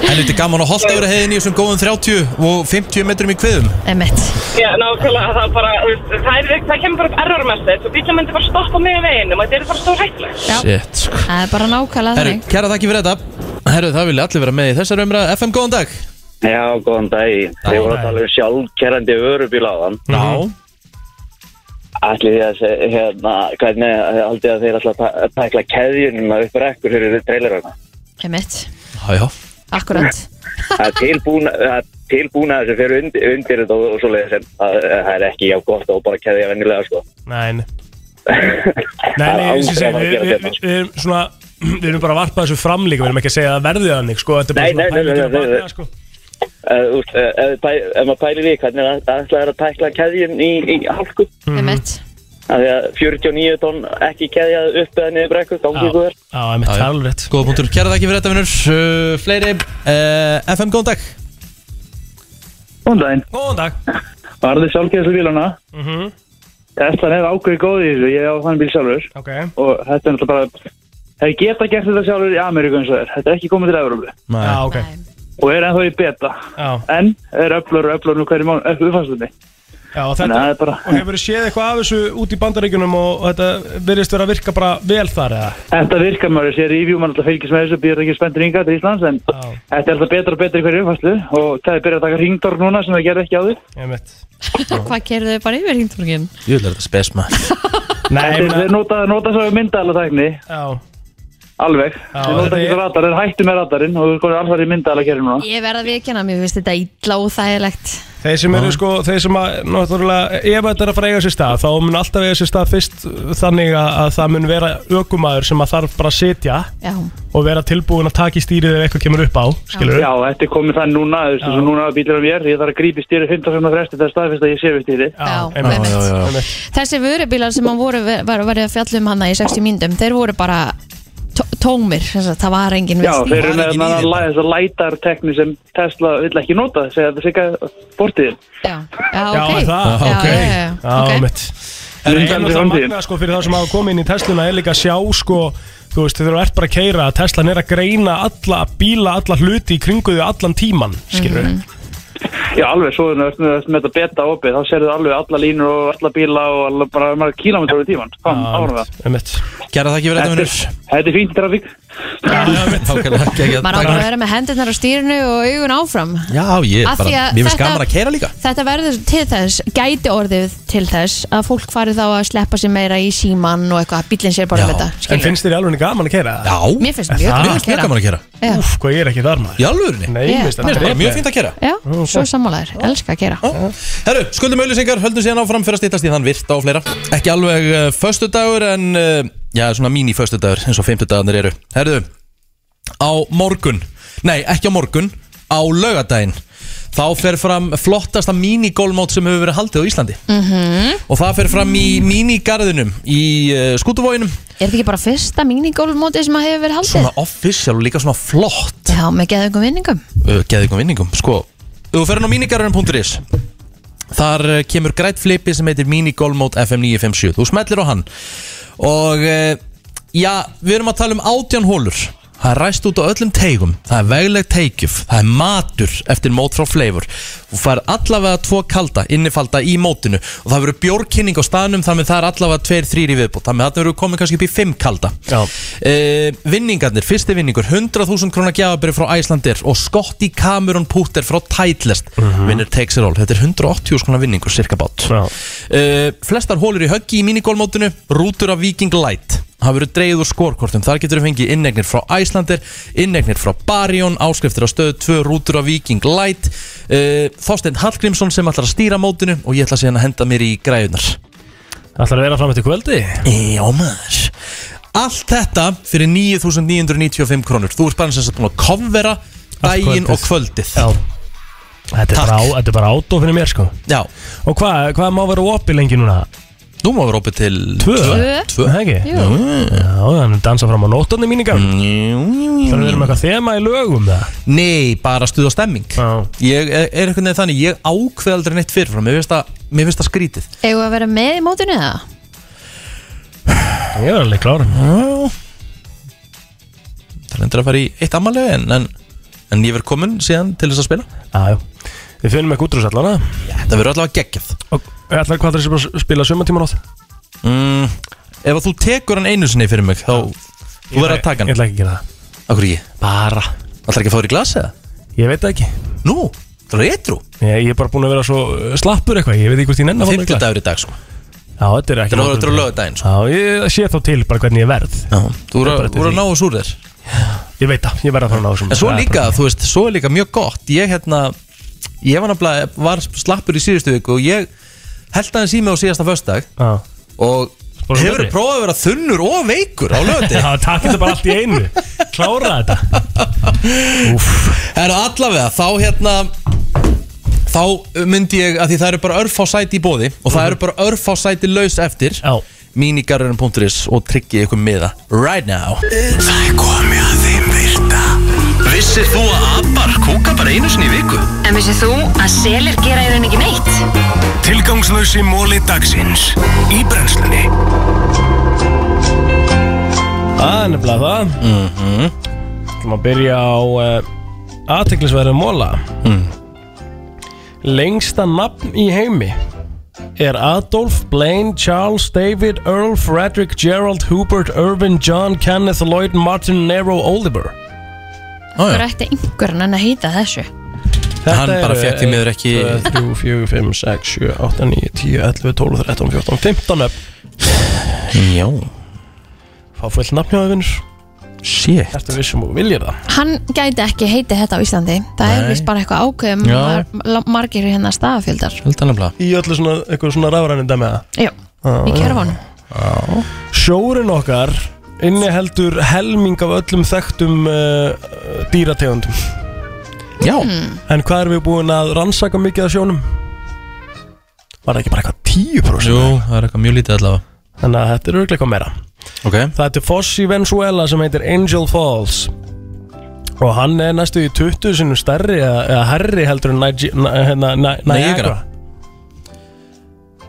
Speaker 2: Henni þetta er gaman að holta yfir að heiðin í þessum góðum 30 og 50 metrum í kveðum
Speaker 3: Emmett
Speaker 7: Já, nákvæmlega, það, bara, þú veist, það, er, það kemur bara upp errormestið. Svo bílnum myndi bara stoppa mig á veginum og þetta er bara stór hættulegt.
Speaker 3: Já.
Speaker 2: Shit, sko
Speaker 3: Það er bara nákvæmlega
Speaker 2: Herru,
Speaker 3: þannig
Speaker 2: kæra þakki fyrir þetta Herru, það vilja allir vera með í þessar umræðu FM, góðan dag
Speaker 9: Já, góðan dag. Þið voru að tala um sjálfkerrandi vörubíl á þann.
Speaker 2: Já
Speaker 9: Ætli því að segja, hérna, hvernig haldið þið að þeir ætla að ta- að tækla keðjunum að uppur ekkur fyrir trailerana?
Speaker 3: Emmett,
Speaker 2: Já, já
Speaker 3: akkurat
Speaker 9: Það er tilbúna, það er tilbúna sem fyrir undir, undir þetta og, og svo leiðis en það það er ekki já gott og bara keðja vennilega, sko.
Speaker 4: Nei,
Speaker 9: <laughs>
Speaker 4: nei, nei,
Speaker 9: Það er
Speaker 4: nei
Speaker 9: aldrei
Speaker 4: eins og ég segi,
Speaker 9: að fara að
Speaker 4: við,
Speaker 9: gera
Speaker 4: við,
Speaker 9: þetta,
Speaker 4: við, við erum svona við erum bara að varpa þessu fram líka við erum ekki að segja að það verði þannig sko, þetta er bara
Speaker 9: Nei, nei, nei,
Speaker 4: svona
Speaker 9: nei, nei, nei,
Speaker 4: pælingin á bak við
Speaker 9: nei.
Speaker 4: það, sko.
Speaker 9: Uh, úst, uh, ef, pæ, ef maður pælir í hvernig það ætla að tækla keðjun í, í hálku,
Speaker 4: Mm.
Speaker 3: Emmett,
Speaker 9: af því að 49 tonn ekki keðjað upp eða niður brekku, gangi ykkur vel.
Speaker 4: Já, ég mitt
Speaker 2: Já, já.
Speaker 4: talur rétt
Speaker 2: Góða punktur, kæra þakki fyrir þetta vinnur uh, Fleiri, uh, FM, góðan dag
Speaker 9: Góðan daginn.
Speaker 4: Góðan dag
Speaker 9: Varðið sjálfkeðslubílana.
Speaker 4: mm
Speaker 9: Teslan er ákveðið góð í þessu, ég á þann bíl sjálfur.
Speaker 4: Ok,
Speaker 9: og þetta er náttúrulega bara þeir geta gert þetta sjálfur í Ameríku eins og þeir þetta er ekki komið til Európu
Speaker 4: já, ok
Speaker 9: og er ennþá í beta
Speaker 4: Já,
Speaker 9: en er öflur og öflur nú hverju mánu ekki uppfæstunni
Speaker 4: já og
Speaker 9: þannig
Speaker 4: þetta
Speaker 9: að það er bara
Speaker 4: og hefur séð eitthvað af þessu út í bandaríkjunum og þetta virðist vera að virka bara vel þar eða?
Speaker 9: þetta virkar maður þessi review mann alltaf fylgis með þessu býður ekki spenntir yngar til Íslands en
Speaker 4: Já,
Speaker 9: þetta er alltaf betra og betra í hverju uppfæstu og það er byrjað að taka ringdorg núna sem það gerði ekki á því
Speaker 4: ég mitt
Speaker 3: <laughs> hvað gerðu þau bara yfir hringtúrgin?
Speaker 2: Jú, þetta er spes maður
Speaker 4: Nei, ég
Speaker 9: þeir,
Speaker 4: meina-
Speaker 9: þeir nota, nota svo myndaðala tækni
Speaker 4: já,
Speaker 9: alveg
Speaker 4: Já,
Speaker 9: þeir nota
Speaker 4: þetta
Speaker 9: ekki
Speaker 4: er-
Speaker 9: svo radar þeir hættu með radarinn og þeir komið alfæri í myndaðala kerfi núna
Speaker 3: Ég verða að viðkjanna, mér finnst þetta illa og þægilegt
Speaker 4: þeir sem eru sko, þeir sem að náttúrulega, ef þetta er að fara að eiga sér stað þá mun alltaf eiga sér stað fyrst uh, þannig að, að það mun vera ökumæður sem að þarf bara að sitja
Speaker 3: Já,
Speaker 4: og vera tilbúin að taka í stýrið ef eitthvað kemur upp á, skilur
Speaker 9: Já, þetta er komið þann núna, þú veist, eins og núna á bílunum ég er, ég þarf að grípi stýri 15 sekundar fresti þegar staðfist að ég sé við stýri.
Speaker 3: Já,
Speaker 4: einmitt.
Speaker 3: einmitt.
Speaker 4: já, já.
Speaker 3: þessi vörubílar sem hann voru var, var að fjalla um hana í 60 mínutum Þeir voru bara tó- tómir, sem sagt, það var engin
Speaker 9: Já,
Speaker 3: vitsný
Speaker 9: þeir eru
Speaker 2: var
Speaker 9: með
Speaker 2: engin í
Speaker 9: þennan
Speaker 2: þetta.
Speaker 9: la- þessa lætartekni sem Tesla vill ekki nota, segja þetta sigga bortiðin.
Speaker 3: Já, já,
Speaker 4: Já,
Speaker 3: ok
Speaker 4: er það,
Speaker 3: Já,
Speaker 4: ok,
Speaker 3: já, já, já,
Speaker 4: já,
Speaker 3: ok.
Speaker 4: mitt Það er
Speaker 9: Undan
Speaker 4: einhvern
Speaker 9: við
Speaker 4: veginn
Speaker 9: framtíðin.
Speaker 4: magnað sko fyrir þá sem hafa komið inn í Tesluna er líka að sjá sko þú veist, þegar þú ert bara að keira að Teslan er að greina alla bíla, alla hluti í kringu því allan tíman, skilur
Speaker 3: Mhm,
Speaker 4: við
Speaker 9: Já, alveg, svo er þetta með þetta beta opið, þá sérðu alveg alla línur og alla bíla og alla, bara marga kílómetrar við tíman. Kom, árum það.
Speaker 2: Kæra þakki fyrir þetta vinnur
Speaker 9: Þetta er fínt trafík.
Speaker 2: Nákvæmlega,
Speaker 3: Maður á
Speaker 2: geggjað.
Speaker 3: bara að
Speaker 2: Takk.
Speaker 3: vera með hendurnar á stýrinu og augun áfram
Speaker 2: Já, ég
Speaker 3: Af
Speaker 2: bara,
Speaker 3: því að
Speaker 2: mér finnst
Speaker 3: þetta-
Speaker 2: gaman að keira líka
Speaker 3: Þetta verður til þess, gæti orðið til þess að fólk fari þá að sleppa sér meira í símann og eitthvað, að bíllinn sér bara
Speaker 2: Já.
Speaker 3: um þetta
Speaker 4: En
Speaker 3: skilurðu.
Speaker 4: finnst þér í alveg gaman að keira það?
Speaker 2: Já,
Speaker 3: Mér finnst mjög
Speaker 2: Mér
Speaker 3: gaman að
Speaker 2: finnst mjög
Speaker 3: keyra.
Speaker 2: gaman að keira
Speaker 3: Já.
Speaker 4: Úf, hvað ég er ekki þar maður
Speaker 2: Í alvörinni
Speaker 4: Nei,
Speaker 3: Ég
Speaker 4: mér finnst
Speaker 3: bara-
Speaker 4: þetta
Speaker 2: Bara
Speaker 4: drepið.
Speaker 2: mjög fínt að keira
Speaker 3: Já, svo sammálaður, elska að gera
Speaker 2: Herru, skuldum auðlýsingar, höldum síðan áfram fyrir að stýttast í þann virta og fleira Ekki alveg uh, föstudagur en, uh, já, svona míníföstudagur eins og fimmtudagarnir eru Herru, á morgun, nei, ekki á morgun, á laugadaginn Þá fer fram flottasta mínigolmót sem hefur verið haldið á Íslandi
Speaker 3: Mhm.
Speaker 2: -hmm. Og það fer fram í mínigarðinum í uh, skútuvóginum
Speaker 3: Er þetta ekki bara fyrsta mínigólfmótið sem að hefur verið haldið?
Speaker 2: Svona official og líka svona flott
Speaker 3: Já, með geðugum vinningum
Speaker 2: uh, geðingum vinningum sko, ef þú ferðin á minigarðurinn.is þar uh, kemur grætt flipi sem heitir minigolmót FM 957 þú smellir á hann og uh, já, við erum að tala um átján hólur Það er ræst út á öllum teigum, það er vegleg teikjuf, það er matur eftir mót frá fleifur. Þú fær allavega tvo kalda innifalda í mótinu og það verður bjórkynning á staðnum þar með það er allavega tveir, þrýr í viðbútt. Þannig að þetta verður komið kannski upp í fimm kalda.
Speaker 4: Já.
Speaker 2: Eh, vinningarnir, fyrsti vinningur 100.000 krónar gjafabrið frá Æslandir og Scotty Cameron Putter frá Titleist vinnur takes it all, þetta er 180.000 krónar vinningur cirka bát
Speaker 4: Mhm. Já.
Speaker 2: Eh, flestar hólur í höggi í minigólmótinu rútur af Viking Light það verður dreigð úr skorkortum, þar getur við fengið innegnir frá Æslandir, innegnir frá Barjón áskriftir á stöðu 2, rútur af Viking Light uh, Þorstein Hallgrímsson sem ætlar að stýra mótinu og ég ætla síðan að henda mér í græðunar
Speaker 4: Ætlar að vera fram eftir kvöldi?
Speaker 2: Já maður Allt þetta fyrir 9.995 krónur Þú ert bara sem sagt búin að kofvera daginn
Speaker 4: kvöldið.
Speaker 2: og kvöldið
Speaker 4: Já Þetta er
Speaker 2: Takk.
Speaker 4: bara, á- þetta er bara átó fyrir mér sko
Speaker 2: Já.
Speaker 4: Og hvað, hvað má vera opið lengi núna?
Speaker 2: Nú má við rópa til
Speaker 4: Tvö?
Speaker 2: Tvö.
Speaker 4: Það ekki?
Speaker 3: Jú.
Speaker 4: Já, þannig að dansa fram á nótandi míningar mm.
Speaker 2: Jú, jú, jú.
Speaker 4: Þannig að við erum eitthvað þema í lögum það
Speaker 2: Nei, bara stuð og stemming
Speaker 4: Já.
Speaker 2: Ég er er einhvern veginn þannig Ég ákveð aldrei neitt fyrirfram Mér finnst það- mér finnst það skrítið
Speaker 3: Eigum við að vera með í mótinu eða?
Speaker 4: Ég er alveg klár
Speaker 2: Það er endur að fara í eitt ammalegu en, en, en ég verð komin síðan til þess að spila
Speaker 4: Já, já Við finnum eitthvað útrús allana
Speaker 2: Það verður allavega geggjað
Speaker 4: Og ætlar hvað það er sem bara spila sömatíma nótt?
Speaker 2: mm, Ef að þú tekur hann einu sinni fyrir mig Þá þú verður að taka
Speaker 4: Ég
Speaker 2: hann
Speaker 4: ætla ekki að gera það
Speaker 2: Akkur ekki
Speaker 4: Bara
Speaker 2: Það er ekki að fá þér í glas eða?
Speaker 4: Ég veit það ekki
Speaker 2: Nú, það er eitrú
Speaker 4: Ég, ég er bara búin að vera svo uh, slappur eitthvað Ég veit ekki hvort ég nenni að fá mér glas.
Speaker 2: Fymtudagur í dag sko
Speaker 4: Já, þetta er ekki
Speaker 2: Þetta er
Speaker 4: nótandi.
Speaker 2: orður á lögadaginn sko
Speaker 4: Já, ég sé þá til bara hvernig ég verð
Speaker 2: Já, Þú eru
Speaker 4: Það er bara
Speaker 2: að-
Speaker 4: til
Speaker 2: þú eru að
Speaker 4: því.
Speaker 2: ná þessu úr þér
Speaker 4: Ég veit það, ég verð að fara að ná þessum
Speaker 2: En svo
Speaker 4: Það er
Speaker 2: líka,
Speaker 4: bara-
Speaker 2: þú veist, svo er líka mjög gott Ég hérna, ég var nafnilega var slappur í síðustu viku og ég held aðeins í mig á síðasta föstudag
Speaker 4: Já.
Speaker 2: og
Speaker 4: Bara
Speaker 2: hefur
Speaker 4: nefri.
Speaker 2: prófað að vera þunnur og veikur á lögadaginn
Speaker 4: <laughs> Já, takk þetta bara allt í einu Klára
Speaker 2: <laughs>
Speaker 4: þetta
Speaker 2: En allavega, þá hérna Þá myndi ég að því það eru bara örf á sæti í bóði Og það eru bara örf á sæti laus eftir
Speaker 4: Mhm. Já.
Speaker 2: Minigarurinn.is og tryggið ykkur miða Right now
Speaker 1: Það er komið að þeim virta Vissir þú að abar kúka bara einu sinni í viku?
Speaker 10: En vissið þú að selir gera í rauninni ekki neitt?
Speaker 1: Tilgangslösi móli dagsins Í brennslunni
Speaker 4: Það er nefnilega það mm -hmm.
Speaker 2: Mhm.
Speaker 4: Það maður byrja á uh, aðteklisverðu móla mm. Lengsta nafn í heimi er Adolf, Blaine, Charles, David, Earl, Frederick, Gerald, Hubert, Irvin, John, Kenneth, Lloyd, Martin, Nero, Oliver
Speaker 3: Það er eftir einhvern en að heita þessu
Speaker 2: Hann bara fékk því miður ekki-
Speaker 4: 3, 4, 5, 6, 7, 8, 9, 10, 11, 12, 13, 14, 15 upp
Speaker 2: Já,
Speaker 4: Fá fullt nafn hjá þér vinnur
Speaker 2: shit
Speaker 4: Ertu vissum og viljir það
Speaker 3: Hann gæti ekki heiti þetta á Íslandi Það er
Speaker 2: Nei.
Speaker 3: vist bara eitthvað ákveðum
Speaker 2: Já.
Speaker 3: mar la- margir hérna staðafjöldar
Speaker 2: Held að nefnilega
Speaker 4: Í öllu svona, eitthvað svona rafrænin dæmi eða?
Speaker 3: Já, í kjörfónu
Speaker 4: Sjórin okkar inniheldur helming af öllum þekktum uh, dýrategundum
Speaker 2: Já,
Speaker 4: En hvað erum við búin að rannsaka mikið af sjónum? Var það ekki bara eitthvað 10%?
Speaker 2: jú, það er eitthvað mjög lítið allavega
Speaker 4: Þannig að þetta er örglega eitthvað meira
Speaker 2: Ok
Speaker 4: Það er til foss í Venezuela sem heitir Angel Falls Og hann er næstu í 20 sinum stærri eða, eða herri heldur en Nige- Na- hérna, Na-
Speaker 2: Niagara.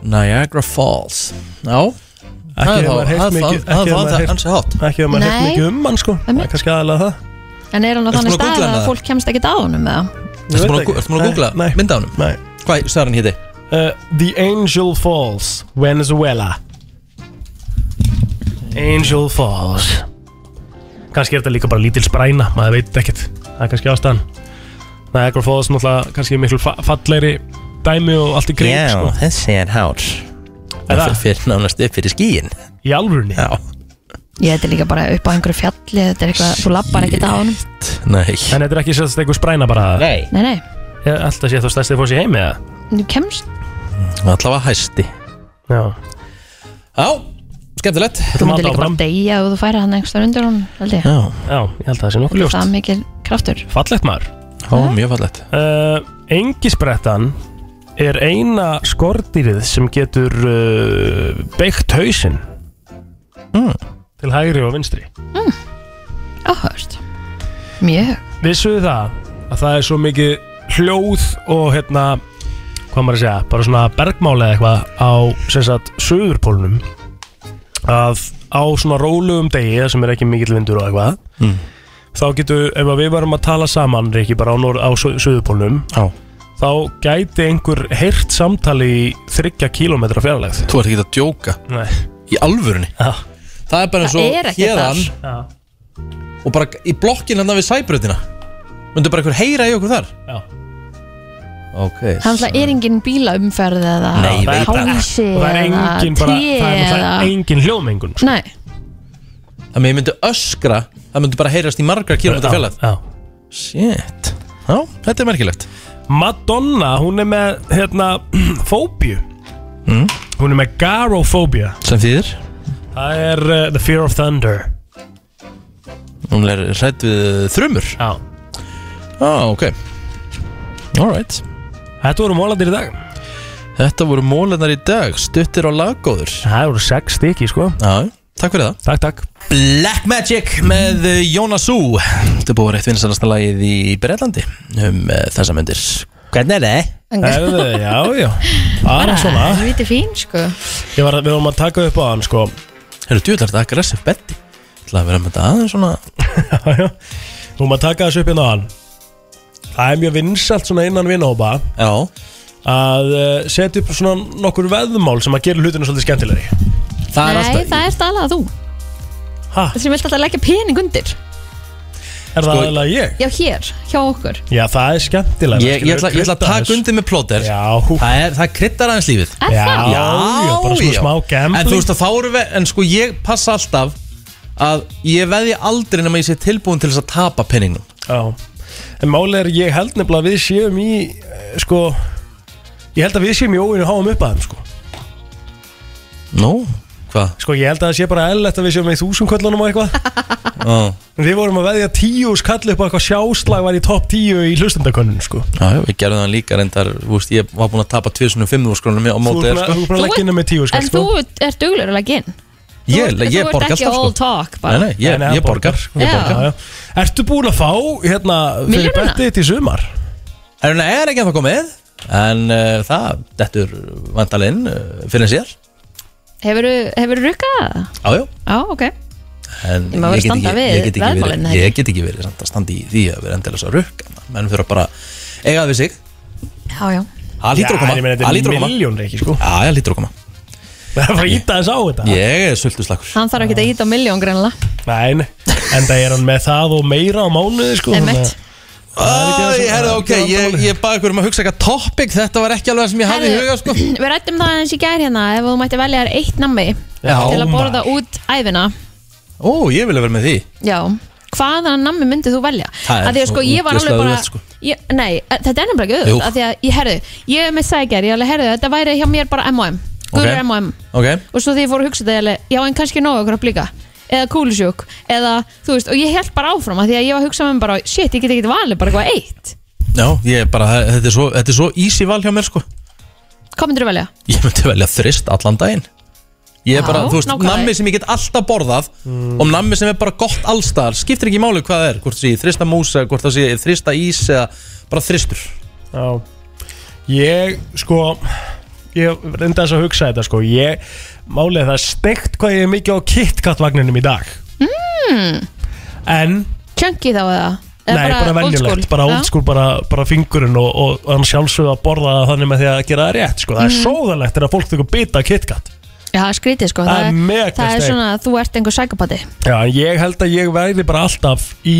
Speaker 4: Niagara
Speaker 2: Niagara Falls Já,
Speaker 4: Ekki
Speaker 2: Það er
Speaker 4: ef maður
Speaker 2: þá-
Speaker 4: heyrt
Speaker 2: það er það- það er
Speaker 4: mikið ekki ef
Speaker 2: það-
Speaker 4: maður heyrt-
Speaker 2: ansi hátt.
Speaker 4: Ekki ef maður heyrt
Speaker 3: Nei.
Speaker 4: mikið um hann sko Það er kannski aðalega það
Speaker 3: En er hann á
Speaker 2: Ertu
Speaker 3: þannig
Speaker 2: búin að
Speaker 3: stað
Speaker 2: googla hana?
Speaker 3: að fólk kemst ekkert á honum með það?
Speaker 2: Ertu
Speaker 4: Ég veit
Speaker 2: búin að
Speaker 4: ekki.
Speaker 2: gú- ertu búin að googla
Speaker 4: Nei, nei.
Speaker 2: mynda honum?
Speaker 4: Nei
Speaker 2: Hvað sagði hann héti?
Speaker 4: Uh, The Angel Falls, Venezuela Angel Falls Kanski er þetta líka bara lítil spræna maður veit ekkert, það er kannski ástæðan Niagara Falls náttúrulega kannski miklu fa fallegri dæmi og allt í kring
Speaker 2: Já,
Speaker 4: sko.
Speaker 2: þessi er hár
Speaker 4: Er
Speaker 2: Það
Speaker 4: það?
Speaker 2: fer- fer nánast upp fyrir skíin
Speaker 4: Í alvörunni?
Speaker 2: Já,
Speaker 3: Ég þetta er líka bara upp á einhverju fjalli Þetta er eitthvað, þú lappar ekkert á honum
Speaker 2: nei
Speaker 4: En þetta er ekki sérst einhver spræna bara
Speaker 2: Nei
Speaker 3: Nei, nei,
Speaker 4: Alltaf sé þú stærsti fórs í heimi eða?
Speaker 3: þú kemst
Speaker 2: Allavega hæsti
Speaker 4: Já
Speaker 2: Já, skemmtilegt
Speaker 3: Þú myndir líka bara deyja og þú færi hann einhverstað undir honum held ég.
Speaker 2: Já,
Speaker 4: Já, ég held að það sé nokkuð
Speaker 3: Það er
Speaker 4: ljóst
Speaker 3: það mikil kraftur
Speaker 4: Fallegt maður
Speaker 2: Já, mjög fallegt
Speaker 4: uh, Engisbrettan er eina skordýrið sem getur uh, beigt hausinn
Speaker 2: Mm.
Speaker 4: til hægri og vinstri
Speaker 3: Áhörst Mjög
Speaker 4: Vissuðu það að það er svo mikið hljóð og hérna hvað maður að segja, bara svona bergmáli eða eitthvað á sem sagt söðurpólnum að á svona rólegum degi þar sem er ekki mikill vindur og eitthvað
Speaker 2: Mm.
Speaker 4: þá getur, ef að við varum að tala saman Riki, bara á, norð, á sö- söðurpólnum
Speaker 2: Já.
Speaker 4: þá gæti einhver heyrt samtali í þryggja kílómetra fjarlægð
Speaker 2: Þú ert ekki að djóka
Speaker 4: Nei.
Speaker 2: Í alvörunni
Speaker 4: Já.
Speaker 2: Það er bara eins
Speaker 3: Það er
Speaker 2: og
Speaker 3: ekki
Speaker 2: hérðan
Speaker 4: Já.
Speaker 2: Og bara í blokkin hann við sæbröðina Myndu bara einhver heyra í okkur þar
Speaker 4: Já.
Speaker 2: Ok
Speaker 3: Það náttúrulega er engin bílaumferð eða
Speaker 2: Nei, ég veit það.
Speaker 3: hási
Speaker 4: og það er
Speaker 3: eða
Speaker 4: engin bara,
Speaker 3: tré
Speaker 4: það er
Speaker 3: eða
Speaker 4: náttúrulega engin hljóðmengun sko.
Speaker 3: Nei,
Speaker 2: Það með ég myndi öskra Það myndi bara heyrast í margra kílómetra fjallat
Speaker 4: Já, já.
Speaker 2: Shit Já, þetta er merkilegt
Speaker 4: Madonna, hún er með hérna, <clears throat> fóbíu hún er með garofóbía
Speaker 2: Mm. Sem þýðir
Speaker 4: það er uh, the fear of
Speaker 2: <laughs>
Speaker 4: thunder
Speaker 2: Hún er hrætt við þrumur Já,
Speaker 4: Já.
Speaker 2: ok Alright
Speaker 4: þetta voru mólandir í dag
Speaker 2: Þetta voru mólunar í dag Stuttir og laggóður
Speaker 4: það voru sex stykki sko
Speaker 2: Já, takk fyrir það
Speaker 4: takk takk
Speaker 2: Black Magic með eh, Jonas Ú Þetta er búið eitt vinsalasta lagið í Breitlandi um uh, þessa myndir Hvernig er það?
Speaker 4: Erðu, já, já bara svona
Speaker 3: það er viti fín sko
Speaker 4: Ég var, við vorum að taka upp á hann sko
Speaker 2: Herru, djúðlar, þetta er aggressiv betti Það að vera með þetta aðeins svona
Speaker 4: <laughs> Já, já. við vorum að taka þessu upp inn á hann það er mjög vinsalt svona innan vinahópa
Speaker 2: Já,
Speaker 4: að eh, setja upp svona nokkur veðmál sem að gera hlutinu svolítið skemmtilegri
Speaker 2: það er
Speaker 3: Nei,
Speaker 2: alltaf
Speaker 3: það er stalað þú
Speaker 4: Ha?
Speaker 3: Það sem vilt alltaf leggja pening undir
Speaker 4: Er
Speaker 2: Sko-
Speaker 4: það aðeinslega ég?
Speaker 3: Já, hér, hjá okkur
Speaker 4: Já, það er skemmtilega
Speaker 2: Ég, ég, ætla, ég ætla að taka undir með plóter
Speaker 4: Já, hú
Speaker 2: Það, er, það kryddar aðeins lífið
Speaker 3: Er
Speaker 4: Já,
Speaker 3: það?
Speaker 4: já, bara svona
Speaker 2: já.
Speaker 4: smá
Speaker 2: En þú
Speaker 4: gambling
Speaker 2: veist að þá eru við En sko ég passa alltaf Að ég veði aldrei nema ég sé tilbúin til þess að tapa penningnum
Speaker 4: Já, en málið er ég held nefnilega að við séum í eh, sko, ég held að við séum í óinu háum upp að þeim sko
Speaker 2: Nú, hvað?
Speaker 4: Sko, ég held að það sé bara eðlilegt að við séum í þúsundköllunum og eitthvað
Speaker 3: <laughs>
Speaker 2: Já,
Speaker 4: En Við vorum að veðja tíu skall upp á eitthvað sjáslag var í topp tíu í hlustendakönnun sko
Speaker 2: já, já, við gerðum það líka reyndar Þú veist, ég var búin að tapa 2500 skrónum á
Speaker 4: Þú
Speaker 2: móti þér
Speaker 4: er
Speaker 2: sko.
Speaker 4: búin að
Speaker 3: Þú
Speaker 4: leggja
Speaker 3: ert-
Speaker 4: inn með tíu sko. skall
Speaker 3: En þú ert duglur að leggja inn Þú
Speaker 2: Ég,
Speaker 3: ert-
Speaker 2: ég borgar
Speaker 3: Þú ert ekki
Speaker 2: alltaf
Speaker 3: all
Speaker 2: sko
Speaker 3: talk
Speaker 2: Nei,
Speaker 3: bara
Speaker 2: nei, ég,
Speaker 4: Nei, nei,
Speaker 2: ég
Speaker 4: hann borgar.
Speaker 2: borgar
Speaker 4: Ég
Speaker 3: Já.
Speaker 4: borga, Sko, já. Ertu búin að fá hérna fyrir
Speaker 3: Milljónina?
Speaker 4: bettið þitt í sumar? <laughs>
Speaker 2: Erum það er ekki að það komið En uh, það, þetta er vandalinn uh, fyrir en síðar
Speaker 3: Hefur rukkað það?
Speaker 2: Já, já
Speaker 3: Já, ok
Speaker 2: En
Speaker 3: Ég má vera að
Speaker 2: get
Speaker 3: standa
Speaker 2: ekki-
Speaker 3: við
Speaker 2: ég get ekki verið-
Speaker 3: veðmálin, eða
Speaker 2: Ég
Speaker 3: ekki?
Speaker 2: get ekki verið samt að standa í því að vera endilega að rukka Menn fyrir að bara eiga það við sig
Speaker 3: Já, já
Speaker 2: Það lítur að
Speaker 4: Já, ég
Speaker 2: koma
Speaker 4: meina,
Speaker 2: Það lítur
Speaker 4: Þetta
Speaker 2: að
Speaker 4: er
Speaker 2: koma
Speaker 4: miljón reiki sko
Speaker 2: Já, það lítur að koma
Speaker 4: Það er bara að íta þess á þetta
Speaker 2: Ég er sultuslakur
Speaker 3: Hann þarf ekki að íta á miljón greinlega
Speaker 4: Nei, nei. en það er hann með það og meira á mánuði sko
Speaker 3: Einmitt.
Speaker 2: Æ, herra, ok, ég,
Speaker 4: ég
Speaker 2: ég baði ykkur um að hugsa eitthvað topic Þetta var ekki alveg það sem ég hafði í
Speaker 3: Herðu,
Speaker 2: huga sko
Speaker 3: <clears throat> Við rættum það eins í gær hérna Ef þú mætti velja þér eitt nammi
Speaker 2: Já,
Speaker 3: Til að borða
Speaker 4: maður.
Speaker 3: út æfina
Speaker 2: Ó, ég vilja vera með því
Speaker 3: Já Hvaðan nammi myndið þú velja?
Speaker 2: Það er
Speaker 3: Af því að
Speaker 2: svo
Speaker 3: sko ég var
Speaker 2: ógeðslega
Speaker 3: alveg bara
Speaker 2: auðvelt, sko.
Speaker 3: ég, Nei, e, þetta er nefnilega ekki
Speaker 2: Jú.
Speaker 3: auðvitað Af því að ég herðu Ég er með sækjar, ég alveg herðu Þetta væri hjá mér bara M&M Gulur
Speaker 2: Ok.
Speaker 3: M&M
Speaker 2: Ok,
Speaker 3: Og svo því ég fór að hugsa þetta ég alveg Já, en kannski nógu okkur að blíka Eða kúlusjúk Eða, þú veist Og ég held bara áfram af Því að ég var að hugsa með mér bara Shit, ég get ekki valið bara eitthvað eitt
Speaker 2: já, ég er bara Þetta er svo, þetta er svo easy val hjá mér sko
Speaker 3: Hvað myndir velja?
Speaker 2: Ég myndi velja þrist allan daginn Ég er
Speaker 3: Já,
Speaker 2: bara, þú veist,
Speaker 3: nákvæmlega.
Speaker 2: nammi sem ég get alltaf borðað og nammi sem er bara gott allstar skiptir ekki máli hvað það er, hvort það sé þrista músa hvort það sé þrista ís eða bara þristur
Speaker 4: Já Ég sko ég reynda þess að hugsa þetta sko Ég málið það steikt hvað ég er mikið á KitKat vagninum í dag
Speaker 3: mm,
Speaker 4: En,
Speaker 3: Chunky þá eða? Eða
Speaker 4: nei, bara,
Speaker 3: old school?
Speaker 4: venjulegt Bara
Speaker 3: Já.
Speaker 4: old school, bara, bara fingurinn Og, og, og hann sjálfsögðu að borða það þannig með því að gera það rétt sko. Það er
Speaker 3: Mhm.
Speaker 4: sóðalegt þegar fólk tekur bita af KitKat
Speaker 3: Já, það er skrítið sko
Speaker 4: Það er mega
Speaker 3: það er
Speaker 4: steik.
Speaker 3: svona að þú ert einhver sækabati
Speaker 4: Já, en ég held að ég væri bara alltaf í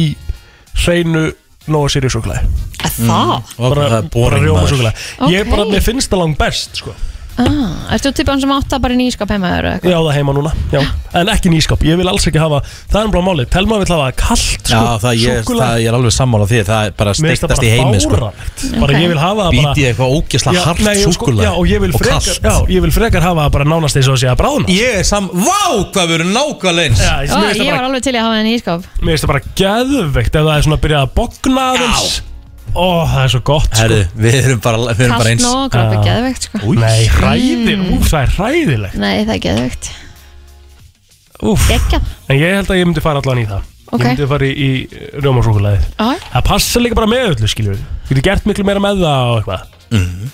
Speaker 4: hreinu Nóa Sirius sjúklaði
Speaker 3: það? Mm,
Speaker 11: og
Speaker 4: bara,
Speaker 11: það er boring,
Speaker 4: bara rjóma
Speaker 11: maður.
Speaker 4: sjúklaði Ég bara,
Speaker 3: Ókei.
Speaker 4: mér finnst það langt best sko.
Speaker 3: ah, Ertu tippan sem átt það bara í nýskap heima þér eða
Speaker 4: Ég á það heima núna, já En ekki nýskap, ég vil alls ekki hafa Það er bara máli, telma vill hafa kalt sko,
Speaker 11: Já, það ég,
Speaker 4: súkkulaði.
Speaker 11: það ég er alveg sammála því Það er bara
Speaker 4: Mér finnst það
Speaker 11: steiktast
Speaker 4: bara
Speaker 11: í heimi sko.
Speaker 4: fáránlegt. Bara ég vil hafa það bara-
Speaker 11: Bítið eitthvað ógislega
Speaker 4: Já,
Speaker 11: hart
Speaker 4: nei, og sko-
Speaker 11: súkulega
Speaker 4: Já, og ég vil frekar, já, ég vil frekar hafa það bara nánast eins og sé að bráðna
Speaker 11: Ég er sam... Vá, hvað við erum nákvæmlega eins
Speaker 4: Já,
Speaker 3: Já,
Speaker 4: mér
Speaker 3: ég
Speaker 4: finnst það
Speaker 3: var
Speaker 4: bara-
Speaker 3: alveg til í að hafa það í nýskap
Speaker 4: mér finnst það bara geðveikt Ef það er svona að byrja að bogna aðeins Ó, það er svo gott sko.
Speaker 11: Herðu, við erum bara, við erum bara
Speaker 3: Kalt
Speaker 11: eins
Speaker 3: nóg og grápi
Speaker 4: Já.
Speaker 3: geðvegt sko
Speaker 4: Nei, hræðir, úf, það er hræðilegt
Speaker 3: Nei, það er geðvegt
Speaker 4: Úf,
Speaker 3: Gekja,
Speaker 4: en ég held að ég myndi fara allan í það
Speaker 3: Ok.
Speaker 4: Ég myndi fara í, í rjómasúkulæði
Speaker 3: Já.
Speaker 4: Það passa líka bara með öllu, skiljum við Þú getur gert miklu meira með það og eitthvað mm.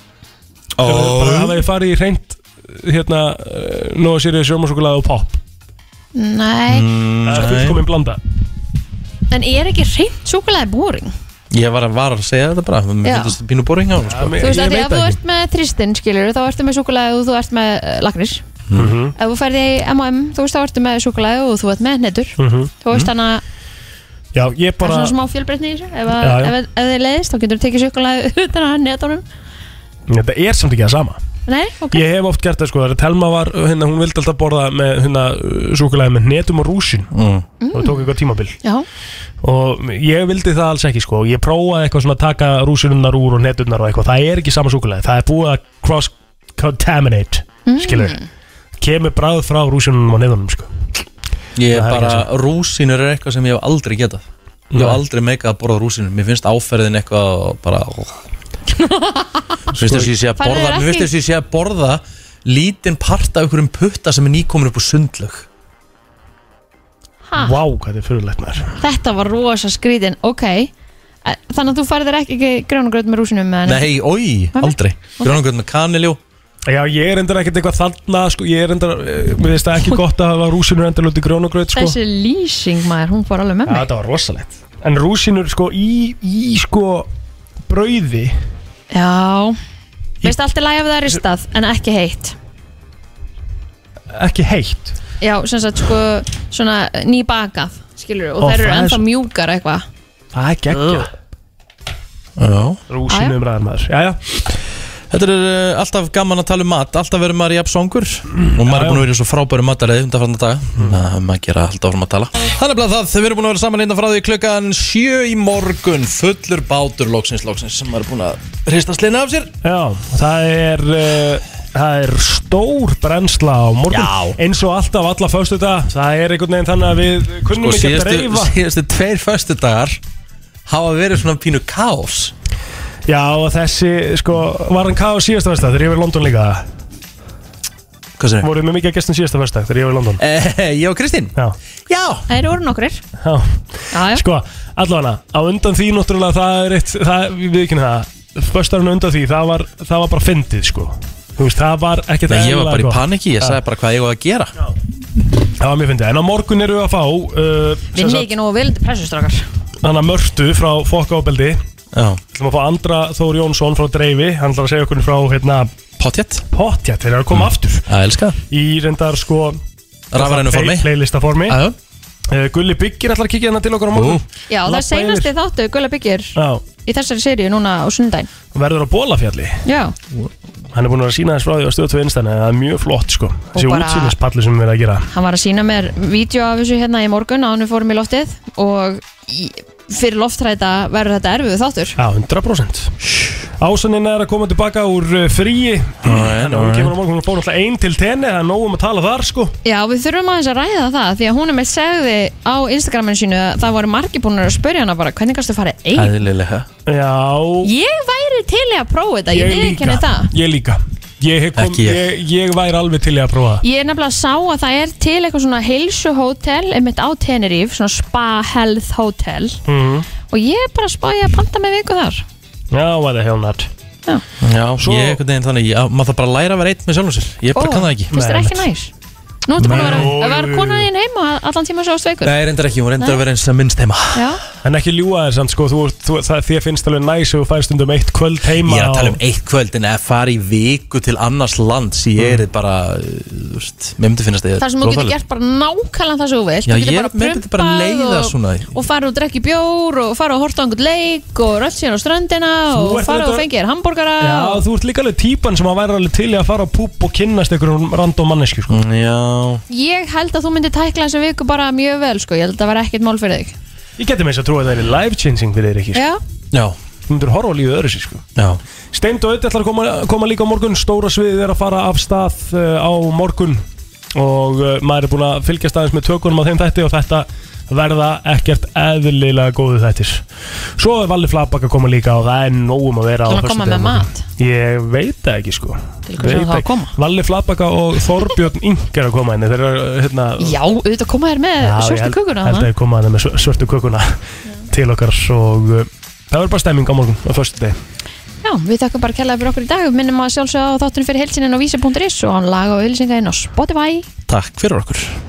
Speaker 4: Bara hafa ég farið í reynd hérna, uh, Nóa Sirius rjómasúkulæði og pop
Speaker 3: nei
Speaker 4: Mm.
Speaker 11: Mm,
Speaker 4: Það er fullkomin blanda
Speaker 3: En er ekki reynd súkulega boring?
Speaker 11: Ég var að, var að segja þetta bara Mér
Speaker 3: Já.
Speaker 11: finnst þetta pínu boring á hún sko.
Speaker 3: Þú veist að því að þú ert með þristinn skilur þá ertu með súkulega og þú ert með uh, lagnir
Speaker 11: Mhm.
Speaker 3: Ef þú ferði í M&M þú veist þá ertu með súkulega og þú ert með netur
Speaker 4: Mhm.
Speaker 3: Þú veist þannig að
Speaker 4: Já,
Speaker 3: það
Speaker 4: ég
Speaker 3: er
Speaker 4: bara
Speaker 3: svona smá fjölbreytni í þessu Ef, að,
Speaker 4: Já, já.
Speaker 3: ef, að- ef þið leiðist þá getur þú tekið súkulega <laughs> utan að netunum
Speaker 4: Þetta er samt ekki það sama
Speaker 3: Nei, ok
Speaker 4: Ég hef oft gert það sko, þegar Telma var hérna, hún vildi alltaf borða með hérna, súkulæði með netum og rúsin
Speaker 11: mm.
Speaker 4: og tók eitthvað tímabil
Speaker 3: Já,
Speaker 4: og ég vildi það alls ekki sko ég prófaði eitthvað svona að taka rúsinunnar úr og netunnar og eitthvað, það er ekki sama súkulega það er búið að cross-contaminate
Speaker 11: Mm.
Speaker 4: skilur, kemur bráð frá rúsinunum og netunum sko
Speaker 11: Ég
Speaker 4: Það er
Speaker 11: bara,
Speaker 4: ekki svo.
Speaker 11: rúsínur er eitthvað sem ég hef aldrei getað Ég hef
Speaker 4: Nei.
Speaker 11: aldrei meikað að borða rúsínur Mér finnst áferðin eitthvað og bara Mér finnst þess að ég sé að
Speaker 3: Færðu
Speaker 11: borða
Speaker 3: þér
Speaker 11: Mér finnst
Speaker 3: ekki-
Speaker 11: þess að ég sé að borða Lítinn part af einhverjum putta sem er nýkomin upp úr sundlög
Speaker 3: Ha?
Speaker 4: Vá, hvað þetta er fyrirlegt maður
Speaker 3: þetta var rosa skrítin, ok Eh, Þannig að þú færðir ekki, ekki gránugröð með rúsinum með netum?
Speaker 11: Nei, oi, aldrei Grjónangröð með kaniljó
Speaker 4: Já, ég er endur ekkert eitthvað þarna sko, ég er endur, mér finnst það
Speaker 3: <laughs>
Speaker 4: ekki gott að hafa rúsinur endur út í grjónugröð sko
Speaker 3: Þessi lýsing maður, hún fór alveg með
Speaker 4: Já,
Speaker 3: mig
Speaker 4: þetta var rosalegt En rúsinur sko í, í sko brauði
Speaker 3: Já Veist allt er læg ef það er ristað en ekki heitt
Speaker 4: ekki heitt
Speaker 3: Já, sem sagt sko svona nýbakað skilur og
Speaker 4: Ó,
Speaker 3: þær eru
Speaker 4: það er
Speaker 3: ennþá
Speaker 4: svo-
Speaker 3: mjúkar eitthvað
Speaker 4: Það er geggja
Speaker 3: Jæja.
Speaker 4: Rúsinum ræðar maður, já,
Speaker 11: Þetta er uh, alltaf gaman að tala um mat Alltaf verður maður jafn songur Og maður er búin að vera í svo frábæru matarið undanfarnar daga
Speaker 2: Ah,
Speaker 11: Þannig að maður gera alltaf áfram að tala Þannig að það, við erum búin að vera saman innan frá því klukkan sjö í morgun Fullur bátur loksins loksins sem maður er búin að hrista slinna af sér
Speaker 4: Já, það er uh, það er stór brennsla á morgun
Speaker 11: Já.
Speaker 4: eins og alltaf alla föstu dag það er einhvern veginn þannig að við kunnum
Speaker 11: Sko
Speaker 4: ekki að
Speaker 11: síðastu,
Speaker 4: dreifa
Speaker 11: síðastu tveir föstudagar hafa verið svona pínu kaos
Speaker 4: Já, og þessi, sko, var hann hvað á síðasta versta þegar ég var í London líka?
Speaker 11: Hvað sér?
Speaker 4: Voruð með mikið að gestum síðasta versta þegar ég var í London
Speaker 11: eh, Ég og Kristín
Speaker 4: Já,
Speaker 11: Já
Speaker 3: Það eru orðin okkur
Speaker 4: já,
Speaker 3: já.
Speaker 4: Sko, allavega, á undan því náttúrulega það er eitt, það, við ekki það föstarinn undan því, það var, það var bara fyndið, sko Þú veist, það var ekkert
Speaker 11: Nei, ég var
Speaker 4: eðlilega
Speaker 11: bara í
Speaker 4: gott.
Speaker 11: paniki, ég
Speaker 4: Já.
Speaker 11: sagði bara hvað ég var að gera
Speaker 4: Það var mjög fyndið, en á morgun eru við að fá uh, sem
Speaker 3: Vinni
Speaker 4: sagt-
Speaker 3: ekki nógu vel pressustrákar
Speaker 4: Þannig að Mörtu frá Fokkaóbeldi
Speaker 11: Já
Speaker 4: Þannig að fá Andra Þór Jónsson frá Dreifi Hann ætlar að segja okkur frá hérna
Speaker 11: Potjett
Speaker 4: Potjett, þeir eru að koma
Speaker 11: Mm.
Speaker 4: aftur
Speaker 11: Það elska það.
Speaker 4: Í reyndar sko
Speaker 11: Rafrænu formi.
Speaker 4: Playlista formi
Speaker 11: Aðjó
Speaker 4: Gulli Byggir ætlar að kíkja hérna til okkar á morgun
Speaker 3: Já, það
Speaker 4: Labba
Speaker 3: er seinasti þáttu Gula Byggir
Speaker 4: Já,
Speaker 3: í þessari seríu núna á sundaginn
Speaker 4: verður á Bólafjalli
Speaker 3: Já,
Speaker 4: Hann er búin að sína þess frá því á stöðu tvö innstæðan Það er mjög flott sko Þessi
Speaker 3: bara-
Speaker 4: útsýnispalli sem við erum að gera
Speaker 3: hann var að sína mér vídeo af þessu hérna í morgun á hann við fórum í loftið og í, fyrir loftræta verður þetta erfið þáttur
Speaker 4: Já, 100% Ásanina er að koma tilbaka úr uh, fríi Þannig að hún kemur á morgun Hún er búin alltaf ein til tenni Það er nóg um að tala þar sko
Speaker 3: Já, við þurfum aðeins að ræða það því að hún er með segði á Instagraminu sínu að það voru margir búin að spyrja hana bara hvernig kannstu farið einn?
Speaker 11: Æðlilega
Speaker 4: Já
Speaker 3: Ég væri til í að prófa þetta, ég
Speaker 4: líka.
Speaker 3: viðkynni það
Speaker 4: Ég líka Ég, hef kom,
Speaker 11: Ekki
Speaker 4: ég.
Speaker 11: ég.
Speaker 4: Ég, væri alveg til í að prófa það.
Speaker 3: Ég er nefnilega að sá að það er til eitthvað svona heilsuhótel einmitt á Tenerife, svona spa health hotel
Speaker 4: mm.
Speaker 3: og ég er bara að spá ég að panta með viku þar
Speaker 4: Já, what the hell not
Speaker 11: Já, ég einhvern veginn þannig að maður þarf bara að læra að vera einn með sjálfum sér Ég bara kann það ekki
Speaker 3: Finnst þér ekki næs? Nú ertu búin að vera,
Speaker 11: Nei.
Speaker 3: var konan þín heima allan tíma svo sveikur?
Speaker 11: Nei, reyndar ekki, hún reyndar
Speaker 3: Nei.
Speaker 11: að vera eins að minnst heima
Speaker 3: Já,
Speaker 4: En ekki ljúa þér samt sko, þú, þú, það, þér finnst alveg næs og þú færst um eitt kvöld heima
Speaker 11: Ég er að tala um
Speaker 4: og-
Speaker 11: eitt kvöld en að fara í viku til annars lands Ég er bara, uh, þú veist, mér myndi finnast það
Speaker 3: þar sem þú getur gert bara nákvæmlega það sem þú vilt
Speaker 11: Já,
Speaker 3: Þú getur
Speaker 11: ég-
Speaker 3: bara
Speaker 11: mér getur bara
Speaker 3: prumpað
Speaker 11: leiða
Speaker 3: og-
Speaker 11: svona.
Speaker 3: Og fara og drekki bjór og fara og horta á einhvern leik og rölt síðan á ströndina
Speaker 4: Þú
Speaker 3: og
Speaker 4: ert
Speaker 3: fara og
Speaker 4: auðvitað-
Speaker 3: fengi þér hambúrgara
Speaker 4: Já, þú ert líka alveg típan sem að væri alveg til í að fara á púp og kynnast einhverjum random mannesku sko.
Speaker 11: Mm, Já
Speaker 3: Ég held að þú myndir tækla þessa viku bara mjög vel sko, ég held að það var ekkert mál fyrir þig
Speaker 4: Ég geti með þess að trúa að það er life changing fyrir þér ekki sko.
Speaker 3: Já,
Speaker 11: Já
Speaker 4: Þú myndir horfa á lífið öðru sér sko
Speaker 11: Já
Speaker 4: Steind og Ödd ætlar að koma, koma líka á morgun Stóra sviðið er að fara af stað uh, á morgun Og uh, maður er búin að fylgjast aðeins með tökunum á þeim þætti Og þetta verða ekkert eðlilega góðu þættir Svo er Valli Flabak að koma líka Og það er nógum að vera á
Speaker 3: Ætlar hann að koma
Speaker 4: föstudeginum.
Speaker 3: með mat?
Speaker 4: Ég veit það ekki sko
Speaker 3: Til hvers á
Speaker 4: Veit
Speaker 3: þá að
Speaker 4: ekki.
Speaker 3: koma?
Speaker 4: Valli Flabaka og Þorbjörn Ink er að koma henni Þeir eru hérna
Speaker 3: já auðvitað koma þér með
Speaker 4: Já, ég
Speaker 3: svörstu
Speaker 4: held-
Speaker 3: kökuna
Speaker 4: held að
Speaker 3: hana.
Speaker 4: ég koma að það með svör- svörtu kökuna til okkar og uh, það verður bara stemming á morgun á förstu deg
Speaker 3: Já, við þakkum bara kærlega fyrir okkur í dag Við minnum að sjálfsögða á þáttunum fyrir heilsinin á vísi.is og hann laga og auðlýsinga inn á Spotify
Speaker 11: Takk fyrir okkur